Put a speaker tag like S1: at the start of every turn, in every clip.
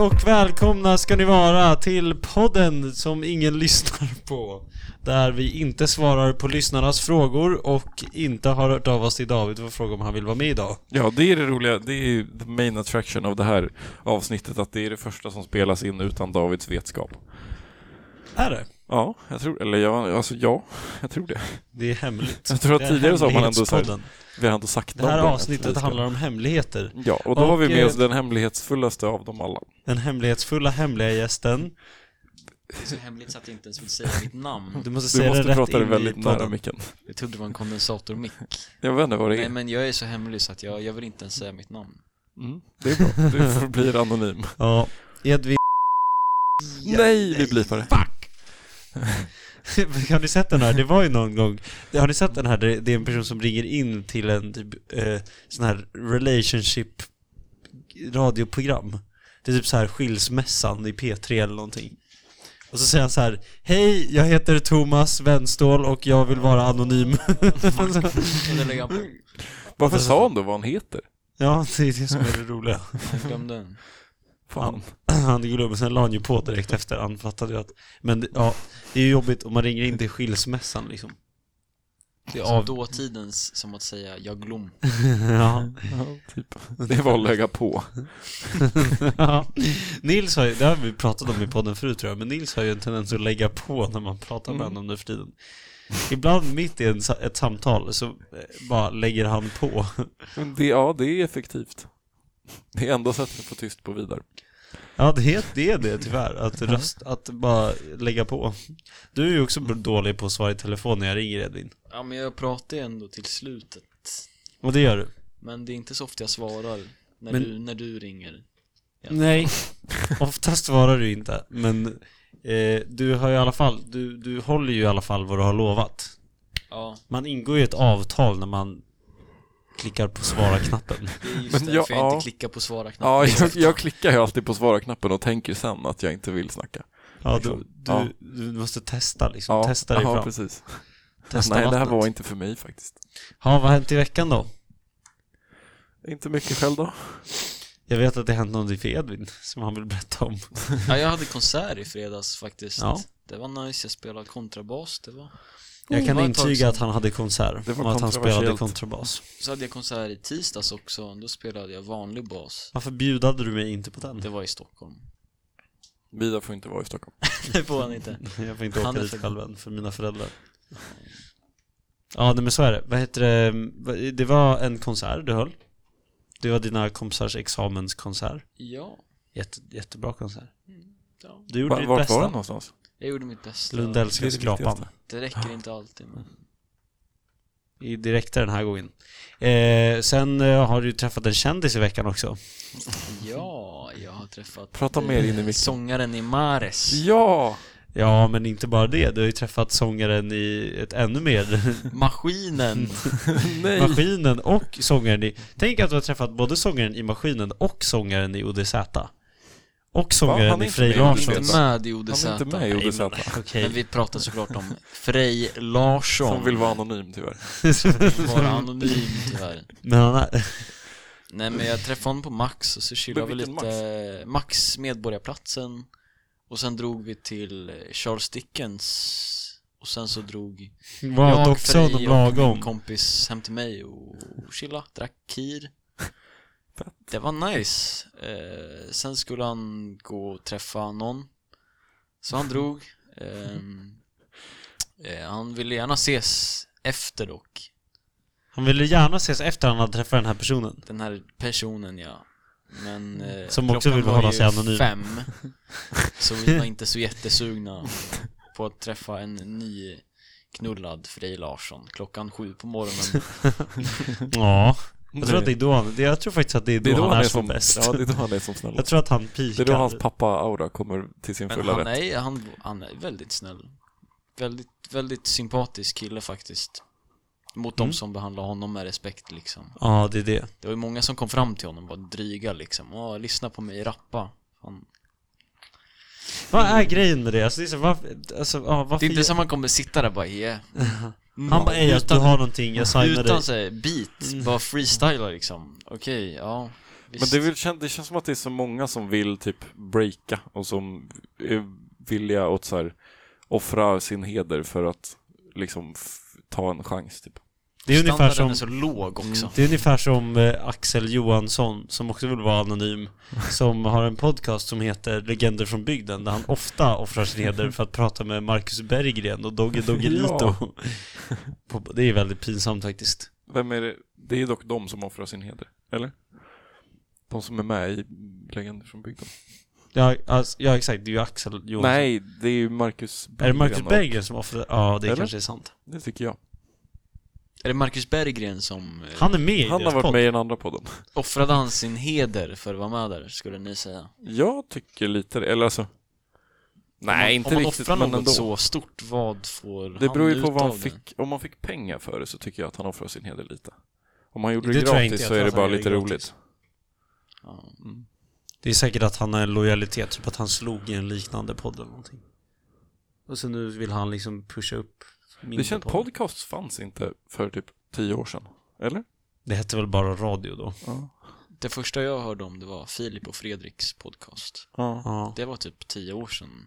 S1: och välkomna ska ni vara till podden som ingen lyssnar på. Där vi inte svarar på lyssnarnas frågor och inte har hört av oss till David för att fråga om han vill vara med idag.
S2: Ja, det är det roliga. Det är ju the main attraction av det här avsnittet, att det är det första som spelas in utan Davids vetskap.
S1: Är det?
S2: Ja, jag tror, eller ja, alltså ja, jag tror det.
S1: Det är hemligt.
S2: Jag tror att
S1: Det är
S2: tidigare så har man ändå sagt,
S1: hemlighetspodden.
S2: vi har ändå sagt
S1: Det här
S2: någon gång att vi
S1: avsnittet
S2: ska-
S1: handlar om hemligheter.
S2: Ja, och då har vi med oss den hemlighetsfullaste av dem alla.
S1: Den hemlighetsfulla hemliga gästen.
S3: Det är så hemligt så att jag inte ens vill säga mitt namn.
S1: Du måste
S2: Du
S1: säga det
S2: måste
S1: rätt
S2: prata
S1: in
S2: dig
S1: i
S2: väldigt nära
S1: podden.
S2: micken.
S3: Jag trodde det var en kondensatormick.
S2: Jag vet inte vad det
S3: Nej
S2: är.
S3: men jag är så hemlig så att jag, jag vill inte ens säga mitt namn.
S2: Mm, det är bra. Du förblir anonym.
S1: Ja. Edvin,
S2: Nej, vi blipar det.
S1: har ni sett den här? Det var ju någon gång. Har ni sett den här? Det det är en person som ringer in till en typ, eh, sån här relationship radioprogram. Det är typ så här skilsmässan i P3 eller någonting. Och så säger han så här Hej, jag heter Thomas Wenståhl och jag vill vara anonym.
S3: Och det lägger jag på. Jag
S2: Varför sa han då vad han heter?
S1: ja, det är det som är det roliga.
S3: glömde den.
S2: Fan.
S1: Han glömde, sen la han ju på direkt efter, han fattade ju att Men det- ja, det är ju jobbigt om man ringer in till skilsmässan liksom
S3: Det är av dåtidens som att säga jag glöm.
S1: Ja,
S2: Ja, typ. Det var att lägga på.
S1: ja. Nils har ju, det har vi pratat om i podden förut tror jag, men Nils har ju en tendens att lägga på när man pratar med
S2: Mm.
S1: honom nu för tiden Ibland mitt i en, sa- ett samtal så eh, bara lägger han på
S2: Men det, ja, det är effektivt. Det är enda sättet att få tyst på Vidar.
S1: Ja det är det, är det tyvärr, att, röst, att bara lägga på Du är ju också dålig på att svara i telefon när jag ringer Edvin
S3: Ja men jag pratar ju ändå till slutet.
S1: Och det gör du?
S3: Men det är inte så ofta jag svarar när,
S1: Men-
S3: du, när du ringer. Ja.
S1: Nej, oftast svarar du inte. Men eh, du har ju i alla fall, du, du håller ju i alla fall vad du har lovat.
S3: Ja,
S1: Man ingår ju ett avtal när man klickar på svara-knappen.
S3: det är just
S2: Men
S3: därför
S2: jag-
S3: jag,
S2: ja.
S3: inte klickar på svara-knappen.
S2: Ja, jag, jag klickar ju alltid på svara-knappen och tänker sen att jag inte vill snacka.
S1: Ja, du,
S2: Liksom, ja.
S1: du, du måste testa liksom,
S2: Ja,
S1: testa dig
S2: ja,
S1: fram.
S2: precis.
S1: Testa
S2: Nej, det här
S1: vattnet.
S2: var inte för mig faktiskt.
S1: Ja, vad har hänt i veckan då?
S2: Inte mycket själv då?
S1: Jag vet att det har hänt någonting för Edvin som han vill berätta om.
S3: ja, jag hade konsert i fredags faktiskt.
S1: Ja.
S3: Det var nice, jag spelade kontrabas, det var
S1: Jag
S3: Oh,
S1: kan
S3: vad
S1: intyga
S3: tacksam.
S1: att han hade konsert
S2: Det var
S1: och att han spelade
S2: kontroversiellt.
S1: kontrabas.
S3: Så hade jag konsert i tisdags också, då spelade jag vanlig bas
S1: Varför bjudade du mig inte på den?
S3: Det var i Stockholm
S2: Vidar får inte vara i Stockholm.
S3: Det får han inte
S1: Jag får inte åka
S3: Han är
S1: dit
S3: för-
S1: själv än, för mina föräldrar. Ja, nej, men så är det. Vad heter det? Det var en konsert du höll. Det var dina kompisars examenskonsert.
S3: Ja,
S1: Jätte, jättebra konsert.
S3: ja.
S1: Du gjorde
S2: Var,
S1: ditt
S2: vart var
S1: bästa.
S2: den någonstans?
S3: jag gjorde mitt bästa
S1: Lundellska
S2: Det är det
S1: skrapan.
S2: viktigaste.
S3: Det räcker inte alltid men
S1: I direkta den här gången. Eh, sen eh, har du ju träffat en kändis i veckan också.
S3: Ja, jag har träffat
S2: Prata mer in i micken.
S3: Sångaren i Mares
S2: Ja!
S1: Ja, men inte bara det. Du har ju träffat sångaren i ett ännu mer
S3: Maskinen
S2: Nej!
S1: Maskinen och sångaren i... Tänk att du har träffat både sångaren i Maskinen och sångaren i ODZ. Och
S2: Va?
S1: sångaren
S2: Han är
S1: i
S2: inte
S1: Frej
S2: med i ODZ.
S1: Larsson.
S3: Inte med i ODZ
S2: Han är inte med i ODZ.
S1: Okej.
S3: Men vi pratar såklart om Frej Larsson
S2: Som vill vara anonym tyvärr.
S3: vara anonym tyvärr
S1: Men han är...
S3: Nej men jag träffade honom på Max och så chillade vi
S2: Men
S3: lite
S2: vilken
S3: Max? Medborgarplatsen Och sen drog vi till eh, Charles Dickens Och sen så drog
S1: Wow, doxa
S3: Frej
S1: honom lagom.
S3: min kompis hem till mig och och chilla, drack kir Det var nice eh, Sen skulle han gå och träffa någon Så han drog Ehm, eh, Han ville gärna ses efter dock
S1: Han ville gärna ses efter han hade träffat den här personen.
S3: den här personen ja Men eh,
S1: Som också
S3: klockan
S1: vill
S3: var
S1: hålla
S3: ju
S1: sig anonym.
S3: fem Så vi var inte så jättesugna på att träffa en ny knullad Frej Larsson klockan sju på morgonen
S1: Ja. Jag tror att det är då han... det- Jag tror faktiskt att det är då, han, är, som, bäst.
S2: Ja, det är då han är som snäll.
S1: Jag tror att han pikar.
S2: Det är då hans pappa-aura kommer till sin
S3: Men
S2: fulla
S3: han
S2: rätt.
S3: är, han, han är väldigt snäll Väldigt, väldigt sympatisk kille faktiskt Mot
S1: Mm.
S3: de som behandlar honom med respekt liksom
S1: Ja, det är det.
S3: Det var ju många som kom fram till honom och var dryga liksom Åh, lyssna på mig rappa Fan.
S1: Vad är grejen med det? Alltså, det är så, varför, alltså, ja, varför...
S3: Det är inte som man kommer sitta där och bara yeah
S1: Han bara, ej, att du
S3: utan-
S1: har någonting, jag signar dig. Mm.
S3: Utan såhär beat, bara freestyla liksom. Okej, ja.
S2: Men
S3: Visst.
S2: det, är väl, kän- det känns som att det är så många som vill typ breaka och som är villiga att så här, offra sin heder för att liksom f- ta en chans typ.
S1: Det är ungefär
S3: Standarden
S1: som Mm.
S3: är så låg också.
S1: Det är ungefär som eh, Axel Johansson, som också vill vara anonym, som har en podcast som heter Legender från bygden, där han ofta offrar sin heder för att prata med Marcus Berggren och Dogge Doggelito. På- Det är väldigt pinsamt faktiskt.
S2: Vem är det? Det är dock de som offrar sin heder, eller? De som är med i Legender från bygden.
S1: Ja, alltså, ja exakt, det är ju Axel Johansson.
S2: Nej, det är ju Marcus
S1: Är det Marcus
S2: Berggren och-
S1: Berggren som offrar? Ja, det
S2: Eller?
S1: kanske är sant.
S2: Det tycker jag.
S3: Är det Marcus Berggren som... eh,
S1: Han är med i
S2: Han har
S1: deras
S2: varit
S1: podd.
S2: med i den andra podden.
S3: Offrade han sin heder för att vara med där, skulle ni säga?
S2: Jag tycker lite det, eller alltså...
S3: Om man-
S2: Nej, inte
S3: Om man
S2: riktigt,
S3: offrar
S2: men
S3: något
S2: ändå.
S3: så stort, vad får
S2: Det
S3: han
S2: beror ju på
S3: ut
S2: vad han
S3: av det?
S2: fick. Om man fick pengar för det så tycker jag att han offrar sin heder lite. Om han gjorde
S1: Det
S2: det,
S1: tror jag
S2: gratis
S1: inte, jag
S2: så
S1: tror
S2: är det
S1: att
S2: bara
S1: han gör
S2: lite
S1: det gratis.
S2: roligt.
S3: Ja.
S1: Det är säkert att han har en lojalitet, typ att han slog i en liknande podd eller någonting. Och så nu vill han liksom pusha upp mindre
S2: Det känns,
S1: poddar.
S2: podcasts fanns inte för typ tio år sedan. Eller?
S1: Det hette väl bara radio då?
S3: Det första jag hörde om det var Filip och Fredriks podcast.
S2: Ja.
S1: Ja.
S3: Det var typ tio år sedan.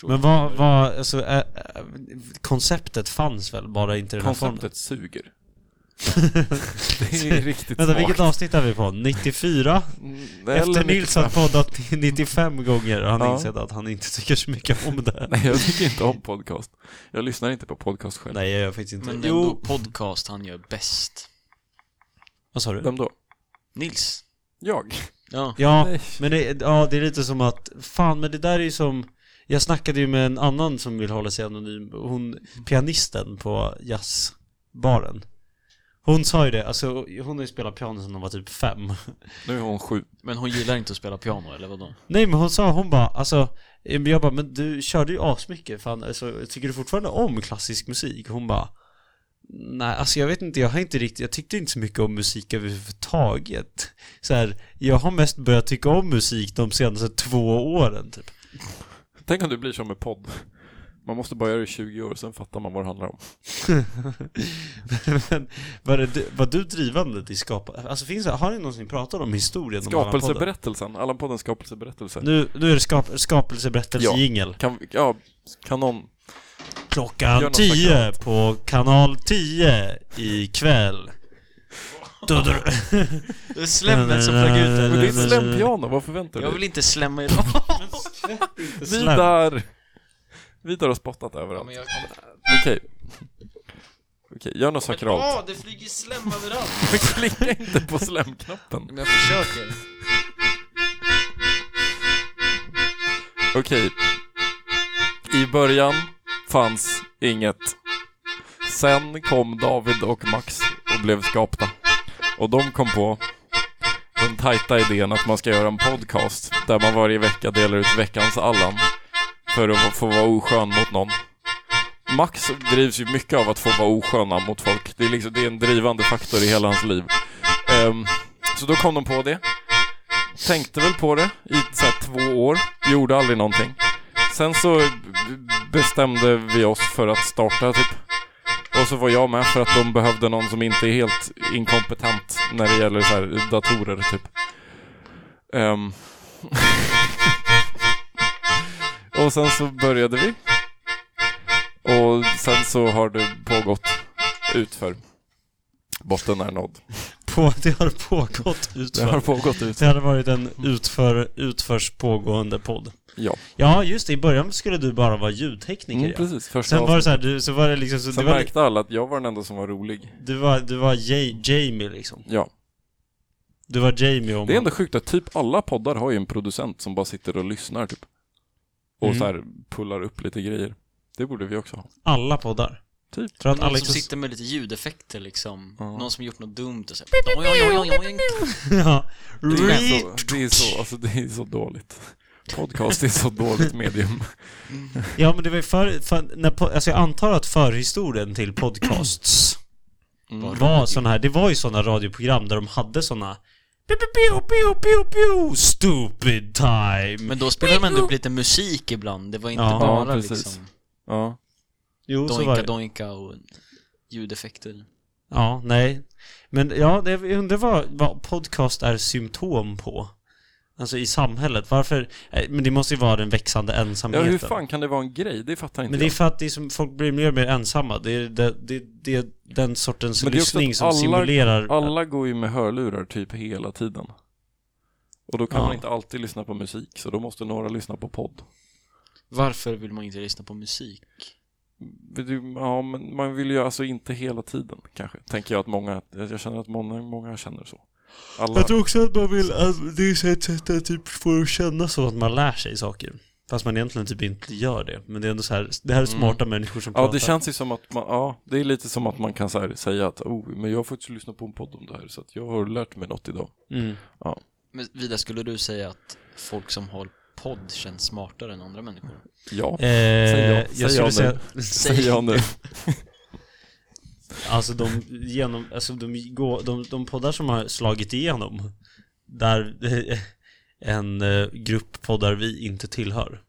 S3: tror
S1: Men
S3: jag.
S1: vad, vad alltså, äh, äh, konceptet fanns väl bara inte i den här formen?
S2: Konceptet suger. det är riktigt
S1: Vänta,
S2: svagt.
S1: vilket avsnitt är vi på? 94?
S2: Mm, eller
S1: Efter Nils har
S2: 95.
S1: poddat 95 gånger har han
S2: Ja.
S1: insett att han inte tycker så mycket om det.
S2: Nej, jag tycker inte om podcast. Jag lyssnar inte på podcast själv.
S1: Nej, jag gör faktiskt inte.
S3: Men det är ändå
S1: jo,
S3: podcast han gör bäst.
S1: vad sa du?
S2: Vem då?
S3: Nils.
S2: Jag?
S3: Ja.
S1: Ja,
S2: Nej.
S1: men det, ja, det är lite som att, fan men det där är ju som jag snackade ju med en annan som vill hålla sig anonym, hon, pianisten på jazzbaren Hon sa ju det, alltså hon har ju spelat piano sedan hon var typ fem
S2: Nu är hon sju.
S3: Men hon gillar inte att spela piano, eller vadå?
S1: Nej men hon sa, hon bara alltså eh, Jag bara, men du körde ju asmycket fan, alltså, tycker du fortfarande om klassisk musik? Hon bara Nej, alltså jag vet inte, jag har inte riktigt, jag tyckte inte så mycket om musik överhuvudtaget så här, jag har mest börjat tycka om musik de senaste två åren typ
S2: Tänk om du blir som med podd. Man måste bara göra det i 20 år, sen fattar man vad det handlar om.
S1: Men var, det, var du drivande i skapandet? Alltså finns det, har ni någonsin pratat om historien om Allan-podden?
S2: Skapelseberättelsen, Allan-poddens skapelseberättelse.
S1: Nu, nu är det skap, skapelseberättelsejingel
S2: Kan, ja, kan någon... Gör
S1: Klockan
S2: något
S1: 10
S2: sakral.
S1: på kanal 10 ikväll. Dudr.
S3: Det är slämmen som flög ut
S2: Men det är
S3: där.
S1: Nej,
S2: ett
S1: men-
S2: slämpiano, vad förväntar
S3: Jag
S2: du
S3: vill
S2: dig?
S3: inte slämma idag.
S2: Vidar! Vidar har spottat
S3: Ja,
S2: överallt.
S3: men jag
S2: Okej. Okej, gör något sakralt.
S3: Åh, det flyger slem överallt!
S2: Men klicka inte på slämknappen.
S3: Men jag försöker.
S2: Okej. I början fanns inget. Sen kom David och Max och blev skapta. Och de kom på den tajta idén att man ska göra en podcast där man varje vecka delar ut veckans Allan för att få vara oskön mot någon. Max drivs ju mycket av att få vara osköna mot folk. Det är, liksom, det är en drivande faktor i hela hans liv. Ehm, så då kom de på det. Tänkte väl på det i så här, två år. Gjorde aldrig någonting. Sen så b- b- bestämde vi oss för att starta typ. Och så var jag med för att de behövde någon som inte är helt inkompetent när det gäller så här, datorer typ. Ehm. och sen så började vi. Och sen så har det pågått utför. Botten är nådd.
S1: På, det har pågått
S2: Det har
S1: utför.
S2: pågått ut.
S1: Det hade varit en utför, utförs pågående podd.
S2: Ja,
S1: Ja, just det. I början skulle du bara vara ljudtekniker.
S2: mm,
S1: ja.
S2: precis. Första
S1: Sen var det
S2: avsnittet.
S1: så här, du, så var det liksom, så
S2: Sen
S1: du, var,
S2: märkte alla att jag var den enda som var rolig.
S1: du var, du var Ja- Jamie liksom.
S2: Ja.
S1: Du var Jamie om
S2: Det är ändå sjukt att typ alla poddar har ju en producent som bara sitter och lyssnar typ. Och
S1: Mm.
S2: så här pullar upp lite grejer. Det borde vi också ha.
S1: alla poddar.
S2: Typ.
S1: Tror att
S3: Någon
S1: Alex...
S3: som sitter med lite ljudeffekter liksom.
S2: Ja.
S3: Någon som gjort något dumt och så här, oj, oj, oj, oj, oj.
S1: ja.
S2: Det är så, det är så, alltså det är så dåligt. Podcast är så dåligt medium.
S1: Ja, men det var ju för, för när, po- alltså jag antar att förhistorien till podcasts
S2: Mm.
S1: var såna här, det var ju såna radioprogram där de hade såna Pew, pew, pew, pew, pew, pew, Stupid time!
S3: Men då spelar man ändå upp lite musik ibland. Det var inte
S1: Ja,
S3: bara
S2: precis.
S3: liksom.
S2: Ja.
S1: Jo, så var
S3: Doinka
S1: det.
S3: doinka och ljudeffekter.
S1: Ja, nej. Men ja, det- jag undrar vad, vad podcast är symptom på. Alltså i samhället. Varför? eh, Men det måste ju vara den växande
S2: Ja,
S1: ensamheten.
S2: hur fan kan det vara en grej? Det fattar inte
S1: Men det är för att det är som, folk blir mer och mer ensamma. Det är, det, det, det är den sortens
S2: Men det är också
S1: lyssning
S2: att
S1: som
S2: alla-
S1: simulerar...
S2: jag. Alla går ju med hörlurar typ hela tiden. Och då kan
S1: Ja.
S2: man inte alltid lyssna på musik, så då måste några lyssna på podd.
S3: Varför vill man inte lyssna på musik?
S2: Men det- Ja, men man vill ju alltså inte hela tiden kanske, tänker jag att många, jag känner att många, många känner så. Alla,
S1: tror också att man vill... Att det är ett sätt att typ få känna så att man lär sig saker. Fast man egentligen typ inte gör det. Men det är ändå så här, det här är smarta människor som
S2: Mm. ja,
S1: pratar.
S2: det känns ju som att man, ja, det är lite som att man kan så här, säga att oh, men jag får faktiskt lyssna på en podd om det här, så att jag har lärt mig något idag.
S1: Mm.
S3: Men Vida, skulle du säga att folk som har podd känns smartare än andra människor?
S2: Ja,
S1: Eh,
S2: ja,
S1: jag
S2: säg
S1: skulle
S2: ja
S1: säga...
S2: nu. säger jag nu.
S1: Alltså de, genom, alltså de, gå, de, de poddar som har slagit igenom Där eh, en eh, grupp poddar vi inte tillhör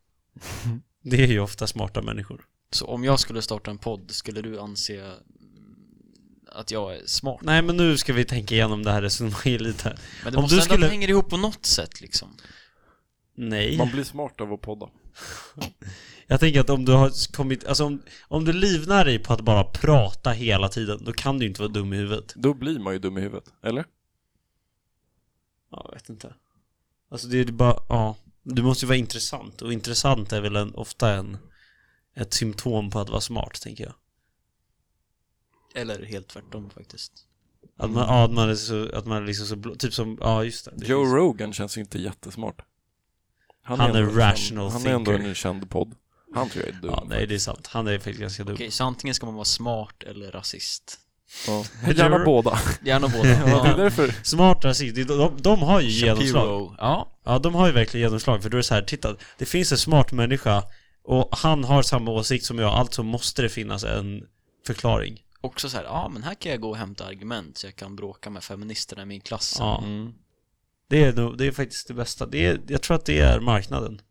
S1: Det är ju ofta smarta människor
S3: Så om jag skulle starta en podd, skulle du anse mm, att jag är smart?
S1: Nej men nu ska vi tänka igenom det här resonemanget lite
S3: Men det
S1: Om
S3: måste
S1: du
S3: ändå
S1: skulle-
S3: att det hänger ihop på något sätt liksom.
S1: Nej,
S2: Man blir smart av att podda.
S1: jag tänker att om du har kommit, alltså om, om du livnär dig på att bara prata hela tiden Då kan du inte vara dum i huvudet
S2: Då blir man ju dum i huvudet, eller?
S1: Ja, jag vet inte Alltså det är ju bara, ja Du måste ju vara intressant och intressant är väl en, ofta en ett symptom på att vara smart, tänker jag.
S3: Eller helt tvärtom faktiskt.
S1: Att man, ja, att man är så, att man är liksom så blå, typ som, ja just det. det
S2: Joe
S1: finns-
S2: Rogan känns ju inte jättesmart.
S1: Han är
S2: ändå en
S1: rational
S2: känd, Han är ändå
S1: thinker.
S2: en känd podd. Han tror jag är dum.
S1: Ja, nej det är sant. Han är faktiskt ganska dum.
S3: Okej, så antingen ska man vara smart eller rasist.
S2: Ja. Gärna
S1: Joe-
S2: båda.
S3: Gärna båda.
S2: Ja, det är
S3: Ja.
S2: därför.
S1: Smart rasist, de, de, de har ju genomslag.
S3: Shapiro. Ja.
S1: Ja, de har ju verkligen genomslag. För då är det så här, titta, det finns en smart människa och han har samma åsikt som jag, alltså måste det finnas en förklaring.
S3: Också så här, ja men här kan jag gå och hämta argument så jag kan bråka med feministerna i min klass.
S1: Ja. Det är, nog- det är faktiskt det bästa. Det är, jag tror att det är marknaden.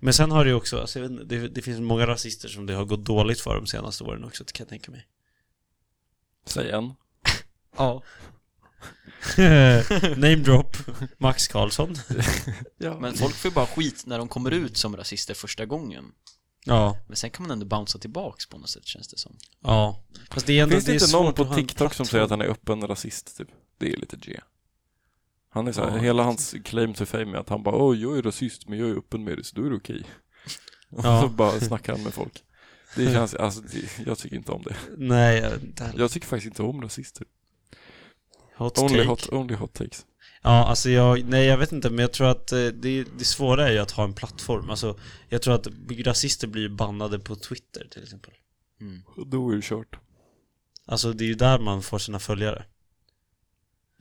S1: Men sen har det ju också, alltså, jag vet inte, det, det finns många rasister som det har gått dåligt för de senaste åren också, det kan jag tänka mig.
S2: Säg en.
S3: Ja.
S1: Name drop, Max Karlsson.
S2: Ja.
S3: Men folk får ju bara skit när de kommer ut som rasister första gången.
S1: Ja.
S3: Men sen kan man ändå bouncea tillbaks på något sätt känns det som.
S1: Ja. Fast Alltså, det är ändå,
S2: Finns det,
S1: är
S2: inte någon
S1: svårt att
S2: på
S1: ha en
S2: TikTok som
S1: plattform.
S2: säger att han är öppen rasist, typ? Det är lite G. Han är så här,
S1: Ja.
S2: hela hans claim to fame är att han bara åh, jag är rasist men jag är öppen med det så då är det okej.
S1: Ja.
S2: Och så bara snackar han med folk. Det känns, alltså det, jag tycker inte om det.
S1: Nej, jag vet inte heller.
S2: Jag tycker faktiskt inte om rasister.
S1: Hot
S2: Only
S1: take.
S2: hot, only hot takes.
S1: Ja, alltså jag, nej jag vet inte, men jag tror att eh, det, det svåra är ju att ha en plattform. Alltså, jag tror att rasister blir ju bannade på Twitter till exempel.
S3: Mm.
S2: Då är det kört.
S1: Alltså det är ju där man får sina följare.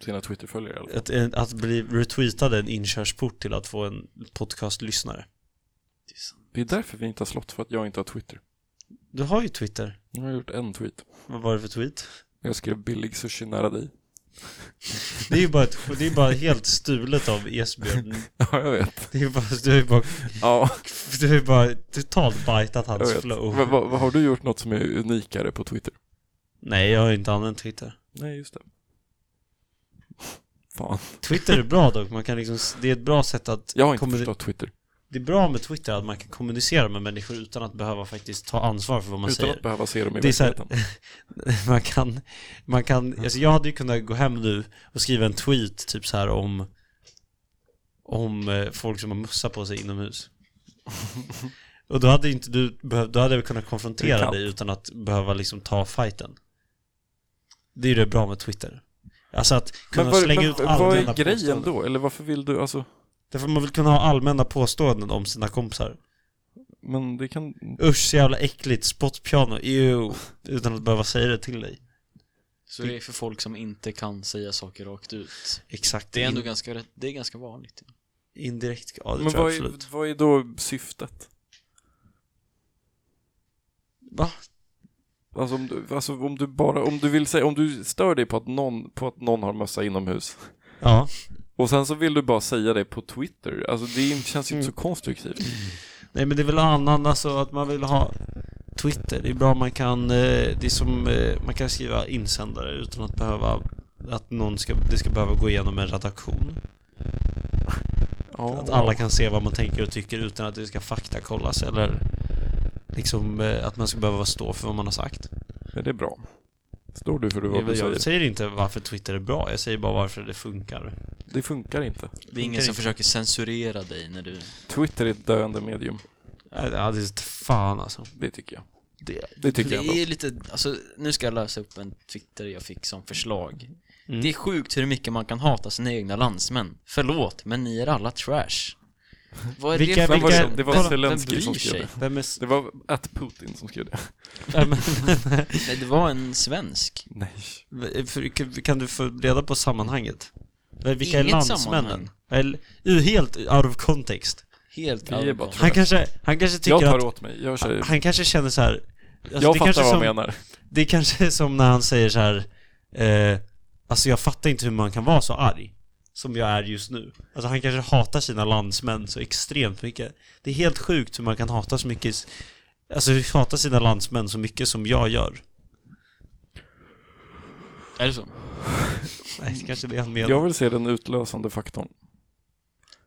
S2: Sina Twitter-följare i alla fall.
S1: Att, eh, att bli retweetad är en inkörsport till att få en podcastlyssnare.
S3: Det är sant.
S2: Det är därför vi inte har slått, för att jag inte har Twitter.
S1: Du har ju Twitter.
S2: Jag har gjort en tweet.
S1: Vad var det för tweet?
S2: Jag skrev billig sushi nära dig.
S1: Det är ju bara, ett, det är bara helt stulet av Esbjörn.
S2: Ja, jag vet.
S1: Det är ju bara, du har ju bara,
S2: Ja,
S1: du har ju bara totalt bajtat
S2: jag
S1: hans
S2: vet.
S1: flow.
S2: Men vad- vad- har du gjort något som är unikare på Twitter?
S1: Nej, jag har ju inte använt Twitter.
S2: Nej, just det. Fan.
S1: Twitter är bra dock, man kan liksom, det är ett bra sätt att
S2: Jag har inte
S1: kommu-
S2: förstått Twitter.
S1: Det är bra med Twitter att man kan kommunicera med människor utan att behöva faktiskt ta ansvar för vad man
S2: Utan
S1: säger.
S2: att behöva se dem i
S1: Det är så här-
S2: verkligheten.
S1: Man kan, man kan, alltså jag hade ju kunnat gå hem nu och skriva en tweet typ så här om om eh, folk som har mössa på sig inomhus. Och då hade ju inte du behövt, då hade jag kunnat
S2: Det är
S1: konfrontera
S2: kallt.
S1: dig utan att behöva liksom ta fighten. Det är ju det bra med Twitter. Alltså att kunna
S2: Men, vad,
S1: slänga
S2: men
S1: ut
S2: vad
S1: allmänna
S2: är grejen
S1: påståenden.
S2: då? Eller varför vill du, alltså,
S1: Därför man vill kunna ha allmänna påståenden om sina kompisar.
S2: men det kan...
S1: Usch så jävla äckligt, spottpiano, ew, utan att behöva säga det till dig.
S3: Så det är för folk som inte kan säga saker rakt ut.
S1: Exakt,
S3: Det är ändå
S1: in-
S3: ganska, rätt- det är ganska vanligt.
S1: indirekt, ja det
S2: Men
S1: tror jag
S2: vad är,
S1: absolut.
S2: vad är då syftet?
S1: Va?
S2: Alltså om du, alltså om du bara, om du vill säga, om du stör dig på att någon, på att någon har mössa inomhus
S1: Ja.
S2: och sen så vill du bara säga det på
S1: Mm.
S2: Twitter, alltså det är- känns ju inte så konstruktivt.
S1: Nej men det är väl annan, alltså att man vill ha Twitter. Det är bra man kan, eh, det är som, eh, man kan skriva insändare utan att behöva, att någon ska, det ska behöva gå igenom en redaktion.
S2: Ja.
S1: Att alla kan se vad man tänker och tycker utan att det ska faktakollas eller liksom eh, att man ska behöva stå för vad man har sagt.
S2: Men det är bra. Står du för det
S1: Jag,
S2: vad du
S1: jag
S2: säger?
S1: säger. inte varför Twitter är bra, jag säger bara varför det funkar.
S2: Det funkar inte.
S3: Det är ingen som försöker censurera dig när du...
S2: Twitter är ett döende medium.
S1: Äh, Ja, det är fan alltså.
S2: Det tycker jag.
S1: Det,
S2: Det tycker
S3: det
S2: jag ändå.
S3: är lite, alltså, nu ska jag läsa upp en Twitter jag fick som förslag.
S1: Mm.
S3: Det är sjukt hur mycket man kan hata sina egna landsmän. Förlåt, men ni är alla trash. Vad är
S1: Vilka-
S3: det för
S1: vilka-
S2: Vem var
S3: Vem
S2: det? Det var
S1: kolla,
S2: Zelenskyj
S3: bryr
S2: som skrev
S3: sig?
S2: det.
S1: vem är... s-
S2: Det var att Putin som skrev det.
S1: äh, men-
S3: Nej, det var en svensk.
S2: Nej.
S1: För- Kan du få reda på sammanhanget? Vilka är
S3: Inget
S1: landsmännen?
S3: sammanhang.
S1: Eller, ur- helt out of context.
S3: Helt
S2: Vi är
S3: out
S2: bara
S3: of
S1: Han kanske, han kanske
S2: Jag
S1: tycker
S2: tar
S1: att,
S2: åt mig. Jag, säger,
S1: han kanske känner så här. alltså
S2: jag
S1: det
S2: fattar
S1: kanske
S2: vad
S1: som,
S2: han menar.
S1: Det kanske är som när han säger så här. Eh, alltså jag fattar inte hur man kan vara så arg som jag är just nu. Alltså han kanske hatar sina landsmän så extremt mycket. Det är helt sjukt hur man kan hata så mycket, s- alltså hata sina landsmän så mycket som jag gör.
S3: Är det så?
S1: Nej, det kanske är det han menar.
S2: Jag vill se den utlösande faktorn.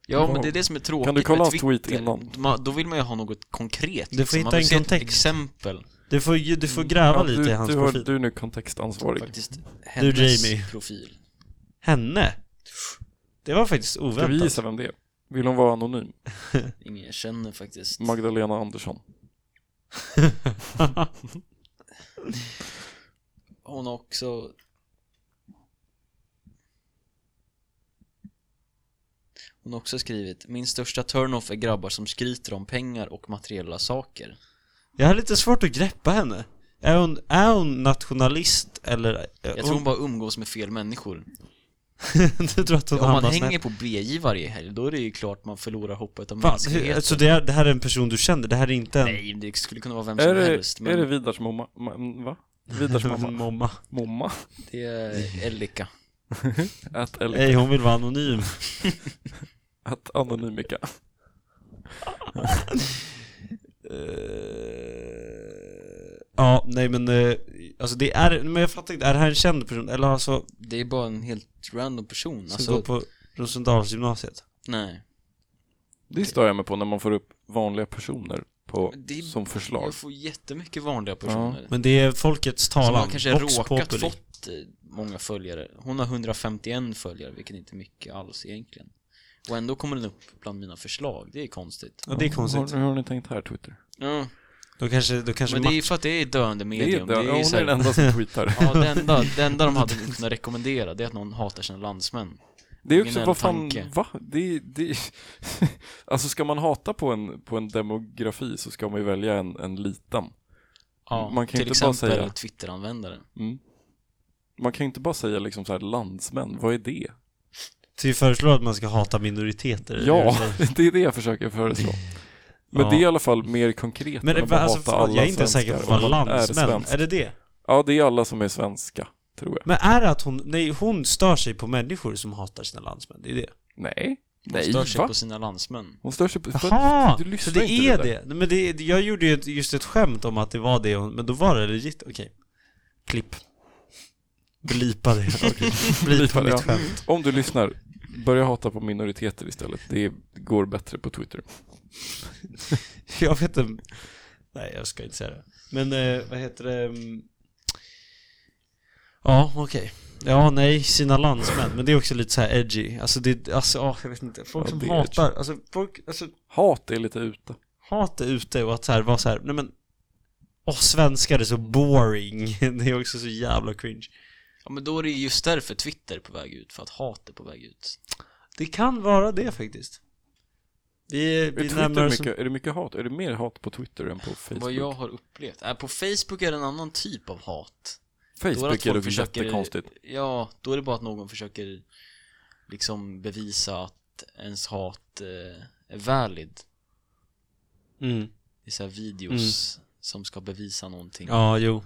S3: Ja, men det är det som är tråkigt
S2: Kan du kolla
S3: med
S2: hans tweet
S3: Twitter.
S2: innan?
S3: Man, då vill man ju ha något konkret.
S1: Du får
S3: liksom. Man
S1: hitta
S3: vill
S1: en
S3: se ett
S1: kontext.
S3: exempel.
S1: Du får, ju- du får gräva
S2: Ja,
S1: lite i hans
S2: du, har,
S1: profil.
S2: du är nu kontextansvarig.
S3: Faktiskt, hennes
S1: Jamie.
S3: profil.
S1: Henne? Det var faktiskt
S2: Ska vi
S1: oväntat.
S2: gissa vem det är? Vill hon vara anonym?
S3: Ingen jag känner faktiskt.
S2: Magdalena Andersson.
S3: Hon har också... Hon har också skrivit Min största turn-off är grabbar som skryter om pengar och materiella saker.
S1: Jag har lite svårt att greppa henne. Är hon, är hon nationalist eller?
S3: Jag tror hon bara umgås med fel människor.
S1: du tror att hon
S3: Om man
S1: hamnar
S3: hänger
S1: snett?
S3: på BJ varje helg, då är det ju klart man förlorar hoppet om
S1: Fan, hur-
S3: mänskligheten.
S1: alltså det, är, det här är en person du känner, det här är inte en...
S3: Nej, det skulle kunna vara vem som
S2: Är det,
S3: helst. Men
S2: är det Vidars mamma? Ma, m- va? Vidars mamma?
S1: Momma.
S2: Momma?
S3: det är Elika.
S2: Att, eller,
S1: Nej, hon vill vara anonym.
S2: att anonymika.
S1: Eh, ja, nej men, eh, alltså det är, men jag fattar inte, är det här en känd person? Eller alltså, som
S3: Det är bara en helt random person.
S1: går
S3: Alltså,
S1: på Rosendalsgymnasiet?
S3: nej.
S2: Det stör jag mig på när man får upp vanliga personer på,
S3: Det är-
S2: som förslag.
S3: Jag får jättemycket vanliga personer.
S1: Men det är folkets
S3: Som
S1: talan,
S3: har Alltså, kanske
S1: Vox
S3: råkat
S1: populi.
S3: fått eh, många följare. Hon har 151 följare, vilket inte är mycket alls egentligen. Och ändå kommer den upp bland mina förslag. Det är konstigt.
S1: Ja, det är konstigt.
S2: Hur, hur har ni tänkt här, Twitter?
S3: Ja,
S1: Då kanske, då kanske
S3: men det är för att det är ett döende medium.
S2: det är, det,
S3: ju
S2: hon
S3: så
S2: är
S3: här-
S2: den enda som tweetar.
S3: Ja, det enda, det enda de hade kunnat rekommendera det är att någon hatar sina landsmän.
S2: Det är också,
S3: Originell
S2: vad fan,
S3: tanke.
S2: va? Det, det, alltså ska man hata på en, på en demografi så ska man ju välja en, en liten.
S3: Ja,
S2: Man kan
S3: till
S2: inte bara
S3: exempel
S2: säga-
S3: Twitter-användare.
S2: Mm. Man kan ju inte bara säga liksom så här landsmän, vad är det?
S1: Så vi föreslår att man ska hata minoriteter?
S2: Ja,
S1: Eller-
S2: det är det jag försöker föreslå. Men
S1: Ja.
S2: det är i alla fall mer konkret
S1: Men
S2: än
S1: det,
S2: att bara
S1: alltså,
S2: hata
S1: fan,
S2: alla
S1: jag är inte
S2: svenskar
S1: säker på vad
S2: om man är
S1: landsmän, är,
S2: svensk.
S1: det det?
S2: Ja, det är alla som är svenska, tror jag.
S1: Men är det att hon, nej hon stör sig på människor som hatar sina landsmän, det är det?
S2: Nej,
S3: De
S2: nej,
S3: stör sig
S2: va?
S3: på sina landsmän.
S2: Hon stör sig på...
S1: Jaha!
S2: Du
S1: Så
S2: lyssnar
S1: det
S2: inte
S1: är
S2: det där.
S1: det? Men det, jag gjorde ju ett, just ett skämt om att det var det hon, men då var det legit, okej Klipp Blipa det, okej Blipa
S2: Blipa det,
S1: mitt
S2: ja.
S1: skämt
S2: Om du lyssnar, börja hata på minoriteter istället. Det går bättre på Twitter.
S1: Jag vet inte Nej jag ska inte säga det Men eh, vad heter det mm, Ja okej Ja nej, sina landsmän, men det är också lite så här edgy Alltså det, alltså ah, jag vet inte, folk
S2: Ja,
S1: som
S2: det är
S1: hatar, alltså folk, alltså
S2: Hat är lite ute.
S1: hat är ute och att så här, vara så här, nej men Åh, svenskar är så boring.
S2: Mm.
S1: Det är också så jävla cringe.
S3: Ja, men då är det just därför Twitter är på väg ut, för att hat är på väg ut.
S1: Det kan vara det faktiskt. Vi,
S2: Är,
S1: vi nämner
S2: Twitter
S1: oss...
S2: mycket, är det mycket hat? Är det mer hat på Twitter än på Facebook?
S3: Vad jag har upplevt. Äh, på Facebook är det en annan typ av hat. Då är det att
S2: Facebook är
S3: folk
S2: det
S3: försöker-
S2: jättekonstigt.
S3: Ja, då är det bara att någon försöker liksom bevisa att ens hat eh, är valid.
S1: Mm.
S3: Det är så här videos som ska bevisa någonting.
S1: Ja, jo.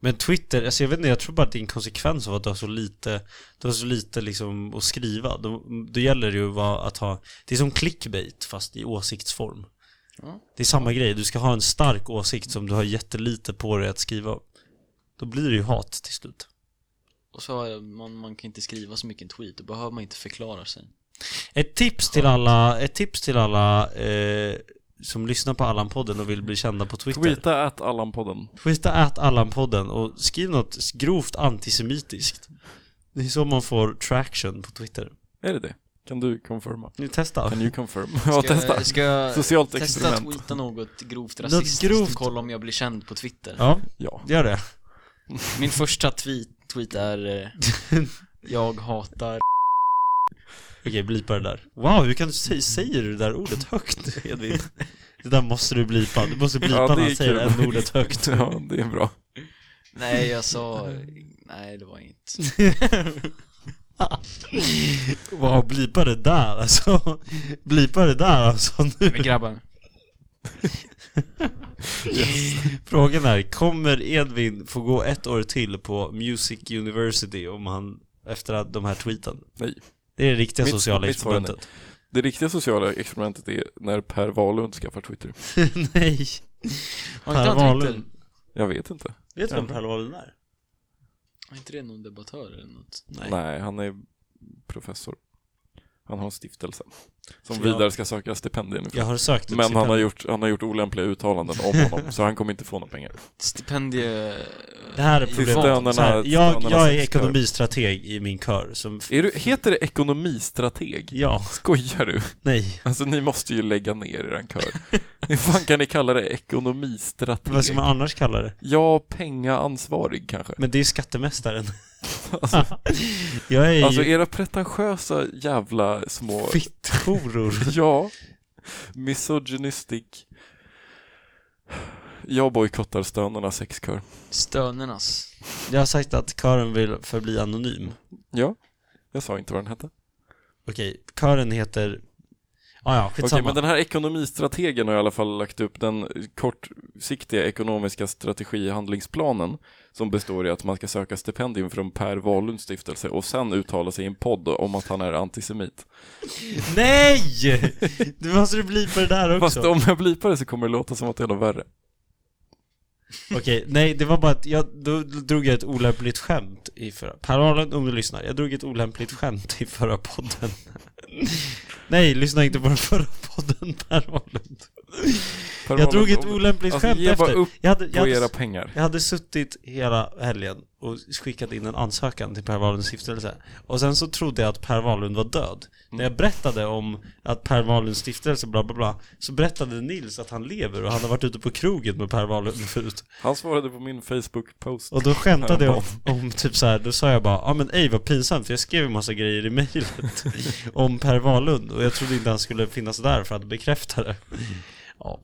S1: Men Twitter, alltså jag vet inte, jag tror bara att det är en konsekvens av att du har så lite, du har så lite liksom att skriva. Då, då gäller det ju att vara- att ha, det är som clickbait fast i åsiktsform.
S3: Ja.
S1: Det är samma grej, du ska ha en stark åsikt som du har jättelite på dig att skriva. Då blir det ju hat till slut.
S3: Och så har man, man kan inte skriva så mycket i en tweet, då behöver man inte förklara sig.
S1: Ett tips till alla, ett tips till alla eh, som lyssnar på Allan-podden och vill bli kända på Twitter.
S2: Tweeta at Allan-podden.
S1: Tweeta at Allan-podden och skriv något grovt antisemitiskt. Det är så man får traction på Twitter.
S2: Är det det? Kan du confirma?
S1: Nu testa.
S2: Kan du confirm? Ja, testa.
S3: jag, ska jag
S2: Socialt
S3: testa
S2: experiment.
S3: tweeta något grovt rasistiskt
S1: grovt-
S3: och kolla om jag blir känd på Twitter?
S1: Ja,
S2: Ja.
S1: gör det.
S3: Min första tweet, tweet är eh, Jag hatar
S1: Okej, blipa det där. Wow, hur kan du säga, säger du det där ordet högt, Edvin? Det där måste du blipa. Du måste blipa
S2: Ja, det
S1: när han
S2: är
S1: säger
S2: kul.
S1: det ordet högt.
S2: ja, det är bra.
S3: Nej jag sa Nej det var inget
S1: wow, blipa det där alltså. Blipa det där alltså nu.
S3: Men grabbar
S1: Frågan är, kommer Edvin få gå ett år till på Music University om han, efter att de här tweeten?
S2: Nej.
S1: Det är det riktiga
S2: Mitt-
S1: sociala
S2: mitt svar är
S1: experimentet.
S2: Det riktiga sociala experimentet är när Per Wahlund skaffar Twitter.
S1: Nej.
S3: Har inte han Twitter?
S2: Jag vet inte.
S1: Vet du vem Per Wahlund är?
S3: Har inte det någon debattör eller något?
S1: Nej.
S2: han är professor. Han har en stiftelse. Som
S1: Ja.
S2: vidare ska söka stipendier nu.
S1: Jag har sökt ett
S2: Men han har,
S1: stipendium.
S2: gjort, han har gjort olämpliga uttalanden om honom, så han kommer inte få några pengar.
S3: Stipendie eh,
S1: Det här är
S3: i
S1: problemet.
S3: val.
S2: Stipendierna-
S1: Så här, jag,
S2: stipendierna
S1: jag är
S2: som ska-
S1: ekonomistrateg i min kör som...
S2: Är du, heter det ekonomistrateg?
S1: Ja,
S2: Skojar du?
S1: nej.
S2: Alltså ni måste ju lägga ner eran kör. Hur fan kan ni kalla det ekonomistrateg?
S1: Vad ska man annars kalla det?
S2: Ja, pengaansvarig kanske.
S1: Men det är ju skattemästaren.
S2: Alltså,
S1: Jag är ju
S2: alltså era pretentiösa jävla små...
S1: fittjoror.
S2: Ja. Misogynistic. Jag bojkottar stönerna sexkör.
S3: Stönernas
S1: Jag har sagt att kören vill förbli anonym.
S2: Ja. Jag sa inte vad den hette.
S1: Okej, kören heter... Ah, ja,
S2: Okej,
S1: skitsamma.
S2: men den här ekonomistrategen har i alla fall lagt upp den kortsiktiga ekonomiska strategihandlingsplanen som består i att man ska söka stipendium från Per Wahlunds stiftelse och sen uttala sig i en podd om att han är antisemit.
S1: Nej! Du måste du bli på det där också.
S2: Fast om jag blipar det så kommer det låta som att det är något värre.
S1: Okej, nej det var bara att jag, då drog jag ett olämpligt skämt i förra, Per Arlen, om du lyssnar, jag drog ett olämpligt skämt i förra podden Nej, lyssna inte på den förra podden Per Arlund
S2: Per
S1: Jag drog
S2: Wahlund-
S1: ett olämpligt
S2: Alltså,
S1: skämt
S2: ge bara
S1: efter
S2: upp
S1: jag hade, jag,
S2: på
S1: hade,
S2: era pengar.
S1: jag hade suttit hela helgen och skickat in en ansökan till Per Wahlunds stiftelse Och sen så trodde jag att Per Wahlund var död När jag berättade om att Per Wahlunds stiftelse bla bla bla Så berättade Nils att han lever och han har varit ute på krogen med Per Wahlund förut
S2: Han svarade på min Facebook-post.
S1: och då skämtade jag om, om typ så här, då sa jag bara ja ah, men ej vad pinsamt för jag skrev en massa grejer i mejlet om Per Wahlund och jag trodde inte han skulle finnas där för att bekräfta det. Ja.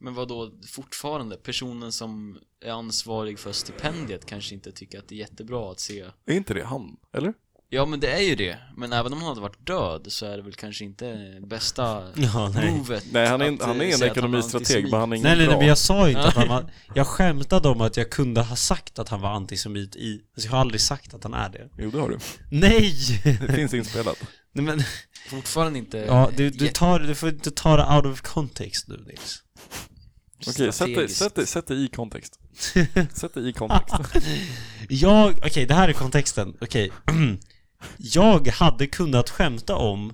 S3: Men vad då fortfarande? Personen som är ansvarig för stipendiet kanske inte tycker att det är jättebra att se
S2: Är inte det han? Eller?
S3: Ja men det är ju det, men även om han hade varit död så är det väl kanske inte bästa
S1: Ja, nej.
S3: movet
S2: Nej, han är,
S3: att,
S2: en- han
S3: eh,
S2: är en
S3: säga att
S2: ekonomistrateg,
S3: antisemit.
S2: men han är ingen
S1: Nej nej nej
S2: bra.
S1: men jag sa ju inte att han var, jag skämtade om att jag kunde ha sagt att han var antisemit i, alltså jag har aldrig sagt att han är det.
S2: Jo, det har du.
S1: Nej!
S2: Det finns inspelat.
S1: nej men,
S3: Fortfarande inte
S1: ja du, du
S3: jätte-
S1: tar, du får inte ta det out of context nu Nils.
S2: Okej, sätt det,
S3: strategiskt.
S2: sätt, det, sätt det i kontext. Sätt det i kontext.
S1: Jag, okej det här är kontexten, okej Jag hade kunnat skämta om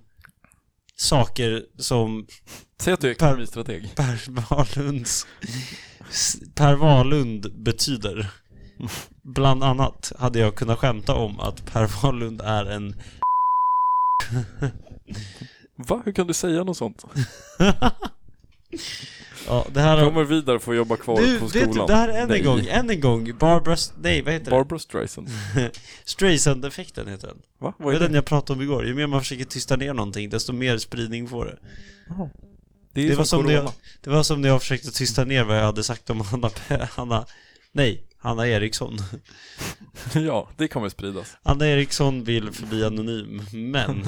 S1: saker som
S2: Säg att du är
S1: Per-
S2: ekonomistrateg.
S1: Per Wahlunds Per Wahlund betyder Bland annat hade jag kunnat skämta om att Per Wahlund är en
S2: Va? Hur kan du säga något sånt?
S1: Ja det här har...
S2: Kommer vidare får jobba kvar
S1: Du,
S2: på
S1: vet du,
S2: skolan.
S1: det här är än
S2: Nej.
S1: en gång, än en gång Barbara, nej vad heter det?
S2: Barbra Streisand.
S1: Streisand-effekten heter den
S2: Va?
S1: Det
S2: Vad
S1: är
S2: är det?
S1: den jag pratade om igår, ju mer man försöker tysta ner någonting desto mer spridning får det
S2: Det är
S1: Det var, som
S2: corona.
S1: när jag, det var som när jag försökte tysta ner vad jag hade sagt om Hanna, Pe- Hanna nej, Hanna Eriksson.
S2: Ja, det kommer spridas.
S1: Hanna Eriksson vill förbli anonym, men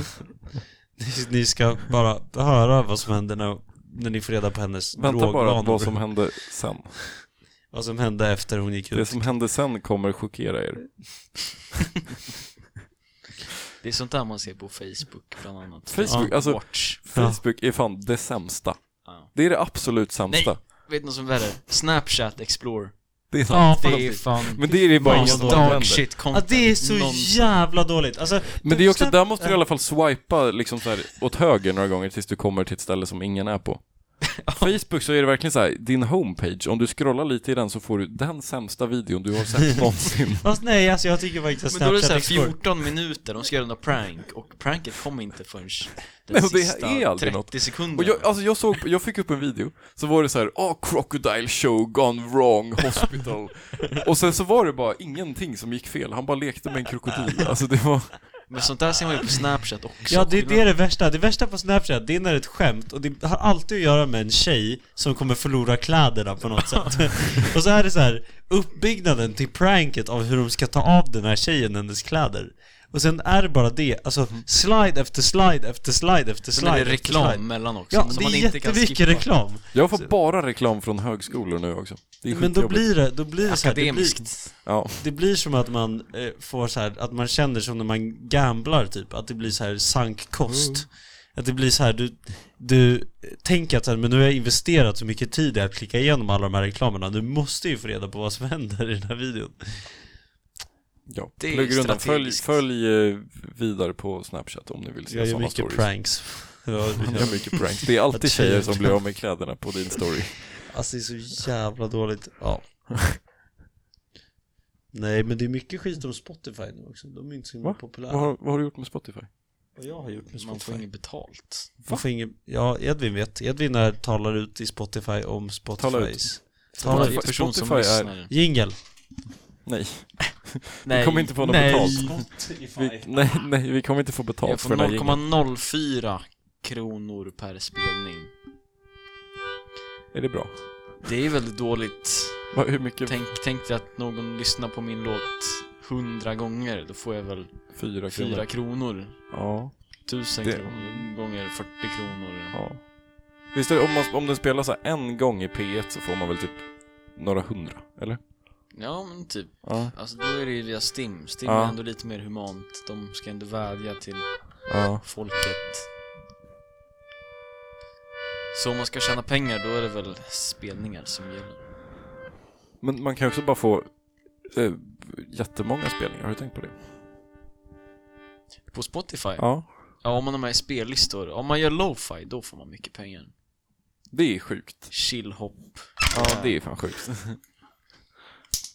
S1: ni, ni ska bara höra vad som händer när, när ni får reda på hennes
S2: Vänta bara
S1: drogvanor.
S2: vad som hände sen.
S1: vad som hände efter hon gick
S2: Det
S1: ut.
S2: som hände sen kommer chockera er.
S3: Det är sånt där man ser på Facebook bland annat
S2: Facebook,
S3: Ja,
S2: alltså-
S3: Watch
S2: Facebook är fan det sämsta.
S3: ja.
S2: Det är det absolut sämsta.
S3: Nej. Vet ni vad som är värre? Snapchat Explore.
S2: Det är sant.
S1: Ja,
S3: Det är
S1: fan.
S3: fan
S2: Men det är det bara ingen
S1: Fan,
S2: som
S1: vad
S3: dark
S2: använder.
S3: shit
S1: Ja,
S3: content.
S1: det är så
S3: Någonstans.
S1: jävla dåligt. Alltså,
S2: Men det är också,
S1: Snap-
S2: där måste du i alla fall swipa liksom så här, åt höger några gånger tills du kommer till ett ställe som ingen är på. Facebook så är det verkligen så här, din homepage, om du scrollar lite i den så får du den sämsta videon du har sett någonsin.
S1: Fast nej, alltså jag tycker faktiskt att
S3: Men då är det
S1: Snapchat
S3: såhär
S1: Explore...
S3: 14 minuter, de ska göra någon prank och pranket kom inte förrän den
S2: Nej, och det
S3: sista
S2: är aldrig
S3: 30
S2: något. Och
S3: sekunderna.
S2: jag, alltså jag, såg, jag fick upp en video, så var det så här, ah, crocodile show gone wrong hospital. och sen så var det bara ingenting som gick fel, han bara lekte med en krokodil. Alltså det var,
S3: Men sånt där ser man ju på Snapchat också.
S1: Ja, det, det är det värsta. Det värsta på Snapchat, det är när det är ett skämt och det har alltid att göra med en tjej som kommer förlora kläderna på något sätt. och så är det så här uppbyggnaden till pranket av hur de ska ta av den här tjejen hennes kläder. Och sen är det bara det, alltså slide efter slide efter slide efter slide.
S3: Mm. Men det är
S1: efter
S3: reklam
S1: slide.
S3: mellan också,
S1: Ja,
S3: som
S1: det
S3: man
S1: är
S3: inte kan
S1: jättemycket
S3: skippa.
S1: reklam.
S2: jag får bara reklam från högskolor nu också. Det är
S1: Men då
S2: skitjobbigt.
S1: blir det, då blir det så här, det blir,
S3: Akademiskt.
S2: Ja.
S1: det blir som att man eh, får så här, att man känner som när man gamblar typ, att det blir så här sank kost. Att det blir så här, du, du tänker att så här, men nu har jag investerat så mycket tid i att klicka igenom alla de här reklamerna, du måste ju få reda på vad som händer i den här videon.
S2: Ja,
S3: Det är
S2: plugga undan. Följ,
S3: strategiskt.
S2: följ eh, vidare på Snapchat om ni vill se
S1: Jag gör
S2: sådana
S1: mycket
S2: stories.
S1: pranks. Ja,
S2: Han gör mycket prank. Det är alltid
S1: Att tjejer
S2: tjejer som
S1: tar-
S2: blir av med kläderna på din story.
S1: Alltså det är så jävla dåligt. Ja. Nej men det är mycket skit om Spotify nu också, de är inte så himla
S2: Va?
S1: populära.
S2: Vad har, vad har du gjort med Spotify?
S1: Vad jag har gjort med
S3: Man
S1: Spotify.
S3: får inget betalt.
S1: Man får ingen, ja, Edvin vet. Edvin är, talar ut i Spotify om
S2: Talar ut.
S1: Spotifys...
S3: Varje
S1: Talar
S2: Spotify-
S3: person som
S2: Spotify är-
S3: lyssnar.
S1: Jingel.
S2: Nej.
S3: Nej,
S2: kommer inte få något
S3: nej.
S2: betalt.
S1: Spotify.
S2: Vi, nej, nej, vi kommer inte få betalt
S3: Jag
S2: för
S3: får
S2: den här jingeln.
S3: 0,04 kronor per spelning.
S2: Är det bra?
S3: Det är väldigt dåligt.
S2: Va, hur mycket?
S3: Tänk, tänk dig att någon lyssnar på min låt hundra gånger, då får jag väl
S2: Fyra kronor?
S3: fyra kronor.
S2: Ja.
S3: Tusen
S2: Det-
S3: kronor gånger 40 kronor.
S2: ja. Visst är det, om, man, om den spelas så här en gång i P1 så får man väl typ några hundra, eller?
S3: Ja, men typ.
S2: Ja.
S3: Alltså då är det ju via STIM. STIM
S2: Ja.
S3: är ändå lite mer humant. De ska ändå vädja till
S2: Ja.
S3: folket. Så om man ska tjäna pengar, då är det väl spelningar som gäller.
S2: Men man kan också bara få eh, jättemånga spelningar, har du tänkt på det?
S3: På Spotify? Ja,
S2: Ja.
S3: om man är med i spellistor. Om man gör lo-fi, då får man mycket pengar.
S2: Det är sjukt.
S3: Chillhop.
S2: Ja, det är fan sjukt.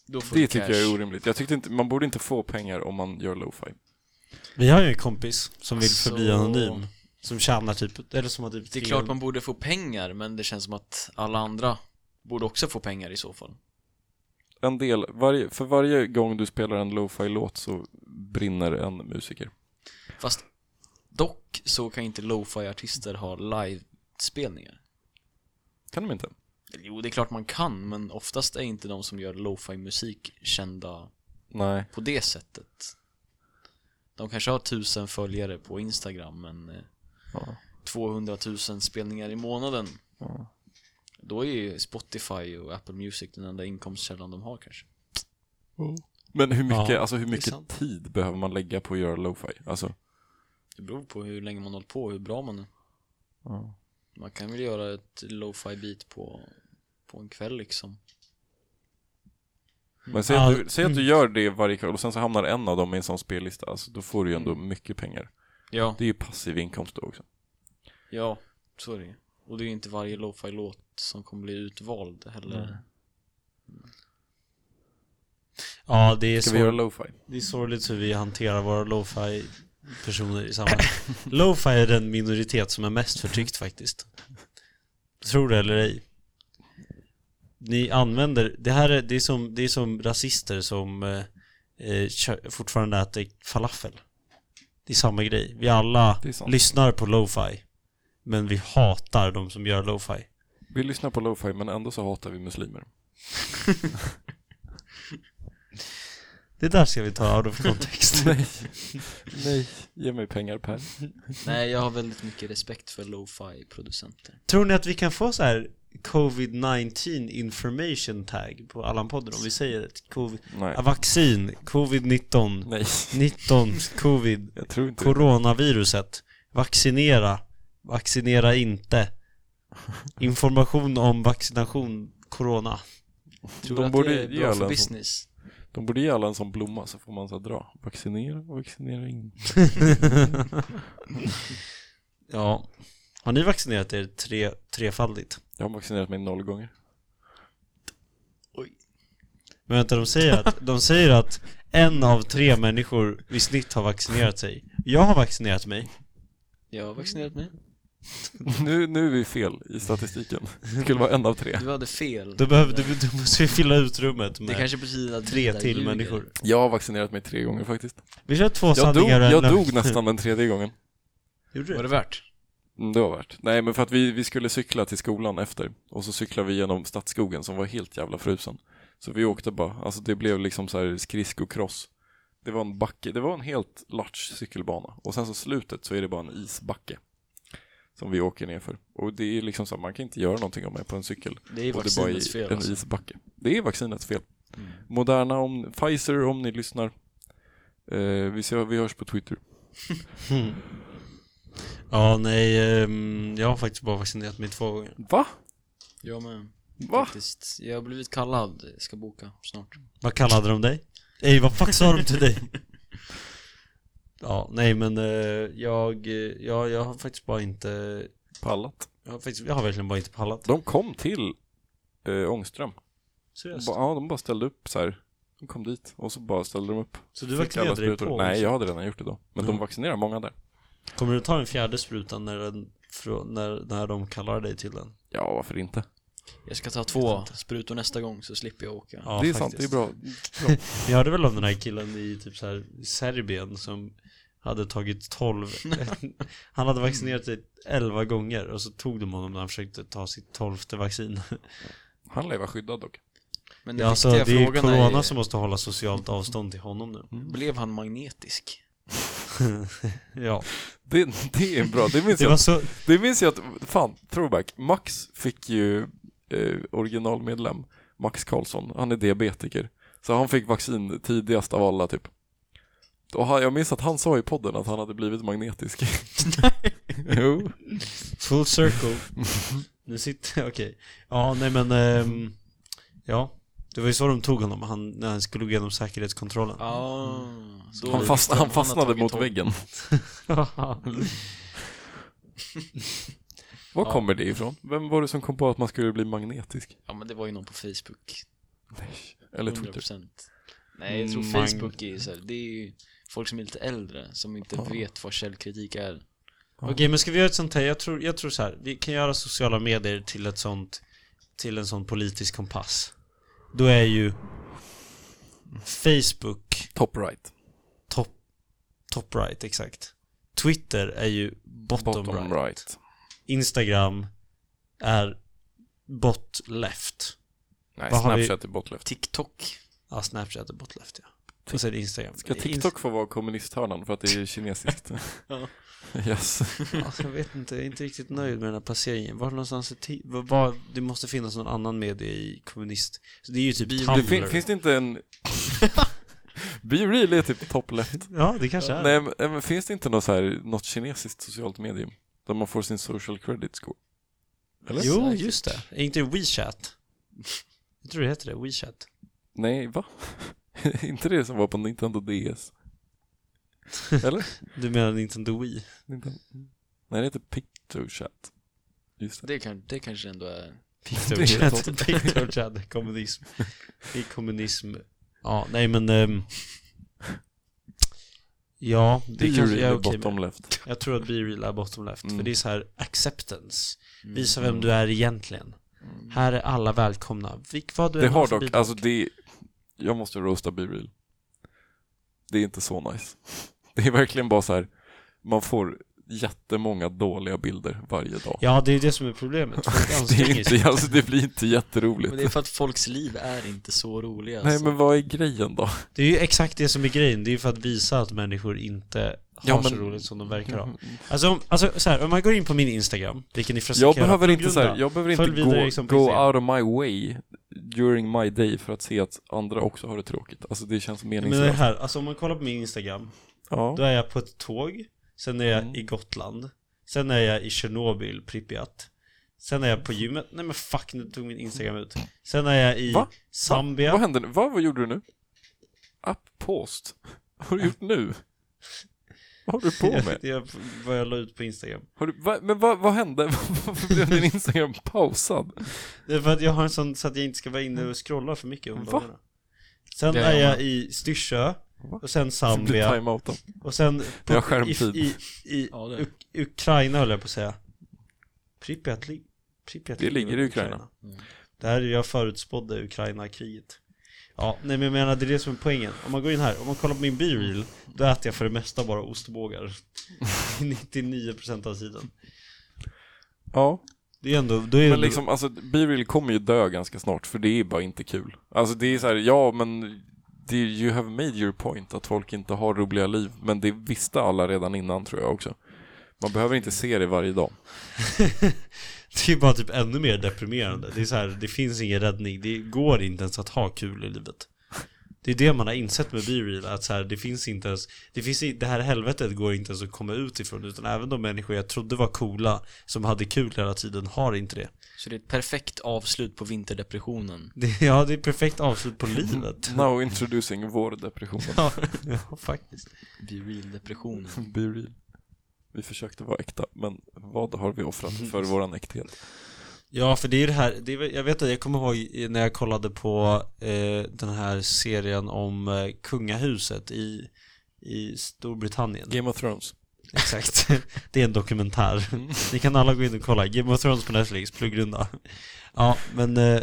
S3: Då får
S2: Det
S3: du
S2: tycker
S3: cash.
S2: jag är orimligt. Jag tyckte inte, man borde inte få pengar om man gör lo-fi.
S1: Vi har ju en kompis som vill förbli
S3: Så-
S1: anonym. Som tjänar typ, eller som har typ
S3: Det är klart man borde få pengar, men det känns som att alla andra borde också få pengar i så fall.
S2: En del, varje, för varje gång du spelar en lo-fi låt så brinner en musiker.
S3: Fast dock så kan inte lo-fi artister ha livespelningar.
S2: Kan de inte?
S3: Eller Jo, det är klart man kan, men oftast är inte de som gör lo-fi musik kända
S2: Nej.
S3: på det sättet. De kanske har tusen följare på Instagram, men eh,
S2: Ja.
S3: 200 000 spelningar i månaden.
S2: Ja.
S3: Då är ju Spotify och Apple Music den enda inkomstkällan de har kanske.
S2: Men hur mycket,
S1: Ja,
S2: alltså hur mycket
S1: sant. Mm.
S2: tid behöver man lägga på att göra lo-fi? Alltså,
S3: Det beror på hur länge man hållit på och hur bra man är.
S2: Ja.
S3: Man kan väl göra ett lo-fi beat på, på en kväll liksom.
S2: men säg,
S1: Ja. mm.
S2: att du, säg att du gör det varje kväll och sen så hamnar en av dem i en sån spellista, alltså, då får du ju ändå
S1: Mm.
S2: mycket pengar.
S3: Ja,
S2: Det är ju passiv inkomst då också.
S3: ja så är det ju. Och det är ju inte varje lo-fi låt som kommer bli utvald heller.
S1: Ja, det är,
S2: Ska vi göra
S1: sor-
S2: lo-fi?
S1: det är sorgligt hur vi hanterar våra lo-fi personer i samhället. lo-fi är den minoritet som är mest förtryckt faktiskt. Tror det eller ej. Ni använder, det här är, det är, som, det är som rasister som eh, eh, kö- fortfarande äter falafel. Det är samma grej. Vi alla
S2: Det är sant.
S1: lyssnar på lo-fi. Men vi hatar de som gör lo-fi.
S2: Vi lyssnar på lo-fi men ändå så hatar vi muslimer.
S1: Det där ska vi ta out of context.
S2: Nej. Nej, ge mig pengar Per.
S3: Nej, jag har väldigt mycket respekt för lo-fi producenter.
S1: Tror ni att vi kan få så här covid-19 information tag på Allan-podden om vi säger ett covid,
S2: Nej.
S1: ah, vaccin, covid-19,
S2: Nej,
S1: 19, covid,
S2: jag tror inte det.
S1: coronaviruset, vaccinera, vaccinera inte, Information om vaccination, corona.
S3: Tror
S2: De
S3: du att
S2: borde
S3: det är
S2: ge alla
S3: bra för
S2: en
S3: business?
S2: De borde ge alla en sån blomma så får man så här dra. Vaccinera, vaccinera in.
S1: ja. Har ni vaccinerat er tre, trefaldigt?
S2: Jag har vaccinerat mig noll gånger.
S1: Men vänta, de säger, att, de säger att en av tre människor i snitt har vaccinerat sig. Jag har vaccinerat mig.
S3: Jag har vaccinerat mig.
S2: Nu, nu är vi fel i statistiken. Det skulle vara en av tre.
S3: Du hade fel.
S1: Då, behöver, då, då måste vi fylla ut rummet
S3: det
S1: med
S3: kanske betyder att
S1: tre
S3: Ida
S1: till
S3: ljuger.
S1: människor.
S2: Jag har vaccinerat mig tre gånger faktiskt.
S1: Vi kör två
S2: Jag dog,
S1: sanningar och en
S2: jag
S1: lögn.
S2: dog nästan den tredje gången.
S1: Gjorde
S3: Var
S1: du?
S3: det värt?
S2: Mm, Det var värt. Nej men för att vi, vi skulle cykla till skolan efter och så cyklade vi genom Stadsskogen som var helt jävla frusen. Så vi åkte bara, alltså det blev liksom så här skridskocross. Det var en backe, det var en helt large cykelbana och sen så slutet så är det bara en isbacke. Som vi åker ner för. Och det är liksom så här, man kan inte göra någonting om man är på en cykel.
S3: Det är
S2: och det bara
S3: vaccinets
S2: är
S3: fel
S2: en
S3: alltså.
S2: isbacke. Det är vaccinets fel.
S3: Mm.
S2: Moderna, om, Pfizer om ni lyssnar. Eh, vi, ser, vi hörs på Twitter.
S1: Mm. Ja, nej, ehm, jag har faktiskt bara vaccinerat mig två gånger.
S2: Va?
S3: Jag med.
S2: Va?
S3: Faktiskt. Jag har blivit kallad. Jag ska boka snart.
S1: Vad kallade de dig? Nej, vad fuck sa de till dig? Ja, nej men eh, jag, eh, jag, jag har faktiskt bara inte,
S2: Pallat.
S1: jag har, faktiskt, jag har verkligen bara inte pallat.
S2: De kom till eh, Ångström. De
S1: Seriöst.
S2: bara- Ja, de bara ställde upp så här. De kom dit och så bara ställde de upp.
S1: Så du
S2: Fick alla
S1: vaccinerade dig
S2: sprutor.
S1: på?
S2: Nej, jag hade redan gjort det då. Men de
S1: Mm.
S2: vaccinerar många där.
S1: Kommer du ta den fjärde sprutan när, den, frå- när, när de kallar dig till den?
S2: Ja, varför inte?
S3: Jag ska ta två sprutor nästa gång så slipper jag åka.
S1: Ja,
S2: det är sant, det är bra. bra.
S1: Ni hörde väl om den här killen i typ så här Serbien som hade tagit 12 Han hade vaccinerat sig 11 gånger och så tog de honom när han försökte ta sitt tolfte vaccin
S2: Han lär ju vara skyddad dock.
S3: Men
S1: Det
S3: den
S1: är, alltså, det
S3: viktiga
S1: är
S3: frågan
S1: corona
S3: är, Mm.
S1: som måste hålla socialt avstånd till honom nu
S3: blev han magnetisk?
S1: Ja,
S2: Det, det är bra, det minns,
S1: det var
S2: jag,
S1: så
S2: det minns jag att, fan, throwback. Max fick ju eh, originalmedlem, Max Karlsson, han är diabetiker. Så han fick vaccin tidigast av alla typ. Och han, jag minns att han sa i podden att han hade blivit magnetisk. jo.
S1: full circle Nu sitter jag, okej Ja, nej men ehm, Ja, det var ju så de tog honom han, när han skulle gå igenom säkerhetskontrollen
S3: Ja. då
S2: Mm. Han, fast,
S3: visste
S2: han
S3: har
S2: fastnade
S3: tagit
S2: mot
S3: tag-
S2: väggen. Var kommer det ifrån? Vem var det som kom på att man skulle bli magnetisk?
S3: Ja men det var ju någon på Facebook.
S2: Eller Twitter? Mm,
S3: 100%. Nej jag tror
S1: Mang-
S3: Facebook är så här, det är ju folk som är lite äldre som inte
S2: Ja.
S3: vet vad källkritik är.
S1: Okej, men ska vi göra ett sånt här? Jag tror, jag tror så här. Vi kan göra sociala medier till ett sånt till en sån politisk kompass. Då är ju Facebook
S2: Top right.
S1: top, top right, exakt. Twitter är ju bottom,
S2: Bottom right.
S1: right. Instagram är bot left.
S2: Nej,
S1: Vad har vi-
S2: Snapchat är bot left.
S3: TikTok.
S1: Ja, Snapchat är bot left, ja. Och sen Instagram.
S2: Ska TikTok få vara kommunisthörnan för att det är kinesiskt?
S3: Ja.
S2: Yes.
S1: Ins- alltså, jag vet inte, jag är inte riktigt nöjd med den här placeringen. Var någonstans är ti- var, var, det måste finnas någon annan media i kommunist... Så det är ju typ
S3: Bio-
S2: Det
S1: Tumblr.
S2: fin, finns det inte en... Be real är typ top left.
S1: Ja, det kanske är.
S2: Nej, men, men finns det inte något, så här, något kinesiskt socialt medium? Där man får sin social credit score? Eller?
S1: Jo,
S3: Säkert.
S1: just det. Är inte det WeChat? Jag tror det heter det, WeChat.
S2: Nej, va? inte det som var på Nintendo DS? Eller?
S1: Du menar Nintendo Wii?
S2: Nintendo. Mm. Nej, det heter PictoChat. Just det.
S3: Det, kan, det kanske ändå är.
S1: PictoChat. PictoChat, det är kommunism. Det är kommunism. Ja, nej men... ehm, ja, det,
S2: Det är
S1: kanske
S2: ju
S1: jag är okej
S2: bottom
S1: med.
S2: left.
S1: Jag tror att BeReal är bottom left,
S2: Mm.
S1: för det är så här acceptance.
S3: Mm.
S1: Visa vem du är egentligen. Här är alla välkomna. Vilk, vad du
S2: Mm. Det
S1: än
S2: har
S1: för
S2: dock,
S1: bidrag.
S2: alltså det... Jag måste roasta B-real. Det är inte så nice. Det är verkligen bara så här. man får jättemånga dåliga bilder varje dag.
S1: Ja, det är ju det som är problemet. Folk
S2: det,
S1: anstränger
S2: är
S1: sig.
S2: inte, alltså, det blir inte jätteroligt.
S3: Men det är för att folks liv är inte så roliga.
S2: Nej,
S3: alltså.
S2: men vad är grejen då?
S1: Det är ju exakt det som är grejen. Det är ju för att visa att människor inte har
S2: Ja,
S1: så
S2: men- Mm-hmm.
S1: roligt som de verkar ha. Alltså, om, alltså så här, om man går in på min Instagram, vilken ni förresten
S2: Jag
S1: kan göra
S2: behöver
S1: på
S2: inte så här,
S1: grunda.
S2: jag behöver
S1: Följ
S2: inte
S1: vidare
S2: gå,
S1: liksom på
S2: go
S1: Instagram.
S2: out of my way during my day för att se att andra också har det tråkigt. Alltså det känns
S1: Men det
S2: meningslöst.
S1: här, alltså om man kollar på min Instagram,
S2: Ja.
S1: då är jag på ett tåg, sen är jag
S2: Mm.
S1: i Gotland, sen är jag i Tjernobyl, Pripyat, Sen är jag på gymmet. Nej men fuck, nu tog min Instagram ut. Sen är jag i
S2: Va?
S1: Zambia.
S2: Vad hände nu? Vad, vad gjorde du nu? App post? Vad har du gjort nu? Vad har du på med?
S1: Det är vad jag la ut på Instagram.
S2: Har du, va, men vad, vad hände? Varför blev din Instagram pausad?
S1: Det är för att jag har en sån så att jag inte ska vara inne och scrolla för mycket om
S2: Va?
S1: dagarna. Sen
S3: Det
S1: är
S3: är
S1: jag i Styrsö.
S2: Va?
S1: Och sen
S2: Så blev
S1: Zambia.
S2: timeouten.
S1: Och sen
S2: Det har
S1: i,
S2: skärmtid.
S1: i, i
S3: Ja, det är det.
S1: Uk- Ukraina höll jag på att säga. Pripyat, li- Pripyat
S2: Det ligger i Ukraina.
S3: Mm.
S1: Det här är jag förutspådde Ukraina-kriget. Ja, nej men jag menar det är det som är poängen. Om man går in här, om man kollar på min B-reel, då äter jag för det mesta bara ostbågar. 99% av tiden.
S2: Ja,
S1: Det är ändå, då är
S2: men
S1: det
S2: liksom alltså B-real kommer ju dö ganska snart för det är bara inte kul. Alltså det är så här, ja men det, you have made your point att folk inte har roliga liv men det visste alla redan innan tror jag också. Man behöver inte se det varje dag.
S1: Det är bara typ ännu mer deprimerande. Det är så här, det finns ingen räddning. Det går inte ens att ha kul i livet. Det är det man har insett med B-Real, att så här, det finns inte ens, det, finns, i- det här helvetet går inte ens att komma ut ifrån, utan även de människor jag trodde var coola, som hade kul hela tiden, har inte det.
S3: Så det är ett perfekt avslut på vinterdepressionen.
S1: det ja, det är perfekt avslut på livet.
S2: Now introducing vår depression.
S1: Ja, ja, faktiskt.
S3: Be real depressionen.
S2: Be real. Vi försökte vara äkta, men vad har vi offrat för våran äkthet?
S1: Ja, för det är ju det här, det är, väl- jag vet att jag kommer ihåg i- när jag kollade på eh, den här serien om eh, kungahuset i, i Storbritannien.
S2: Game of Thrones.
S1: Exakt. Det är en dokumentär. Ni kan alla gå in och kolla. Game of Thrones på Netflix, pluggrunda. Ja, men... Eh,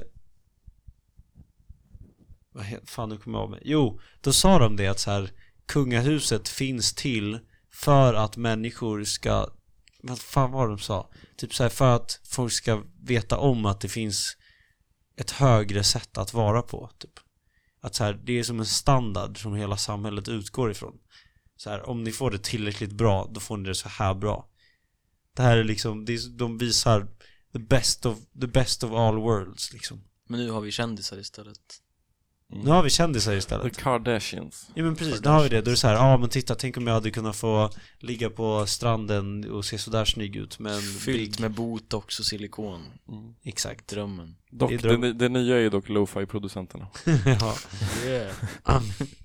S1: vad he- fan, nu kommer jag av mig. Jo, då sa de det att så här, kungahuset finns till för att människor ska... Vad fan var det de sa? Typ så här, för att folk ska veta om att det finns ett högre sätt att vara på. Typ. Att så här, det är som en standard som hela samhället utgår ifrån. Så här, om ni får det tillräckligt bra, då får ni det så här bra. Det här är liksom, det är, de visar the best of, the best of all worlds liksom.
S3: Men nu har vi kändisar istället.
S2: Mm.
S1: Nu har vi kändisar istället.
S2: The Kardashians.
S1: Ja men precis, nu har vi det. Då är det så här, ja men titta, tänk om jag hade kunnat få ligga på stranden och se sådär snygg ut men
S3: Fyllt med botox och silikon.
S1: Exakt.
S3: Drömmen.
S2: Dock,
S1: Det är
S2: det,
S1: dröm-
S2: det, nya är dock lo-fi producenterna.
S1: ja.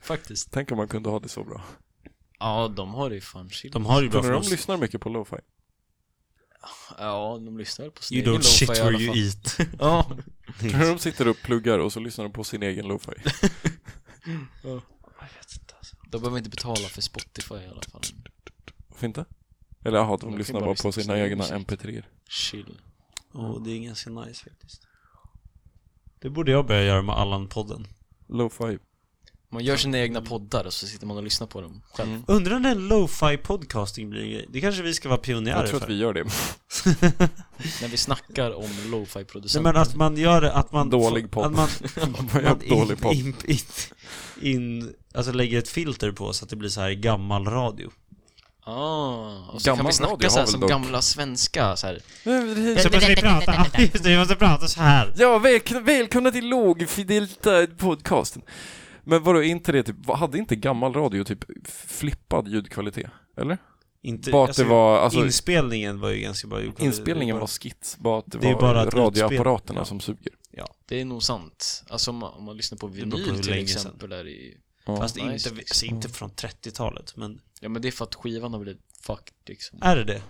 S3: Faktiskt.
S2: Tänk om man kunde ha det så bra.
S3: Ja, de har det ju fan chill.
S1: De har ju bra
S2: Tror ni
S1: för
S2: de
S1: oss.
S2: lyssnar mycket på lo-fi?
S3: Ja, de lyssnar väl på sin
S1: You
S3: egen
S1: don't
S3: lo-fi
S1: shit
S3: i
S1: where
S3: alla
S1: you
S3: fall.
S1: eat.
S3: Ja.
S2: Tror ni de sitter och pluggar och så lyssnar de på sin egen lo-fi?
S1: Jag vet inte alltså.
S3: De behöver inte betala för Spotify i alla fall.
S2: Varför inte? Eller jaha, de
S3: kan
S2: lyssnar
S3: bara
S2: bara
S3: lyssna
S2: på
S3: på
S2: sina
S3: sin
S2: egna
S3: musik.
S2: mp3
S3: Chill.
S1: Och det är ganska nice faktiskt. Det borde jag börja göra med Allan-podden.
S2: Lo-fi.
S3: Man gör sina egna poddar och så sitter man och lyssnar på dem själv.
S2: Mm.
S1: Undrar när lo-fi podcasting blir en grej. Det kanske vi ska vara pionjärer
S2: Jag tror
S1: för.
S2: att vi gör det.
S3: När vi snackar om lo-fi
S1: Nej,
S3: producenter.
S1: men att man gör det, att man...
S2: Dålig podd.
S1: Att man,
S2: Man gör
S1: man in,
S2: dålig podd.
S1: in, in, in, alltså lägger ett filter på så att det blir så här gammal radio.
S3: Ah, och så kan
S2: Gammal
S3: vi
S2: radio har
S3: snacka så här
S2: väl
S3: som
S2: dock-
S3: gamla svenska så här.
S1: Så måste vi prata, just det, vi måste prata så här.
S2: Ja, välkomna, välkomna till lågfidelitet podcasten. Men vadå, är inte det typ, vad- hade inte gammal radio typ flippad ljudkvalitet? Eller?
S1: Inte,
S2: Bara att det var, alltså
S1: inspelningen var ju ganska bra gjord.
S2: inspelningen var skits, bara att det,
S1: Det är
S2: var
S1: bara att utspel-
S2: radioapparaterna
S1: ja.
S2: som suger.
S3: Det är nog sant. Alltså om man, om man lyssnar på
S1: beror på
S3: vinyl
S1: hur
S3: till
S1: länge sedan.
S3: exempel där i...
S2: Ja.
S1: Fast
S3: nice,
S1: inte,
S3: liksom.
S1: inte från 30-talet, men
S3: Ja men det är för att skivan har blivit fucked liksom.
S1: är det det?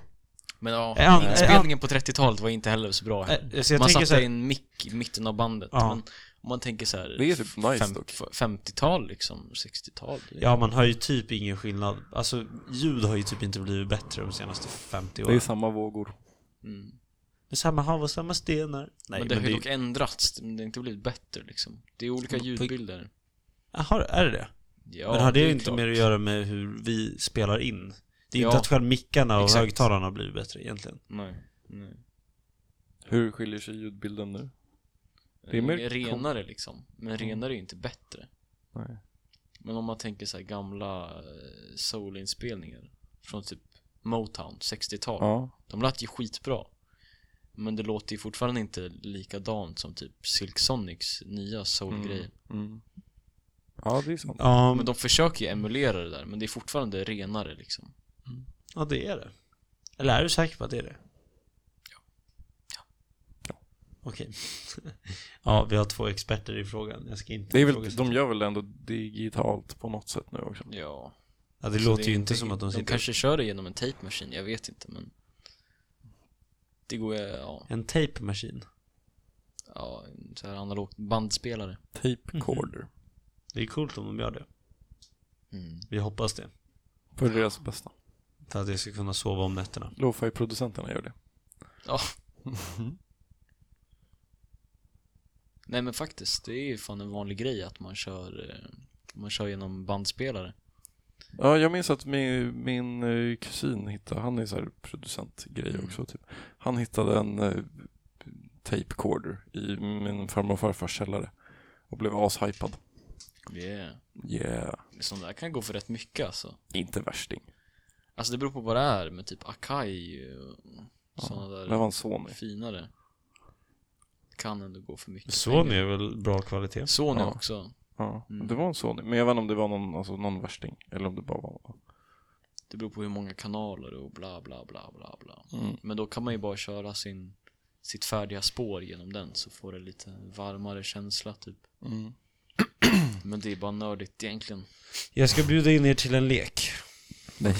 S3: Men ja,
S1: Äh, an-
S3: inspelningen på 30-talet var inte heller så bra heller.
S1: Äh, så jag
S3: man
S1: tänker
S3: satte
S1: så här,
S3: en mick i mitten av bandet.
S1: Ja.
S3: Men om man tänker så här,
S2: Det är typ nice
S3: fem-
S2: dock.
S3: 50-tal liksom, 60-tal. det är-
S1: ja man har ju typ ingen skillnad. Alltså ljud har ju typ inte blivit bättre de senaste 50
S2: Det är
S1: åren.
S2: samma vågor.
S3: Mm.
S1: Det är samma hav och samma stenar. Nej,
S3: men det har ju
S1: är-
S3: dock ändrats, men det har inte blivit bättre liksom. Det är olika ljudbilder.
S1: Jaha, är det det?
S3: Ja,
S1: men har det,
S3: är
S1: inte
S3: klart.
S1: mer att göra med hur vi spelar in? Det är
S3: Ja,
S1: inte att själv mickarna och
S3: exakt.
S1: högtalarna blir bättre egentligen.
S3: Nej. nej.
S2: Hur skiljer sig ljudbilden nu? Det är mer-
S3: renare liksom. Men renare är ju inte bättre.
S2: Mm. Nej.
S3: Men om man tänker så här gamla eh, soulinspelningar från typ Motown, 60-tal.
S2: Ja.
S3: De lät ju skitbra. Men det låter ju fortfarande inte likadant som typ Silk Sonics nya soulgrejer.
S2: Mm. Ja, det är sant.
S1: Ja,
S3: Men de försöker ju emulera det där, men det är fortfarande renare liksom.
S1: ja, det är det. Eller är du säker på att det är det? Okej. ja, vi har två experter i frågan. Jag ska inte
S2: Det är väl,
S1: ifrågasätta.
S2: de gör väl ändå digitalt på något sätt nu också?
S3: Ja.
S1: ja, det
S3: Så
S1: låter
S3: är
S1: ju inte som att de sitter...
S3: De kanske kör det genom en tejpmaskin, jag vet inte men Det går ju, ja,
S1: En tejpmaskin.
S3: ja, en så här analogt bandspelare
S2: Tape corder.
S1: Det är coolt om de gör det.
S3: mm.
S1: Vi hoppas det.
S2: För deras bästa.
S1: För att jag ska kunna sova om nätterna.
S2: Lo-fi-producenterna gör det.
S3: Ja Nej men faktiskt, det är ju fan en vanlig grej att man kör eh, Man kör genom bandspelare
S2: Ja, jag minns att min, min eh, kusin hittade, han är så här producentgrej
S3: Mm.
S2: också typ. Han hittade en eh, tape corder i min farmor och farfars källare och blev ashypad.
S3: yeah.
S2: Yeah.
S3: Sånt där liksom, kan gå för rätt mycket alltså
S2: Inte värsting.
S3: Alltså det beror på vad det är med typ Akai och sådana
S2: Det
S3: där
S2: här var en son.
S3: finare Kan ändå gå för mycket
S1: Sony
S3: pengar.
S1: är väl bra kvalitet?
S3: Sony
S2: Ja.
S3: också
S2: Ja,
S3: Mm.
S2: det var en Sony. Men jag vet inte om det var någon, alltså, någon värsting eller om det bara var...
S3: Det beror på hur många kanaler och bla bla bla bla bla
S2: Mm.
S3: Men då kan man ju bara köra sin, sitt färdiga spår genom den så får det lite varmare känsla typ
S2: Mm.
S3: Men det är bara nördigt egentligen
S1: Jag ska bjuda in er till en lek.
S2: Nej.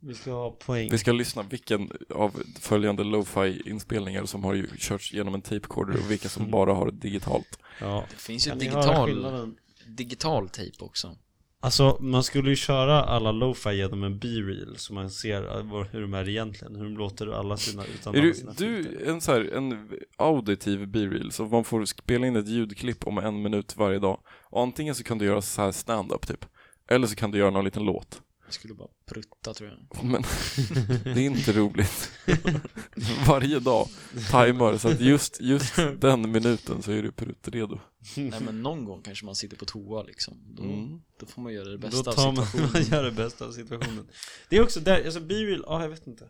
S1: Vi ska ha poäng.
S2: Vi ska lyssna vilken av följande lo-fi inspelningar som har ju körts genom en tape corder och vilka
S3: Mm.
S2: som bara har det digitalt.
S1: Ja.
S3: Det finns ju
S1: Kan ni höra
S3: digital,
S1: skillnaden?
S3: digital tejp också
S1: Alltså, man skulle ju köra alla lo-fi genom en b-reel så man ser eh, vad- hur de är egentligen. Hur de låter alla sina utan
S2: Är
S1: alla
S2: du,
S1: sina filter.
S2: du en så här, en auditiv b-reel, så man får spela in ett ljudklipp om en minut varje dag. Och antingen så kan du göra så här stand-up typ, eller så kan du göra någon liten låt.
S3: Jag skulle bara prutta tror jag
S2: Men det är inte roligt. Varje dag tajmar så att just, just den minuten så är du pruttredo.
S3: Nej men någon gång kanske man sitter på toa liksom Då,
S2: Mm.
S3: då får man göra det
S1: Då
S3: bästa av
S1: tar man,
S3: situationen
S1: man gör det bästa av situationen. Det är också där, alltså b-reel, ja jag vet inte.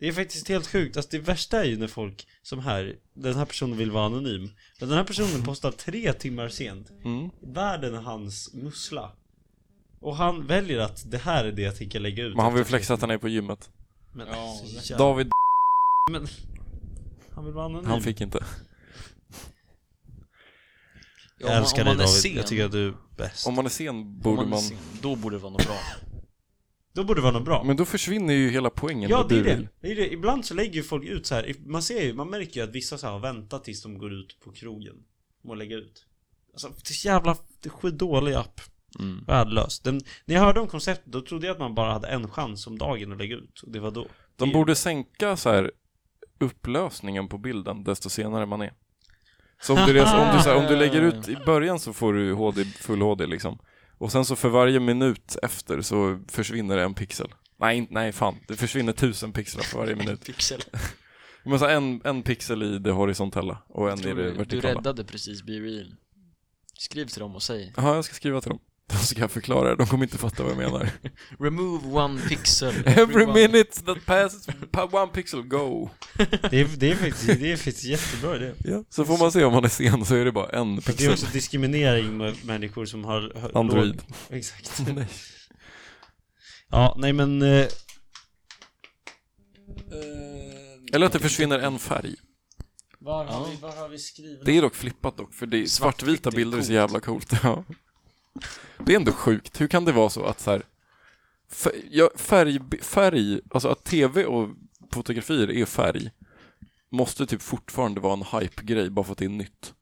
S1: Det är faktiskt helt sjukt, alltså det värsta är ju när folk som här, den här personen vill vara anonym. Men den här personen postar tre timmar sent.
S2: Mm.
S1: Världen är hans mussla. Och han väljer att det här är det jag tänker lägga ut.
S2: Men han vill flexa att han är på gymmet.
S1: Men,
S3: Ja,
S1: så
S3: det-
S1: jävla-
S2: David,
S1: Men, han vill vara anonym.
S2: han fick inte.
S3: Ja, om
S1: jag
S3: man-
S1: älskar
S3: om
S1: dig
S3: man är
S1: David,
S3: sen-
S1: jag tycker att du är bäst.
S2: Om man är sen
S3: om
S2: borde
S3: man är
S2: man...
S3: sen, Då borde det vara något bra
S1: Då borde det vara något bra.
S2: Men då försvinner ju hela poängen
S1: Ja
S2: med
S1: det är
S2: b-reel.
S1: det. det är det, ibland så lägger ju folk ut så här. man ser ju, man märker ju att vissa så här har väntat tills de går ut på krogen med att lägga ut Alltså det är så jävla, det är skitdålig app
S2: Mm.
S1: Värdelös Den, När jag hörde om konceptet då trodde jag att man bara hade en chans om dagen att lägga ut och det var då
S2: De
S1: Det-
S2: borde sänka så här upplösningen på bilden desto senare man är. Så om du, res- om du, så här, om du lägger ut i början så får du HD, full HD liksom. Och sen så för varje minut efter så försvinner det en pixel. Nej, inte- nej fan. Det försvinner tusen pixlar för varje minut.
S3: Pixel
S2: Men så här, en, en pixel i det horisontella och en i
S3: Tror
S2: det
S3: du, du
S2: vertikala.
S3: räddade precis Be Real Skriv till dem och säg
S2: Ja, jag ska skriva till dem. Då ska jag förklara det. De kommer inte fatta vad jag menar.
S3: Remove one pixel
S2: Every
S3: everyone."
S2: minute that passes, pa- one pixel go.
S1: Det är, det är faktiskt, det är faktiskt jättebra idé
S2: Ja. Så får man se om man är sen så är det bara en
S1: Det är
S2: pixel.
S1: också diskriminering mot människor som har hö-
S2: Android.
S1: låg- Exakt
S2: Nej.
S1: Ja, nej men eh,
S2: Eller att det försvinner en färg.
S1: var,
S3: har vi-
S1: har vi skrivit?
S2: Det är dock flippat dock, för det är svartvita
S3: är
S2: bilder är så
S3: coolt.
S2: jävla coolt. Ja. Det är ändå sjukt. Hur kan det vara så att så här, fär- ja, färg, färg, alltså att tv och fotografier är färg, måste typ fortfarande vara en hype-grej bara för att det är nytt.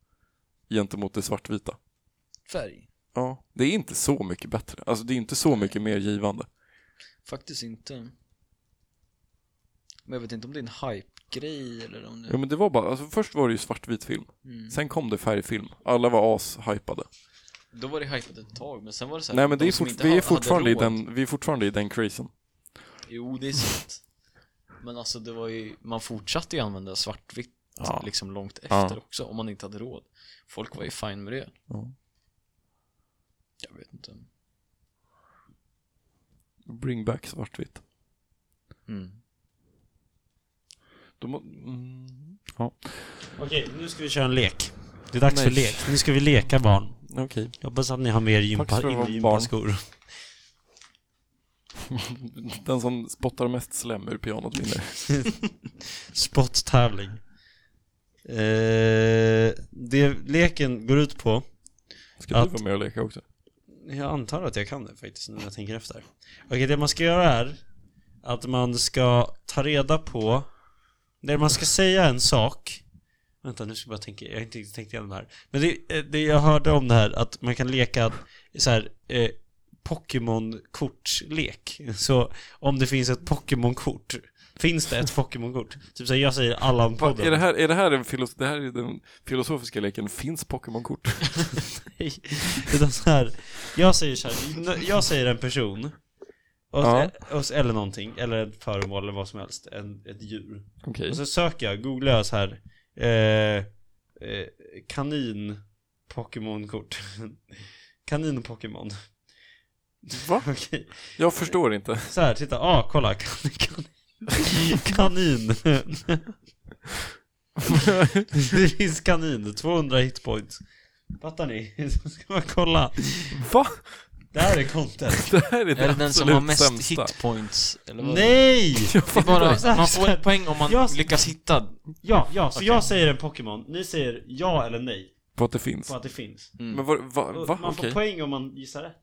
S2: Gentemot det svartvita.
S3: Färg
S2: Ja. Det är inte så mycket bättre. Alltså det är inte så mycket mer givande.
S3: Faktiskt inte Men jag vet inte om det är en hype-grej eller om det
S2: Ja, men det var bara, alltså först var det ju svartvit film.
S3: mm.
S2: Sen kom det färgfilm. Alla var as-hypade.
S3: Då var det hypat ett tag, men sen var det så här,
S2: Nej men
S3: de
S2: det är
S3: som
S2: fort,
S3: inte
S2: vi,
S3: ha-
S2: är
S3: hade
S2: fortfarande i
S3: råd-
S2: den, vi är fortfarande i den crazen.
S3: Jo, det är sant Men alltså det var ju, man fortsatte ju använda svartvitt
S2: Ja.
S3: liksom långt efter
S2: Ja.
S3: också om man inte hade råd Folk var ju fine med det
S2: Ja.
S3: Jag vet inte
S2: Bring back svartvitt.
S3: mm.
S2: De, må- mm, ja,
S1: Okej, nu ska vi köra en lek Det är dags för
S2: Nej.
S1: lek, nu ska vi leka barn
S2: okej.
S1: Jag hoppas att ni har mer
S2: Tack
S1: gympa,
S2: för att vara
S1: gympaskor.
S2: Den som spottar mest slem ur pianot vinner.
S1: Spotttävling. Eh, det leken går ut på
S2: Ska
S1: Att-
S2: du vara med och leka också?
S1: Jag antar att jag kan det faktiskt när jag tänker efter. Okej, det man ska göra är att man ska ta reda på... När man ska säga en sak... Vänta, nu ska jag bara tänka. Jag har inte riktigt tänkt igenom det här. Men det, eh, det jag hörde om det här, att man kan leka så här... Eh, Pokémon-kortlek. Så om det finns ett Pokémon-kort, finns det ett Pokémon-kort? Typ såhär, jag säger
S2: Va,
S1: Allan-podden.
S2: är, det här, är det här den, filos det här är den filosofiska leken? Finns Pokémon-kort?
S1: Nej. Utan så här, jag säger så här, jag säger en person. Och,
S2: Ja.
S1: och, eller någonting, eller ett föremål eller vad som helst, en, ett djur.
S2: Okej.
S1: Och så söker jag, googlar jag så här, eh, eh, kanin Pokémon-kort. Kanin Pokémon.
S2: Va?
S1: Okej.
S2: Jag förstår inte.
S1: Så här, titta, ah, kolla, kan, kan, kanin. Det finns kanin, 200 hitpoints. Fattar ni? Så ska man kolla.
S2: Va?
S1: Det här är content.
S2: Det här är,
S3: Är det den som har mest
S2: sämsta.
S3: hitpoints? Eller vad?
S1: Nej!
S2: Jag
S3: Det är bara,
S1: Exakt.
S3: man får en poäng om man
S1: Jag-
S3: lyckas hitta.
S1: Ja, ja, så jag säger en Pokémon, ni säger ja eller nej
S2: på att det finns.
S1: på
S3: Mm.
S1: att det finns.
S2: Men var, va?
S1: Och
S2: va?
S1: Man får
S2: Okej.
S1: poäng om man gissar rätt.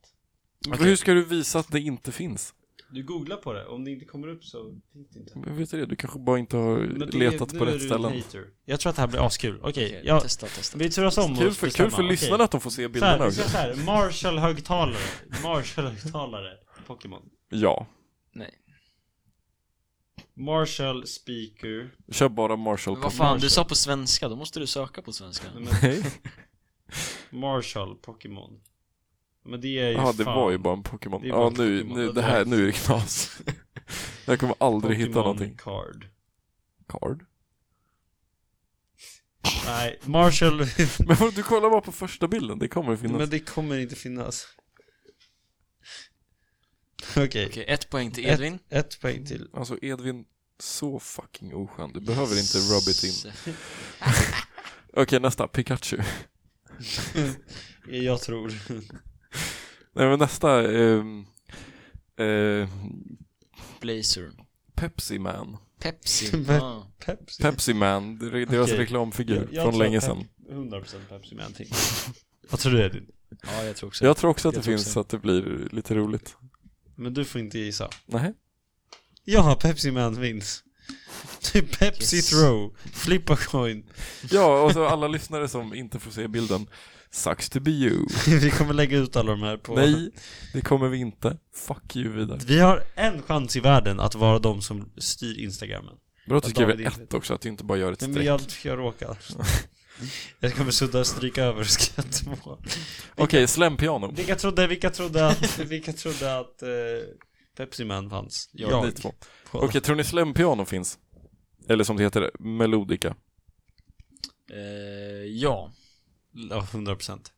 S2: Men Hur ska du visa att det inte finns?
S1: Du googlar på det, om det inte kommer upp så finns det inte.
S2: Men vet du det? Du kanske bara inte har
S1: Men det-
S2: letat
S1: nu
S2: på
S1: är
S2: rätt
S1: du
S2: ställen.
S1: en hater. Jag tror att det här blir askul. Okej,
S3: Okej,
S1: jag-
S3: testa, testa.
S1: vi turas om
S2: Kul
S1: att
S2: för,
S1: bestämma.
S2: kul för
S1: Okej.
S2: lyssnarna att de får se
S1: Så här,
S2: bilderna
S1: vi kör
S2: också.
S1: så här, Marshall-högtalare. Marshall-högtalare. Pokémon.
S2: Ja.
S3: Nej.
S1: Marshall speaker.
S2: Kör bara Marshall
S3: Men
S2: på
S3: vad fan, du sa på svenska, då måste du söka på svenska.
S1: Nej,
S2: Nej.
S1: men Marshall Pokémon. Men det är ju
S2: Ja, det
S1: fan.
S2: var ju bara en Pokémon.
S1: Det är bara
S2: Ja,
S1: en
S2: nu,
S1: Pokémon.
S2: nu, det här, nu är det knas. Jag kommer aldrig hitta
S1: Pokémon
S2: någonting.
S1: Card.
S2: Card?
S1: Nej, Marshall
S2: Men vadå, du kollar bara på första bilden, det kommer att finnas.
S1: Men det kommer inte finnas. Okej,
S3: Okej, ett poäng till Edvin.
S1: ett poäng till.
S2: Alltså Edvin, så fucking oskön. Du behöver inte rub it in. Okej, nästa. Pikachu.
S1: Jag tror.
S2: Nej men nästa, ehm, eh,
S3: Blazer.
S2: Pepsi Man.
S3: Pepsi.
S1: Men-
S3: ah.
S1: Pepsi.
S2: Pepsi Man, det är deras
S1: Okej.
S2: reklamfigur
S1: Jag- jag
S2: från
S1: tror
S2: länge
S1: att
S2: sedan.
S1: Pep- 100% Pepsi med någonting. Vad tror du Edvin?
S3: Ja, jag tror också
S2: Jag tror också att det
S3: Jag tror
S2: finns
S3: också.
S2: så att det blir lite roligt.
S1: Men du får inte gissa.
S2: Nej.
S1: Ja, Pepsi Man vinns. Typ Pepsi
S3: Yes.
S1: throw, flip a coin.
S2: Ja, och så alla lyssnare som inte får se bilden. Sucks to be you.
S1: Vi kommer lägga ut alla de här på...
S2: Nej, det kommer vi inte. Fuck you vidare.
S1: Vi har en chans i världen att vara de som styr Instagramen.
S2: Bra att du
S1: Att
S2: skriver
S1: David inte-
S2: ett också, att du inte bara gör ett
S1: Nej, Men
S2: streck.
S1: jag, jag råkar. Jag kommer sudda stryka över skatt på.
S2: Okej, slämpiano.
S1: Vilka trodde, vilka trodde att, vilka trodde att eh, Pepsi Man fanns?
S2: Ja, ni två. Okej, tror ni slämpiano finns? Eller som det heter, melodica.
S3: Eh, ja.
S1: Ja, 100 procent.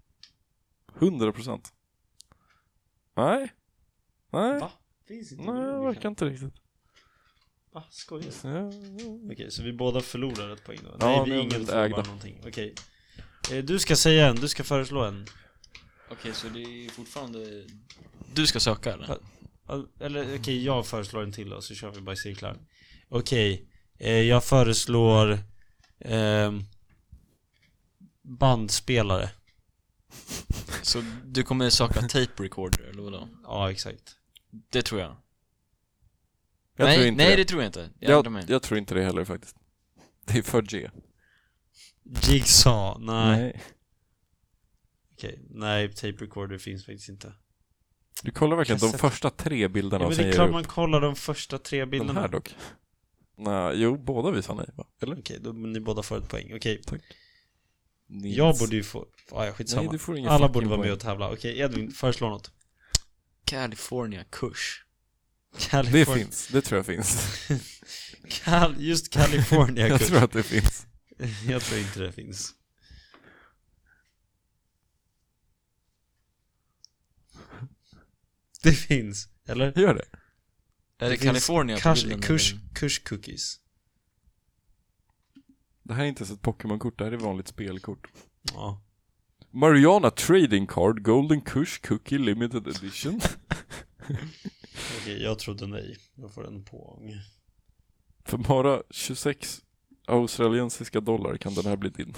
S2: 100 procent. Nej. Nej.
S1: Va? Finns inte
S2: Nej, det verkar inte riktigt.
S1: Va? Ah, Skojar du?
S2: Ja.
S1: Okej, så vi båda förlorar ett poäng då?
S2: Ja,
S1: Nej,
S2: nu
S1: vi är
S2: har vi
S1: ingen
S2: blivit
S1: förlorar
S2: ägda.
S1: någonting. Okej. Eh, du ska säga en, du ska föreslå en.
S3: Okej, så det är fortfarande... Du ska söka eller?
S1: Al- Eller okej, jag föreslår en till då, så kör vi bara i cirklar. Okej, eh, jag föreslår ehm, bandspelare.
S3: Så du kommer söka tape recorder eller vadå?
S1: Ja, exakt.
S3: Det tror jag.
S2: Jag
S3: nej,
S2: tror inte
S3: nej det.
S2: det.
S3: tror jag inte. Jag ändrar mig.
S2: Jag, jag tror inte det heller faktiskt. Det är för G.
S1: Jigsaw, nej. Okej, nej, tape recorder finns faktiskt inte.
S2: Du kollar verkligen de
S1: Kassett.
S2: första tre bilderna
S1: Ja,
S2: och
S1: men
S2: sen
S1: det är
S2: ger du
S1: klart
S2: upp.
S1: man kollar de första tre
S2: Den
S1: bilderna.
S2: här dock. Nej, jo, båda vi sa nej va? Eller?
S1: Okej, då ni båda får ett poäng. Okej,
S2: Nils.
S1: jag borde ju få... Ah, ja, skitsamma.
S2: Nej, du får ingen
S1: Alla
S2: fucking
S1: borde vara med
S2: poäng.
S1: och tävla. Okej, Edvin, föreslå något.
S3: California Kush.
S2: Det
S1: Californ-
S2: finns, det tror jag finns.
S1: Cal- just California
S2: Jag
S1: Kush.
S2: tror att det finns.
S1: jag tror inte det finns. Det finns, eller?
S2: Gör det?
S3: Är det,
S1: finns
S3: California på
S1: Kush,
S3: bilden,
S1: kush,
S3: eller?
S1: kush cookies.
S2: Det här är inte ens ett Pokémon-kort, det här är vanligt spelkort.
S1: Ja.
S2: Mariana Trading Card Golden Kush Cookie Limited Edition.
S1: Okej, jag trodde nej. Jag får en poäng.
S2: För bara 26 australiensiska dollar kan den här bli din.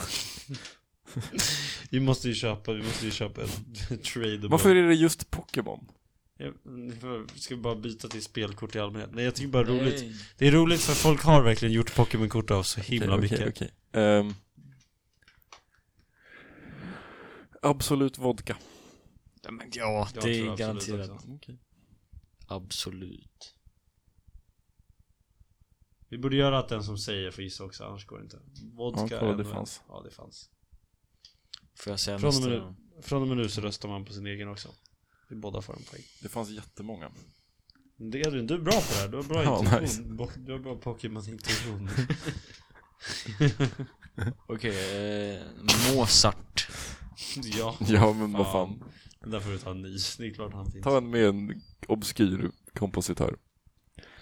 S1: Vi måste ju köpa, vi måste ju köpa en trade.
S2: Varför är det just Pokémon?
S1: Ja, Ska vi bara byta till spelkort i allmänhet? Nej jag tycker bara det är roligt. Det är roligt för folk har verkligen gjort Pokémon-kort av så himla
S2: Okej,
S1: mycket.
S2: okej, okej. Ehm. Absolut vodka.
S3: Ja, men ja,
S1: Jag tror
S3: det är
S1: absolut
S3: garanterat.
S1: också.
S3: Absolut.
S1: Vi borde göra att den som säger får gissa också, annars går det inte. Vodka.
S2: Ja, kolla, det
S1: eller-
S2: fanns.
S1: Ja, det fanns.
S3: Får jag säga
S1: Från och
S3: nästa
S1: med nu.
S3: gång?
S1: Från och med nu så röstar man på sin egen också. Vi båda får en poäng.
S2: Det fanns jättemånga.
S1: Det är du, du är bra på det här. Du har bra
S2: Ja,
S1: intuition.
S2: nice.
S1: Bo- Du har bra Pokémon-intuition.
S3: Okej, eh, Mozart.
S1: ja.
S2: Ja men vad fan.
S1: Den där får du ta en ny. Det är klart han finns.
S2: Ta en med en obskyr kompositör.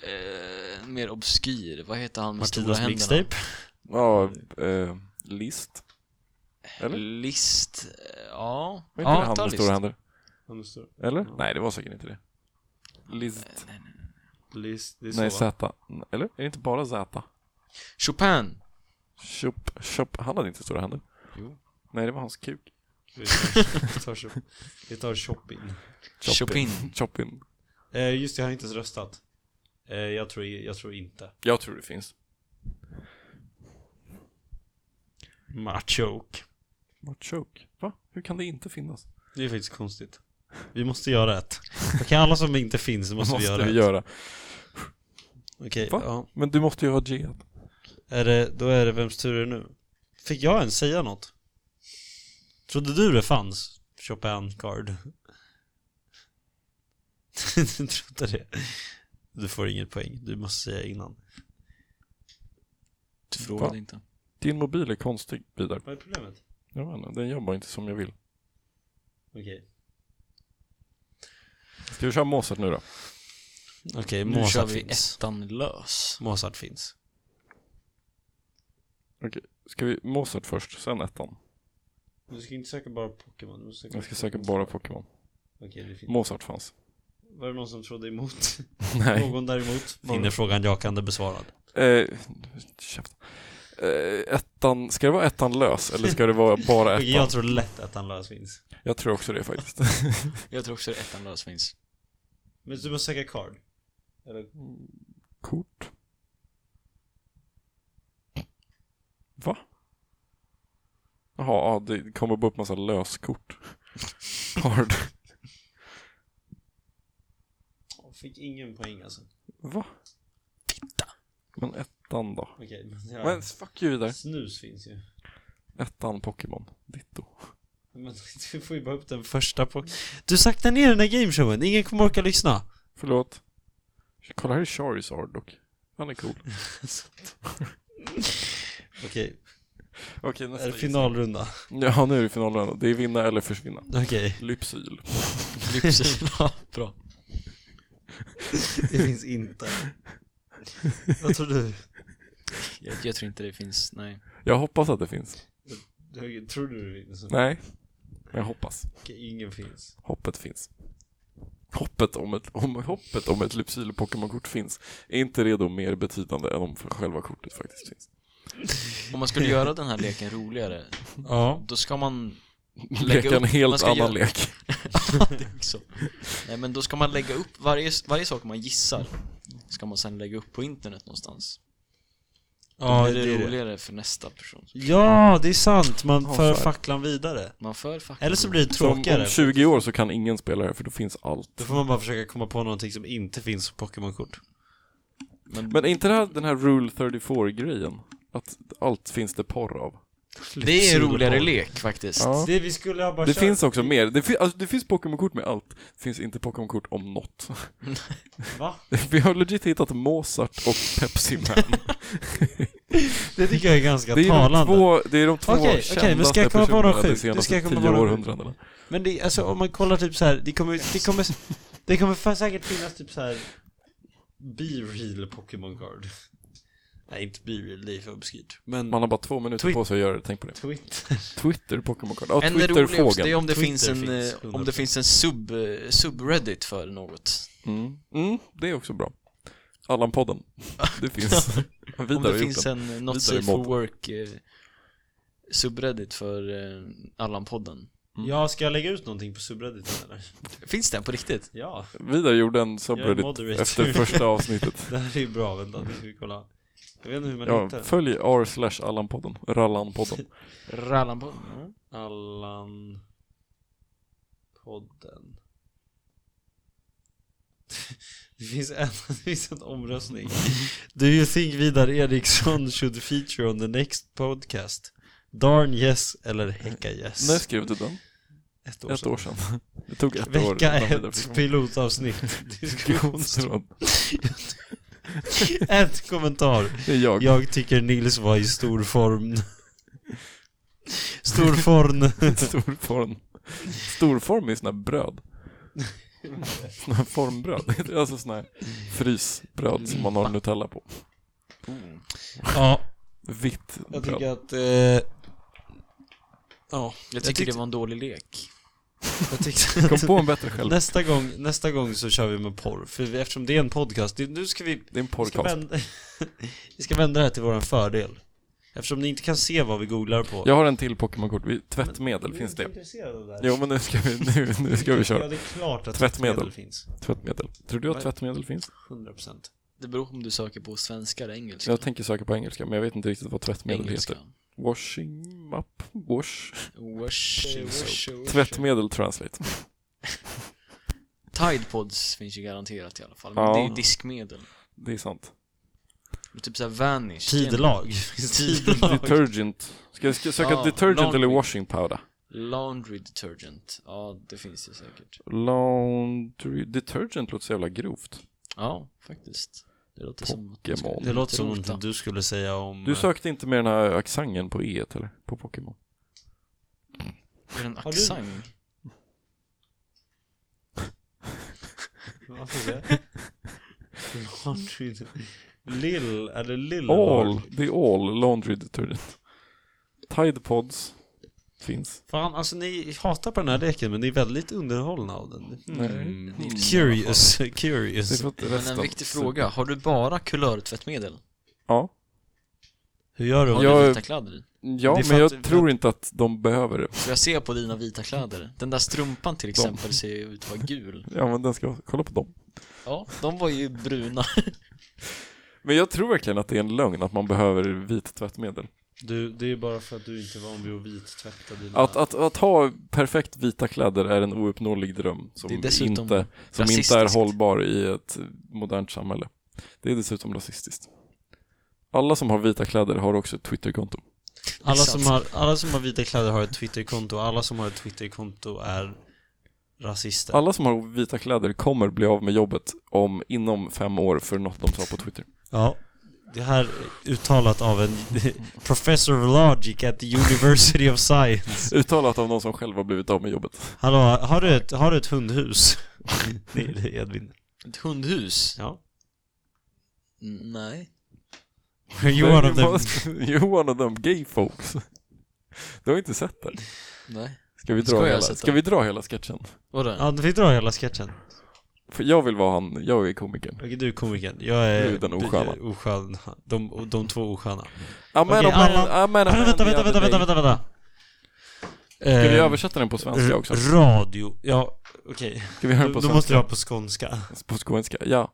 S3: Eh, mer obskyr. Vad heter han med stora
S1: Martinas
S3: händerna?
S1: mixtape.
S2: Ja, eh, list. Eller?
S3: List. eh, Ja.
S2: Var inte
S3: ja,
S2: det han
S3: ta
S2: med
S3: list.
S2: stora händer?
S1: Han är stor.
S2: Eller?
S1: Ja.
S2: Nej det var säkert inte det. List.
S1: List, det är
S2: Nej
S1: så va?
S2: Z. Eller? Är det inte bara Z?
S3: Chopin.
S2: Chop, chop. Han hade inte stora händer.
S3: Jo.
S2: Nej det var hans kuk.
S1: Vi tar- vi tar shop- Vi tar shopping.
S3: Chopin.
S2: Chopin.
S1: Eh, just det, jag har inte ens röstat. Eh, jag, tror, jag tror inte.
S2: Jag tror det finns.
S1: Machoke.
S2: Machoke. Va? Hur kan det inte finnas?
S1: Det är faktiskt konstigt. Vi måste göra ett. Okej, alla som inte finns måste, vi göra
S2: måste vi
S1: ett.
S2: göra.
S1: Okej,
S2: Va?
S1: ja.
S2: Men du måste ju ha G.
S1: Är det, då är det vems tur är det nu? Fick jag ens säga något? Trodde du det fanns Chopin Card? du trodde det? Du får inget poäng, du måste säga innan.
S3: Du frågade
S2: Va?
S3: inte.
S2: Din mobil är konstig, Vidar.
S1: Vad är problemet?
S2: Jag vet inte, den gör bara inte som jag vill.
S1: Okej.
S2: Ska vi köra Mozart nu då?
S1: Okej,
S3: Nu kör
S1: Mozart
S3: vi
S1: finns.
S3: ettan lös.
S1: Mozart finns.
S2: Okej, ska vi Mozart först, sen ettan?
S1: Du ska inte söka bara Pokémon, du måste
S2: Jag ska söka bara Pokémon.
S1: Okej, det finns.
S2: Mozart fanns.
S1: Var det någon som trodde emot?
S2: Nej.
S1: Någon däremot? Finner frågan jakande besvarad.
S2: Eh, käft. Eh, ettan, ska det vara ettan lös eller ska det vara bara
S1: Okej, jag
S2: ettan?
S1: tror lätt att han lös finns.
S2: Jag tror också det faktiskt.
S3: Jag tror också det är ettan lös finns.
S1: Men du måste söka card. Eller?
S2: Kort. Va? Jaha, ja, det kommer bara upp massa löskort. Hard.
S1: Fick ingen poäng alltså.
S2: Va?
S3: Titta.
S2: Men ettan då?
S1: Okej, men, ja.
S2: Men fuck you där.
S1: Snus finns ju.
S2: Ettan Pokémon. Ditto.
S1: Men du får ju bara upp den första på... Du saktar ner den här gameshowen, ingen kommer orka lyssna.
S2: Förlåt. Kolla här är Charizard dock. Han är cool.
S1: Okej,
S2: Okej,
S1: är det finalrunda?
S2: Ja, nu är det finalen. Det är vinna eller försvinna.
S1: Okej,
S2: Lypsyl.
S3: Lypsyla. Bra.
S1: det finns inte. Vad tror du?
S3: Jag, jag tror inte det finns, nej.
S2: Jag hoppas att det finns.
S1: du? Tror du det finns?
S2: Nej. Men jag hoppas.
S1: Okej, ingen finns.
S2: Hoppet finns. Hoppet om ett, om, hoppet om ett Lypsyl Pokémon-kort finns är inte redo mer betydande än om själva kortet faktiskt finns.
S3: Om man skulle göra den här leken roligare,
S1: Ja.
S3: då ska man Lägga
S2: Leka en
S3: upp- man
S2: helt
S3: ska
S2: annan
S3: göra-
S2: lek.
S3: det är också. Nej men då ska man lägga upp varje, varje sak man gissar Ska man sen lägga upp på internet någonstans Då
S1: Ja,
S3: blir det,
S1: det är det.
S3: roligare för nästa person
S1: Ja, det är sant. Man
S2: Ja,
S1: för
S2: så är det.
S1: facklan vidare.
S3: Man för faktiskt
S1: Eller så blir det
S2: Så om, om
S1: tråkigare.
S2: 20 år så kan ingen spela det för då finns allt.
S1: Då får man bara försöka komma på någonting som inte finns på Pokémon-kort.
S2: Men är inte det här, den här Rule 34-grejen? Att allt finns det porr av.
S3: Det är en roligare lek faktiskt
S2: Ja.
S1: Det vi skulle ha bara
S2: Det
S1: kört.
S2: finns också mer. Det, fin- alltså, det finns Pokémon-kort med allt. Det finns inte Pokémon-kort om något.
S1: Va?
S2: Vi har legit hittat Mozart och Pepsi Man.
S1: Det tycker jag är ganska
S2: Det är de
S1: talande.
S2: två, det är de två
S1: Okej, okej, men ska
S2: kändaste
S1: jag komma på något
S2: personerna de
S1: sjukt? Nu
S2: senaste
S1: ska jag komma på
S2: tio
S1: något sjukt.
S2: århundradena.
S1: Men det, alltså om man kollar typ så här, det kommer, det kommer, det kommer för säkert finnas typ så här B-real Pokémon Card. Nej inte B-real, det är för obskyrt. Men
S2: Man har bara två minuter
S1: Twi-
S2: på sig att göra det, tänk på det.
S1: Twitter.
S2: Twitter, Pokémon Card. Ja,
S3: En rolig också, det är
S2: Twitter-fågeln.
S3: om det
S1: Twitter
S3: finns en,
S1: finns,
S3: eh, om
S1: 100%.
S3: det finns en sub, eh, subreddit för något
S2: Mm. Mm, det är också bra. Allan-podden. Det finns. Vidare
S3: Om
S2: har
S3: det
S2: gjort
S3: finns
S2: den.
S3: en Not
S2: Vidare
S3: Safe for
S2: mob.
S3: Work eh, subreddit för eh, Allan-podden.
S2: Mm.
S1: Ja, ska jag lägga ut någonting på subredditen eller?
S3: Finns den på riktigt?
S1: Ja.
S2: Vidar gjorde en
S1: Jag är
S2: subreddit
S1: moderator.
S2: efter första avsnittet.
S1: Det här är ju bra, vänta, nu ska vi kolla. Jag vet inte hur man
S2: Ja,
S1: hittar den.
S2: följ r slash Allan-podden, Rallan-podden.
S3: Rallan-podden? ja.
S1: Allan... Podden. Det finns, en, det finns en omröstning. Do you think Vidar Eriksson should feature on the next podcast? Darn yes eller hecka yes?
S2: När skrev du den?
S1: ett
S2: Ett år sedan. Det tog ett år.
S1: Vecka
S2: innan Vidar fick-
S1: ett, pilotavsnitt, diskussions... ett kommentar.
S2: Det är jag.
S1: Jag tycker Nils var i stor form. Stor form.
S2: Storform. Storform är såna här bröd. Såna här formbröd. Det är alltså såna här frysbröd som man har Nutella på.
S1: Ja,
S2: Vitt
S1: jag
S2: bröd.
S1: tycker att... Eh,
S3: Ja, jag tycker
S1: tyckte-
S3: det var en dålig lek.
S1: jag tyckte
S2: Kom
S1: att
S2: på en bättre själv.
S1: nästa, gång, nästa gång så kör vi med porr, för vi, eftersom det är en podcast, det, nu ska vi...
S2: Det är en
S1: Vi ska,
S2: podcast.
S1: vända, vi ska vända det här till vår fördel. Eftersom ni inte kan se vad vi googlar på.
S2: Jag har en till Pokémon-kort. Vi- Tvättmedel finns det. Jo men nu ska vi, nu, nu ska vi
S1: Ja,
S2: köra.
S1: det är klart att
S2: Tvättmedel.
S1: tvättmedel finns.
S2: Tvättmedel. Tror du att
S1: Vad-
S2: tvättmedel finns?
S1: 100%.
S3: Det beror på om du söker på svenska eller engelska.
S2: Jag tänker söka på engelska men jag vet inte riktigt vad tvättmedel heter.
S3: engelska.
S2: Washing up, wash.
S3: Wash,
S1: Eh,
S3: wash, wash.
S2: Tvättmedel translate.
S3: Tidepods finns ju garanterat i alla fall. Men
S2: Ja.
S3: det är ju diskmedel.
S2: Det är sant.
S3: Och Typ såhär Vanish.
S1: Tidelag. Finns tidelag?
S2: Detergent. Ska jag ska jag söka
S3: Ja,
S2: detergent eller
S3: laundry.
S2: washing powder?
S3: Laundry detergent. Ja, det finns det säkert.
S2: Laundry detergent låter så jävla grovt.
S3: Ja, faktiskt. Det låter som att man ska-
S2: Pokémon.
S1: Det låter som
S3: Rota.
S1: något du skulle säga om...
S2: Du sökte inte med den här accenten på E eller? På Pokémon?
S3: Är det en
S1: Har du-
S3: axang?
S1: Vad får jag? Laundry. Lill, är det lill?
S2: All, det är all laundry detergent. Tide pods finns.
S1: Fan, alltså ni hatar på den här leken men ni är väldigt underhållna av den.
S2: Nej.
S3: Det är inte samma
S1: Curious,
S2: Det är
S1: curious.
S2: för att
S3: Men
S2: resten-
S3: en viktig fråga. Har du bara kulörtvättmedel?
S2: Ja.
S1: Hur gör
S3: Har
S1: du?
S2: Jag-
S3: du vita kläder i?
S2: Ja,
S1: Det är
S2: men
S1: för
S2: jag
S1: att-
S2: tror inte att de behöver det.
S3: För jag ser på dina vita kläder. Den där strumpan till exempel ser ju ut att vara gul.
S2: Ja, men den ska, kolla på dem.
S3: Ja, de var ju bruna.
S2: Men jag tror verkligen att det är en lögn att man behöver vitt tvättmedel.
S1: du? Det är bara för att du inte är van vid att vittvätta dina...
S2: Att, att, att ha perfekt vita kläder är en ouppnåelig dröm som,
S3: Det är dessutom
S2: inte, som inte är
S3: rasistiskt.
S2: hållbar i ett modernt samhälle. Det är dessutom rasistiskt. Alla som har vita kläder har också ett Twitterkonto.
S1: alla,
S3: Exakt.
S1: som har, alla som har vita kläder har ett Twitterkonto, alla som har ett Twitterkonto är rasister.
S2: Alla som har vita kläder kommer bli av med jobbet om inom fem år för något de sa på Twitter.
S1: Ja. Det här är uttalat av en professor of logic at the University of Science.
S2: Uttalat av någon som själv har blivit av med jobbet.
S1: Hallå, har du ett, har du ett hundhus? Det är det, Edvin.
S3: Ett hundhus?
S1: Ja.
S3: Mm, Nej.
S1: You're one of them.
S2: You're one of them gay folks. Du har inte sett det.
S3: Nej.
S2: Ska vi
S3: Ska
S2: dra,
S3: jag
S2: hela,
S3: sätta?
S2: ska vi dra hela sketchen?
S3: Vadå?
S1: Ja, vi drar hela sketchen.
S2: För jag vill vara han, jag är komikern.
S1: Okej, du är komikern. Jag är...
S2: Du är den osköna.
S1: du är osköna. De, de två osköna.
S2: Amen,
S1: Okej,
S2: amen,
S1: alla-
S2: amen, amen,
S1: vänta, vänta,
S2: the
S1: vänta, vänta,
S2: other day.
S1: vänta, vänta.
S2: Ska vi översätta den på svenska också?
S1: Eh, Radio. Ja, okej.
S2: Ska vi höra den på
S1: Då, då måste jag
S2: svenska?
S1: ha på skånska.
S2: På skånska, ja.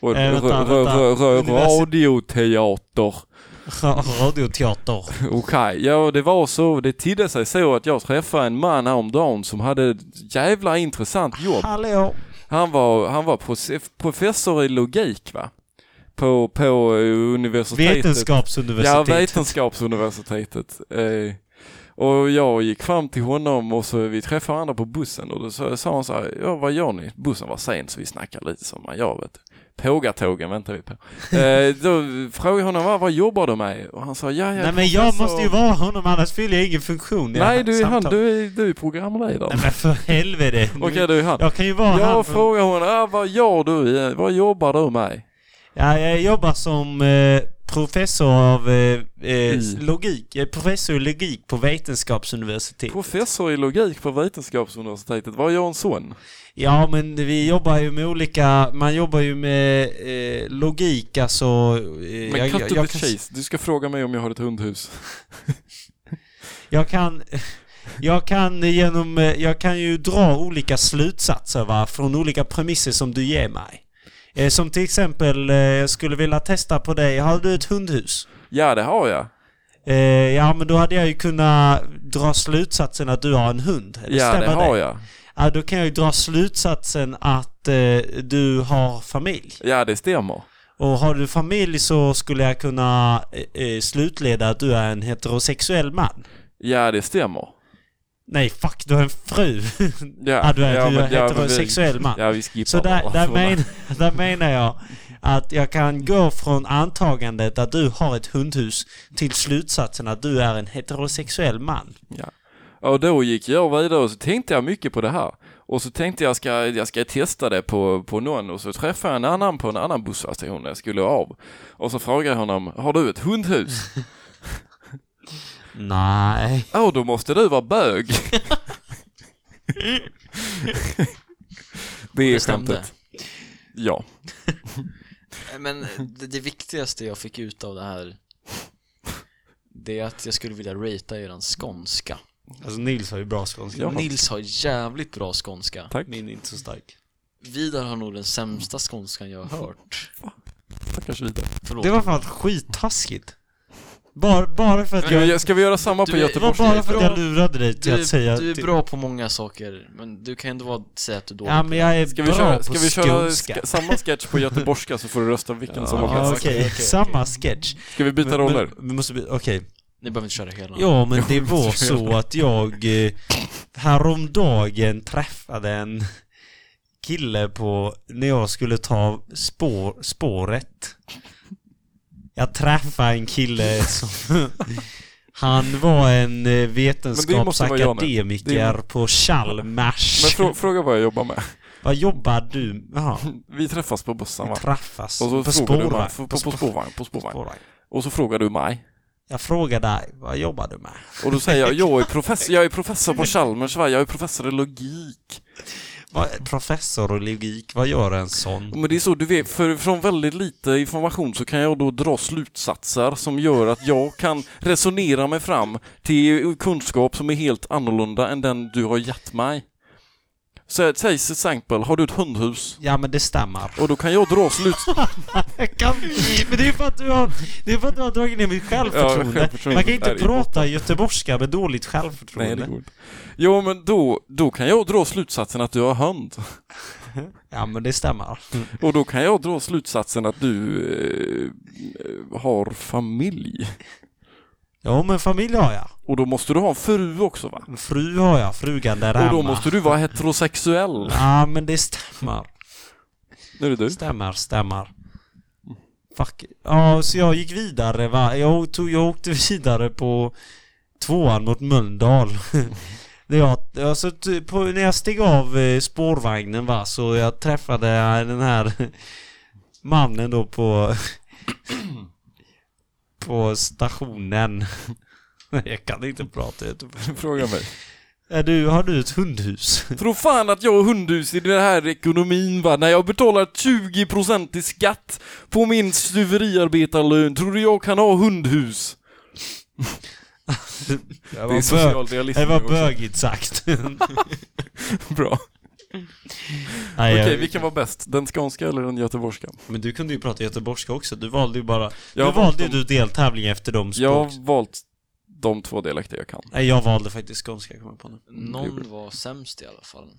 S2: Och
S1: Eh,
S2: r-
S1: vänta,
S2: r-
S1: vänta.
S2: r- r-
S1: Universi-
S2: radioteater.
S1: Radioteater.
S2: Okej, ja det var så, det tidde sig så att jag träffade en man häromdagen som hade ett jävla intressant jobb.
S1: Hallå.
S2: Han var, han var proce- professor i logik va? På, på eh, universitetet.
S1: Vetenskapsuniversitet.
S2: Ja, Vetenskapsuniversitetet. Eh, och jag gick fram till honom och så vi träffade varandra på bussen och då sa, sa han så här, ja vad gör ni? Bussen var sen så vi snackade lite som man gör vet du. Pågatågen väntar vi på. Eh, då frågade jag honom, vad, vad jobbar du med? Och han sa, ja jag
S1: Nej men jag
S2: professor."
S1: måste ju vara honom annars fyller jag ingen funktion. i det
S2: Nej
S1: här
S2: du är han,
S1: samtalet.
S2: du är, du är programledare.
S1: Nej men för helvete.
S2: Okej du är han.
S1: Jag kan ju vara han.
S2: Jag frågar honom, ah, vad gör du? i- Vad jobbar du med?
S1: Ja, jag jobbar som eh, Professor av eh, eh,
S2: I.
S1: logik, eh, professor i logik på vetenskapsuniversitet.
S2: Professor i logik på Vetenskapsuniversitetet, vad gör hon son?
S1: Ja, men vi jobbar ju med olika, man jobbar ju med eh, logik, alltså... Eh,
S2: Men cut to the
S1: kan-
S2: chase, du ska fråga mig om jag har ett hundhus.
S1: Jag kan... Jag kan, genom, eh, jag kan ju dra olika slutsatser va, från olika premisser som du ger mig. Eh, som till exempel, eh, jag skulle vilja testa på dig, har du ett hundhus?
S2: Ja, det har jag.
S1: Eh, ja, men då hade jag ju kunnat dra slutsatsen att du har en hund. Eller
S2: Ja, det
S1: stämmer
S2: har jag.
S1: Ja, då kan jag ju dra slutsatsen att eh, du har familj.
S2: Ja, det stämmer.
S1: Och har du familj så skulle jag kunna eh, eh, slutleda att du är en heterosexuell man.
S2: Ja, det stämmer.
S1: Nej, fuck, du har en fru.
S2: Ja,
S1: Ja, du är,
S2: ja,
S1: du är
S2: men- ja, men vi-
S1: heterosexuell man.
S2: Ja, vi skippar
S1: Så där,
S2: bara.
S1: där, men, där menar jag att jag kan gå från antagandet att du har ett hundhus till slutsatsen att du är en heterosexuell man.
S2: Ja. Och då gick jag vidare och så tänkte jag mycket på det här. Och så tänkte jag ska, jag ska testa det på, på någon och så träffade jag en annan på en annan busstation när jag skulle av. Och så frågade jag honom, har du ett hundhus?
S1: Nej.
S2: Åh, då måste du vara bög. det är
S3: Det stämde.
S2: skämtet. Ja.
S3: Men det, det viktigaste jag fick ut av det här Det är att jag skulle vilja ratea eran skånska
S1: Alltså Nils har ju bra skånska.
S2: Ja.
S3: Nils har jävligt bra skånska
S2: Tack.
S1: Min är inte så stark.
S3: Vidar har nog den sämsta skånskan jag har hört
S2: Tackars vidare.
S3: Förlåt
S1: Det var fan skittaskigt. Bara, bara för att jag...
S2: Ska, ska vi göra samma
S3: Du
S2: på
S3: är-
S1: Det var
S2: Göteborgs?
S1: bara för att jag
S3: Bra.
S1: lurade dig till
S3: du,
S1: att säga...
S3: du är
S1: till-
S3: bra på många saker, men du kan ju ändå vara, säga att du är dålig
S1: Ja men jag är
S2: Ska vi
S1: bra
S2: köra,
S1: på
S2: ska vi köra
S1: skånska.
S2: ska, samma sketch på göteborgska så får du rösta vilken som var
S1: Ja,
S2: bäst.
S1: okej,
S3: Okej, okej, okej.
S1: samma sketch.
S2: Ska vi byta roller?
S1: Men, vi måste, by- okej.
S3: Ni behöver inte köra hela
S1: Ja, men det var så att jag eh, häromdagen träffade en kille på, när jag skulle ta spår, spåret. Jag träffade en kille som, han var en eh,
S2: måste vara jag nu. Det
S1: vetenskapsakademiker
S2: är-
S1: på Chalmers.
S2: Men frå, fråga vad jag jobbar med.
S1: Vad jobbar du Jaha,
S2: Vi träffas på bussen va?
S1: vi träffas
S2: Och så
S1: på
S2: frågar du
S1: spårvagn.
S2: mig, på, på, på spårvagn, på spårvagn.
S1: spårvagn.
S2: Och så frågar du mig.
S1: Jag frågar dig, vad jobbar du med?
S2: Och då säger jag, jag är professor, jag är professor på Chalmers va? jag är professor i logik.
S1: Vad, professor i logik, vad gör en sån?
S2: Men det är så du vet, för från väldigt lite information så kan jag då dra slutsatser som gör att jag kan resonera mig fram till kunskap som är helt annorlunda än den du har gett mig. Så säg till exempel, har du ett hundhus?
S1: Ja men det stämmer.
S2: Och då kan jag dra slut...
S1: Jag kan, men det är för att du har, det är för att du har dragit ner mitt
S2: Ja,
S1: självförtroende.
S2: självförtroende
S1: Man kan inte
S2: är i botten.
S1: prata göteborgska med dåligt
S2: Nej,
S1: självförtroende.
S2: det går inte. Jo, men då, då kan jag dra slutsatsen att du har hund.
S1: ja men det stämmer.
S2: Och då kan jag dra slutsatsen att du eh, har familj.
S1: Jo men familj har jag.
S2: Och då måste du ha en fru också va?
S1: En Fru har jag, frugan där hemma.
S2: Och då måste du vara heterosexuell.
S1: Ja men det stämmer.
S2: Nu är det du.
S1: Stämmer, stämmer. Fuck. Ja, så jag gick vidare va. Jag, tog, jag åkte vidare på tvåan mot Mölndal. Det jag, alltså, t- på, när jag steg av eh, spårvagnen va, så jag träffade eh, den här mannen då på på stationen. Jag kan inte prata göteborgska.
S2: Fråga mig.
S1: Är du, har du ett hundhus?
S2: Tror fan att jag har hundhus i den här ekonomin va? När jag betalar 20% i skatt på min stuveriarbetarlön, tror du jag kan ha hundhus?
S1: Det
S2: Det är social realism.
S1: det var
S2: också.
S1: bögigt sagt.
S2: Bra.
S1: Nej,
S2: Okej,
S1: jag-
S2: vilken var bäst? Den skånska eller den göteborgska?
S1: Men du kunde ju prata göteborgska också, du valde ju bara...
S2: Jag
S1: du
S2: har
S1: valde ju
S2: valt de-
S1: du deltävling efter de språk...
S2: Jag har valt de två dialekter jag kan.
S1: Nej, jag valde faktiskt skånska, kommer jag på nu.
S2: gjorde
S3: Någon var sämst i alla fall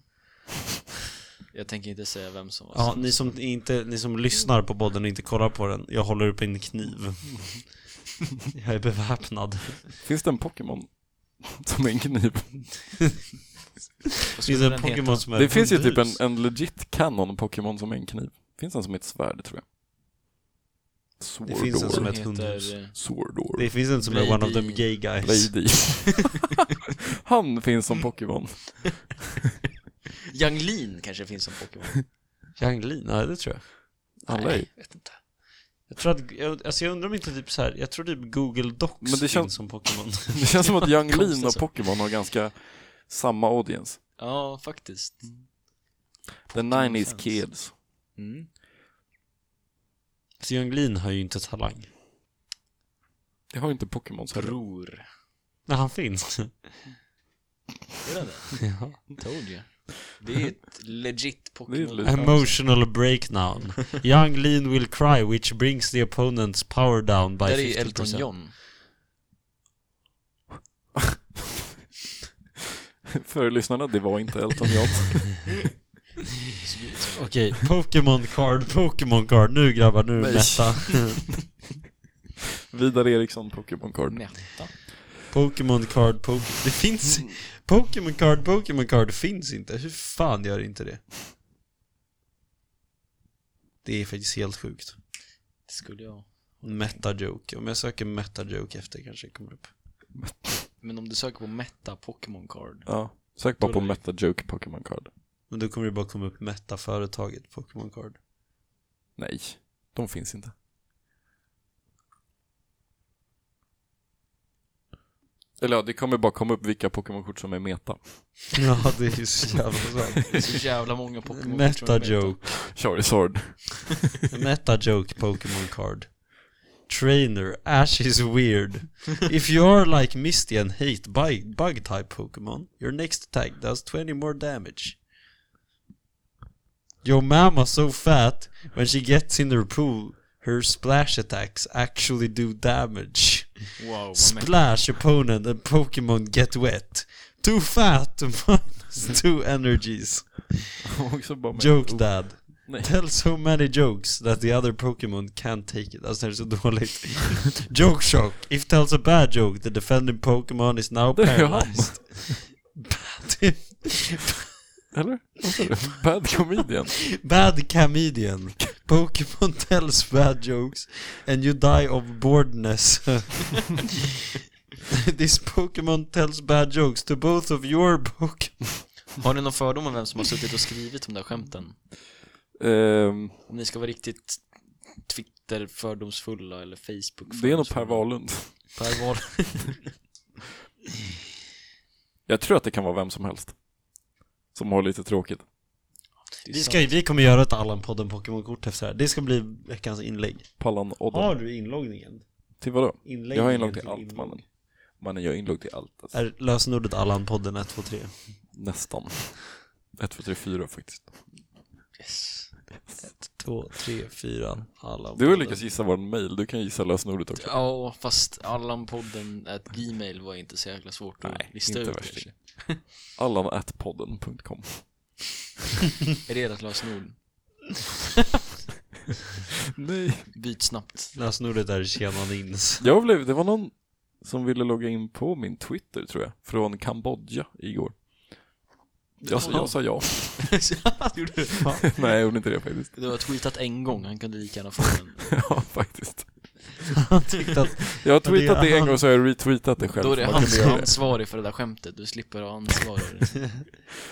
S3: Jag tänker inte säga vem som var
S1: Ja,
S3: sämst
S1: ni som, inte, ni som lyssnar på podden och inte kollar på den, jag håller upp en kniv. jag är beväpnad.
S2: Finns det en Pokémon som är en kniv?
S3: Vad
S1: Det finns
S3: skulle
S1: en
S3: den heta?
S1: Pokémon som är
S2: Det finns ju typ en,
S1: hundhus.
S2: en legit canon Pokémon som är en kniv. Finns en som är ett svärd tror jag.
S1: Det finns en som
S2: Swordor.
S1: är
S3: Den
S1: ett hundhus.
S3: heter, eh,
S2: Swordor.
S1: Det finns en som är one of them gay guys.
S2: Lady. Han finns som Pokémon.
S3: Yang Lin kanske finns som Pokémon
S1: Janglin? Nej, det tror jag.
S2: Alla är.
S3: vet inte
S1: Jag tror att, jag, alltså jag undrar om inte typ så här, jag tror typ Google Docs
S2: Men det
S1: finns
S2: känns-
S1: som Pokémon.
S2: Det känns som att Yung Lean
S3: Konstigt
S2: och
S3: så.
S2: Pokémon har ganska samma audience.
S3: Ja, faktiskt.
S1: Mm.
S2: The 90s kids.
S3: Mm.
S1: Så Junglin har ju inte talang.
S2: Det har ju inte Pokémons heller.
S3: Bror.
S1: Nej, han finns.
S3: Är det
S1: ja.
S3: det? Told you. Det är ett legit Pokémon.
S2: legit.
S1: Emotional breakdown. Young Lean will cry which brings the opponent's power down by
S3: Där är ju
S1: 50%.
S3: Elton John.
S2: För lyssnarna, det var inte Elton John.
S1: Okej, Pokémon card, Pokémon card. Nu grabbar, nu
S2: Nej.
S1: mätta.
S2: Vidar Eriksson, Pokémon Card.
S3: Netta.
S1: Pokémon card, Pokémon... Det finns... Pokémon card, Pokémon card finns inte. Hur fan gör inte det? Det är faktiskt helt sjukt.
S3: Det skulle jag.
S1: Meta-joke. Om jag söker meta-joke efter kanske det kommer upp.
S3: Men om du söker på Meta Pokémon Card.
S2: Ja. Sök bara på Metajoke Pokémon Card.
S1: Men då kommer det bara komma upp meta-företaget Pokémon card.
S2: Nej, de finns inte. Eller ja, det kommer bara komma upp vilka Pokémon-kort som är meta.
S1: Ja, det är ju så jävla sant.
S3: Det är så jävla många Pokémon
S1: Meta-joke.
S2: Charizard.
S1: Meta-joke Pokémon card. Trainer, Ash is weird. If you are like Misty and hate bug, bug type Pokémon, your next attack does 20 more damage. Your mama so fat, when she gets in her pool, her splash attacks actually do damage.
S3: Wow, vad mäktigt.
S1: Splash opponent and Pokemon get wet. Too fat, minus two energies.
S2: Också bara meta.
S1: Joke dad.
S2: Nej.
S1: Tell so many jokes that the other Pokemon can't take it. Alltså det är så dåligt. joke shock. If tells a bad joke, the defending Pokemon is now
S2: Det är ju han.
S1: paralyzed. bad,
S2: Eller? Vad sa du? Bad Comedian.
S1: bad comedian. Pokemon tells bad jokes and you die of boredness. This Pokemon tells bad jokes to both of your Pokemon.
S3: Har ni någon fördom om vem som har suttit och skrivit de där skämten?
S2: Ehm,
S3: Om ni ska vara riktigt Twitter-fördomsfulla eller Facebook
S2: det är nog Per Wahlund.
S3: Per Wahl.
S2: Jag tror att det kan vara vem som helst. Som har lite tråkigt.
S1: Vi, ska, vi kommer göra ett Allan-podden Pokémon-kort efter det här. Det ska bli veckans inlägg.
S2: Pallan
S1: Har
S2: Odden.
S1: du inloggningen?
S2: Till vadå?
S1: Inlägg
S2: Jag har inlogg till allt mannen. Mannen, jag har inlogg till allt. Alltså.
S1: Är lösenordet Allan-podden 123?
S2: Nästan. 1, 2, 3, 4 faktiskt.
S1: 1, 2, 3, 4, Allan.
S2: Du har lyckats gissa vår mail, du kan gissa lösenordet också.
S3: Ja, fast Allanpodden at Gmail var inte så jäkla svårt att
S2: Nej,
S3: lista
S2: inte
S3: ut
S2: värst.
S3: kanske.
S2: Allanatpodden.com
S3: Är det ert lösenord?
S2: Nej.
S3: Byt snabbt.
S1: Lösenordet är tjena nins.
S2: Jag blev, det var någon som ville logga in på min Twitter tror jag, från Kambodja igår. Jag, sa- jag sa ja. Nej, jag gjorde inte det faktiskt.
S3: Du har tweetat en gång, han kunde lika gärna få den.
S2: Ja, faktiskt.
S1: Han tyckte att
S2: Jag har tweetat
S1: det är
S2: det en
S1: han-
S2: gång så har jag retweetat det själv.
S3: Då är det
S2: Man
S3: han
S2: kunde
S3: som
S2: göra
S3: är
S2: det.
S3: ansvarig för det där skämtet, du slipper ha ansvar över det.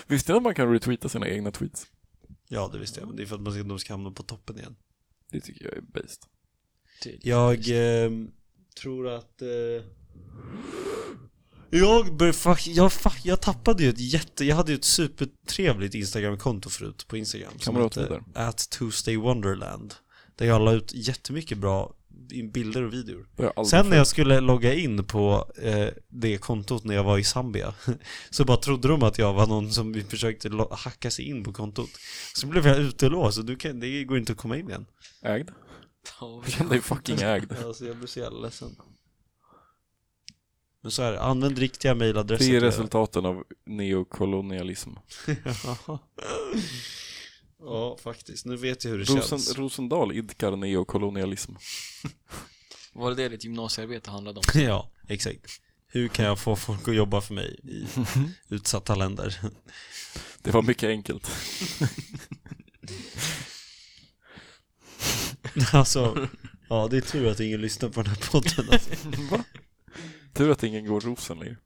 S2: Visste ni att man kan retweeta sina egna tweets?
S1: Ja, det visste jag. Men det är för att man ska, de ska hamna på toppen igen.
S2: Det tycker jag är based.
S3: Till.
S1: Jag ehm, tror att... Eh, jag, bör, fuck, jag, fuck, jag tappade ju ett jätte... Jag hade ju ett supertrevligt Instagram-konto förut på Instagram.
S2: Kamratvidar.
S1: At Tuesday Wonderland. Där jag la ut jättemycket bra i- bilder och videor.
S2: Det har jag aldrig
S1: Sen när
S2: förstått.
S1: jag skulle logga in på eh, det kontot när jag var i Zambia så bara trodde de att jag var någon som vi försökte lo- hacka sig in på kontot. Så blev jag utelåst och du kan, det går inte att komma in igen.
S2: Ägd? Jag kände mig fucking ägd.
S1: Alltså jag blir så jävla ledsen. Men så är det, använd riktiga mejladresser.
S2: Det är
S1: till-
S2: resultaten av neokolonialism.
S1: Jaha. ja, faktiskt. Nu vet jag hur det känns.
S2: Rosen, Rosendal idkar neokolonialism.
S3: Var det det ditt gymnasiearbete handlade om?
S1: ja, exakt. Hur kan jag få folk att jobba för mig i utsatta länder?
S2: Det var mycket enkelt.
S1: alltså, ja det är tur att ingen lyssnar på den här podden. Alltså.
S2: Tur att ingen går rosen längre.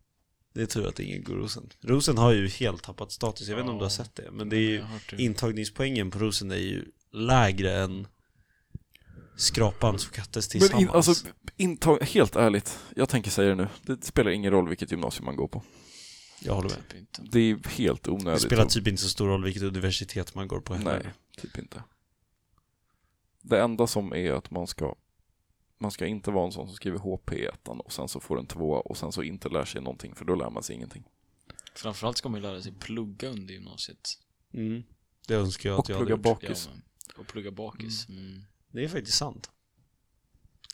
S1: Det är tur att ingen går Rosen. Rosen har ju helt tappat status, jag vet inte om du har sett det. Men det är ju,
S3: Jag har hört det.
S1: intagningspoängen på Rosen är ju lägre än skrapan som kattes
S2: Men
S1: tillsammans.
S2: in, alltså, intag, helt ärligt, jag tänker säga det nu. Det spelar ingen roll vilket gymnasium man går på.
S1: jag håller med.
S3: Typ inte.
S2: Det är helt
S1: Det
S2: onödigt.
S1: spelar
S2: att-
S1: typ inte så stor roll vilket universitet man går på heller.
S2: Nej, typ inte. Det enda som är att man ska man ska inte vara en sån som skriver HP i ettan och sen så får en tvåa och sen så inte lär sig någonting för då lär man sig ingenting.
S3: Framförallt ska man ju lära sig plugga under gymnasiet.
S1: Mm. Det önskar jag
S2: Och
S1: att jag hade
S2: plugga
S1: gjort.
S2: bakis.
S3: Ja, men- och plugga bakis. Mm.
S1: Det är faktiskt sant.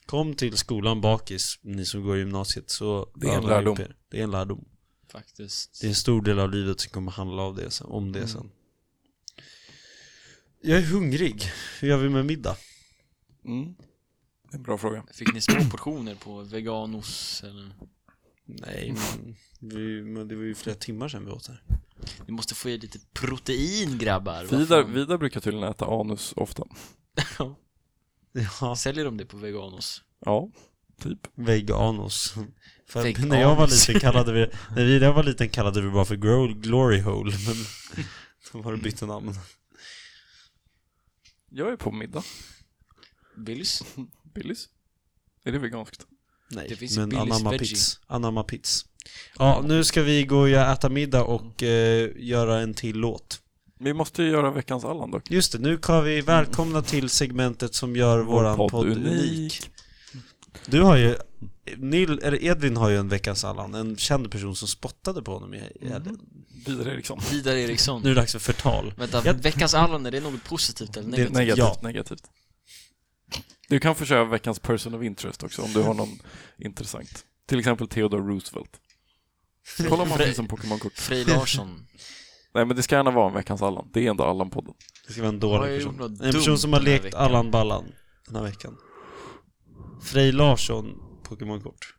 S1: Kom till skolan bakis, ni som går i gymnasiet, så
S2: Det är en
S1: Ja, lär
S2: lärdom.
S1: upp er. Det är en lärdom.
S3: Faktiskt.
S1: Det är en stor del av livet som kommer handla av det, sen- om det sen. Jag är hungrig. Hur gör vi med middag?
S2: Mm. Det är en bra fråga.
S3: Fick ni små portioner på veganos eller?
S1: Nej, men, vi, men det var ju flera timmar sedan vi åt här.
S3: Ni måste få i er lite protein grabbar. Vad
S2: Vidar,
S3: fan?
S2: Vidar brukar tydligen äta anus ofta.
S1: Ja,
S3: Säljer de det på veganos?
S2: Ja, typ.
S1: veganos. För att
S3: Veganos.
S1: när jag var liten kallade vi, när vi när jag var liten kallade vi bara för grow, glory hole, men de har bytt namn.
S2: Jag är på middag.
S3: Billys?
S2: Billys. Är det veganskt?
S1: Nej,
S3: Det finns ju
S1: men
S3: Billys
S1: anamma
S3: veggie.
S1: pits. Anamma pits. Ja, nu ska vi gå och äta middag och eh, göra en till låt.
S2: Vi måste ju göra veckans Allan dock.
S1: Just det, nu kan vi välkomna till segmentet som gör våran podd, unik. Du har ju, Nil, eller Edvin har ju en veckans Allan, en känd person som spottade på honom i i
S3: Mm.
S1: helgen.
S2: Vidar Eriksson.
S3: Vidar Eriksson.
S1: Nu är det dags för förtal.
S3: Vänta,
S1: Jag-
S3: veckans Allan, är det något positivt eller negativt?
S2: Negativt,
S1: Ja.
S2: negativt. Du kan få köra veckans person of interest också om du har någon intressant. Till exempel Theodore Roosevelt. Kolla om han finns som Pokémon-kort.
S3: Frej Larsson.
S2: Nej men det ska gärna vara en veckans Allan. Det är ändå Allan-podden.
S1: Det ska vara en
S3: Har jag
S1: dålig
S3: gjort något
S1: person. En
S3: dumt
S1: person som har
S3: den här
S1: lekt
S3: veckan?
S1: Allan Ballan den här veckan. Frej Larsson, Pokémon-kort.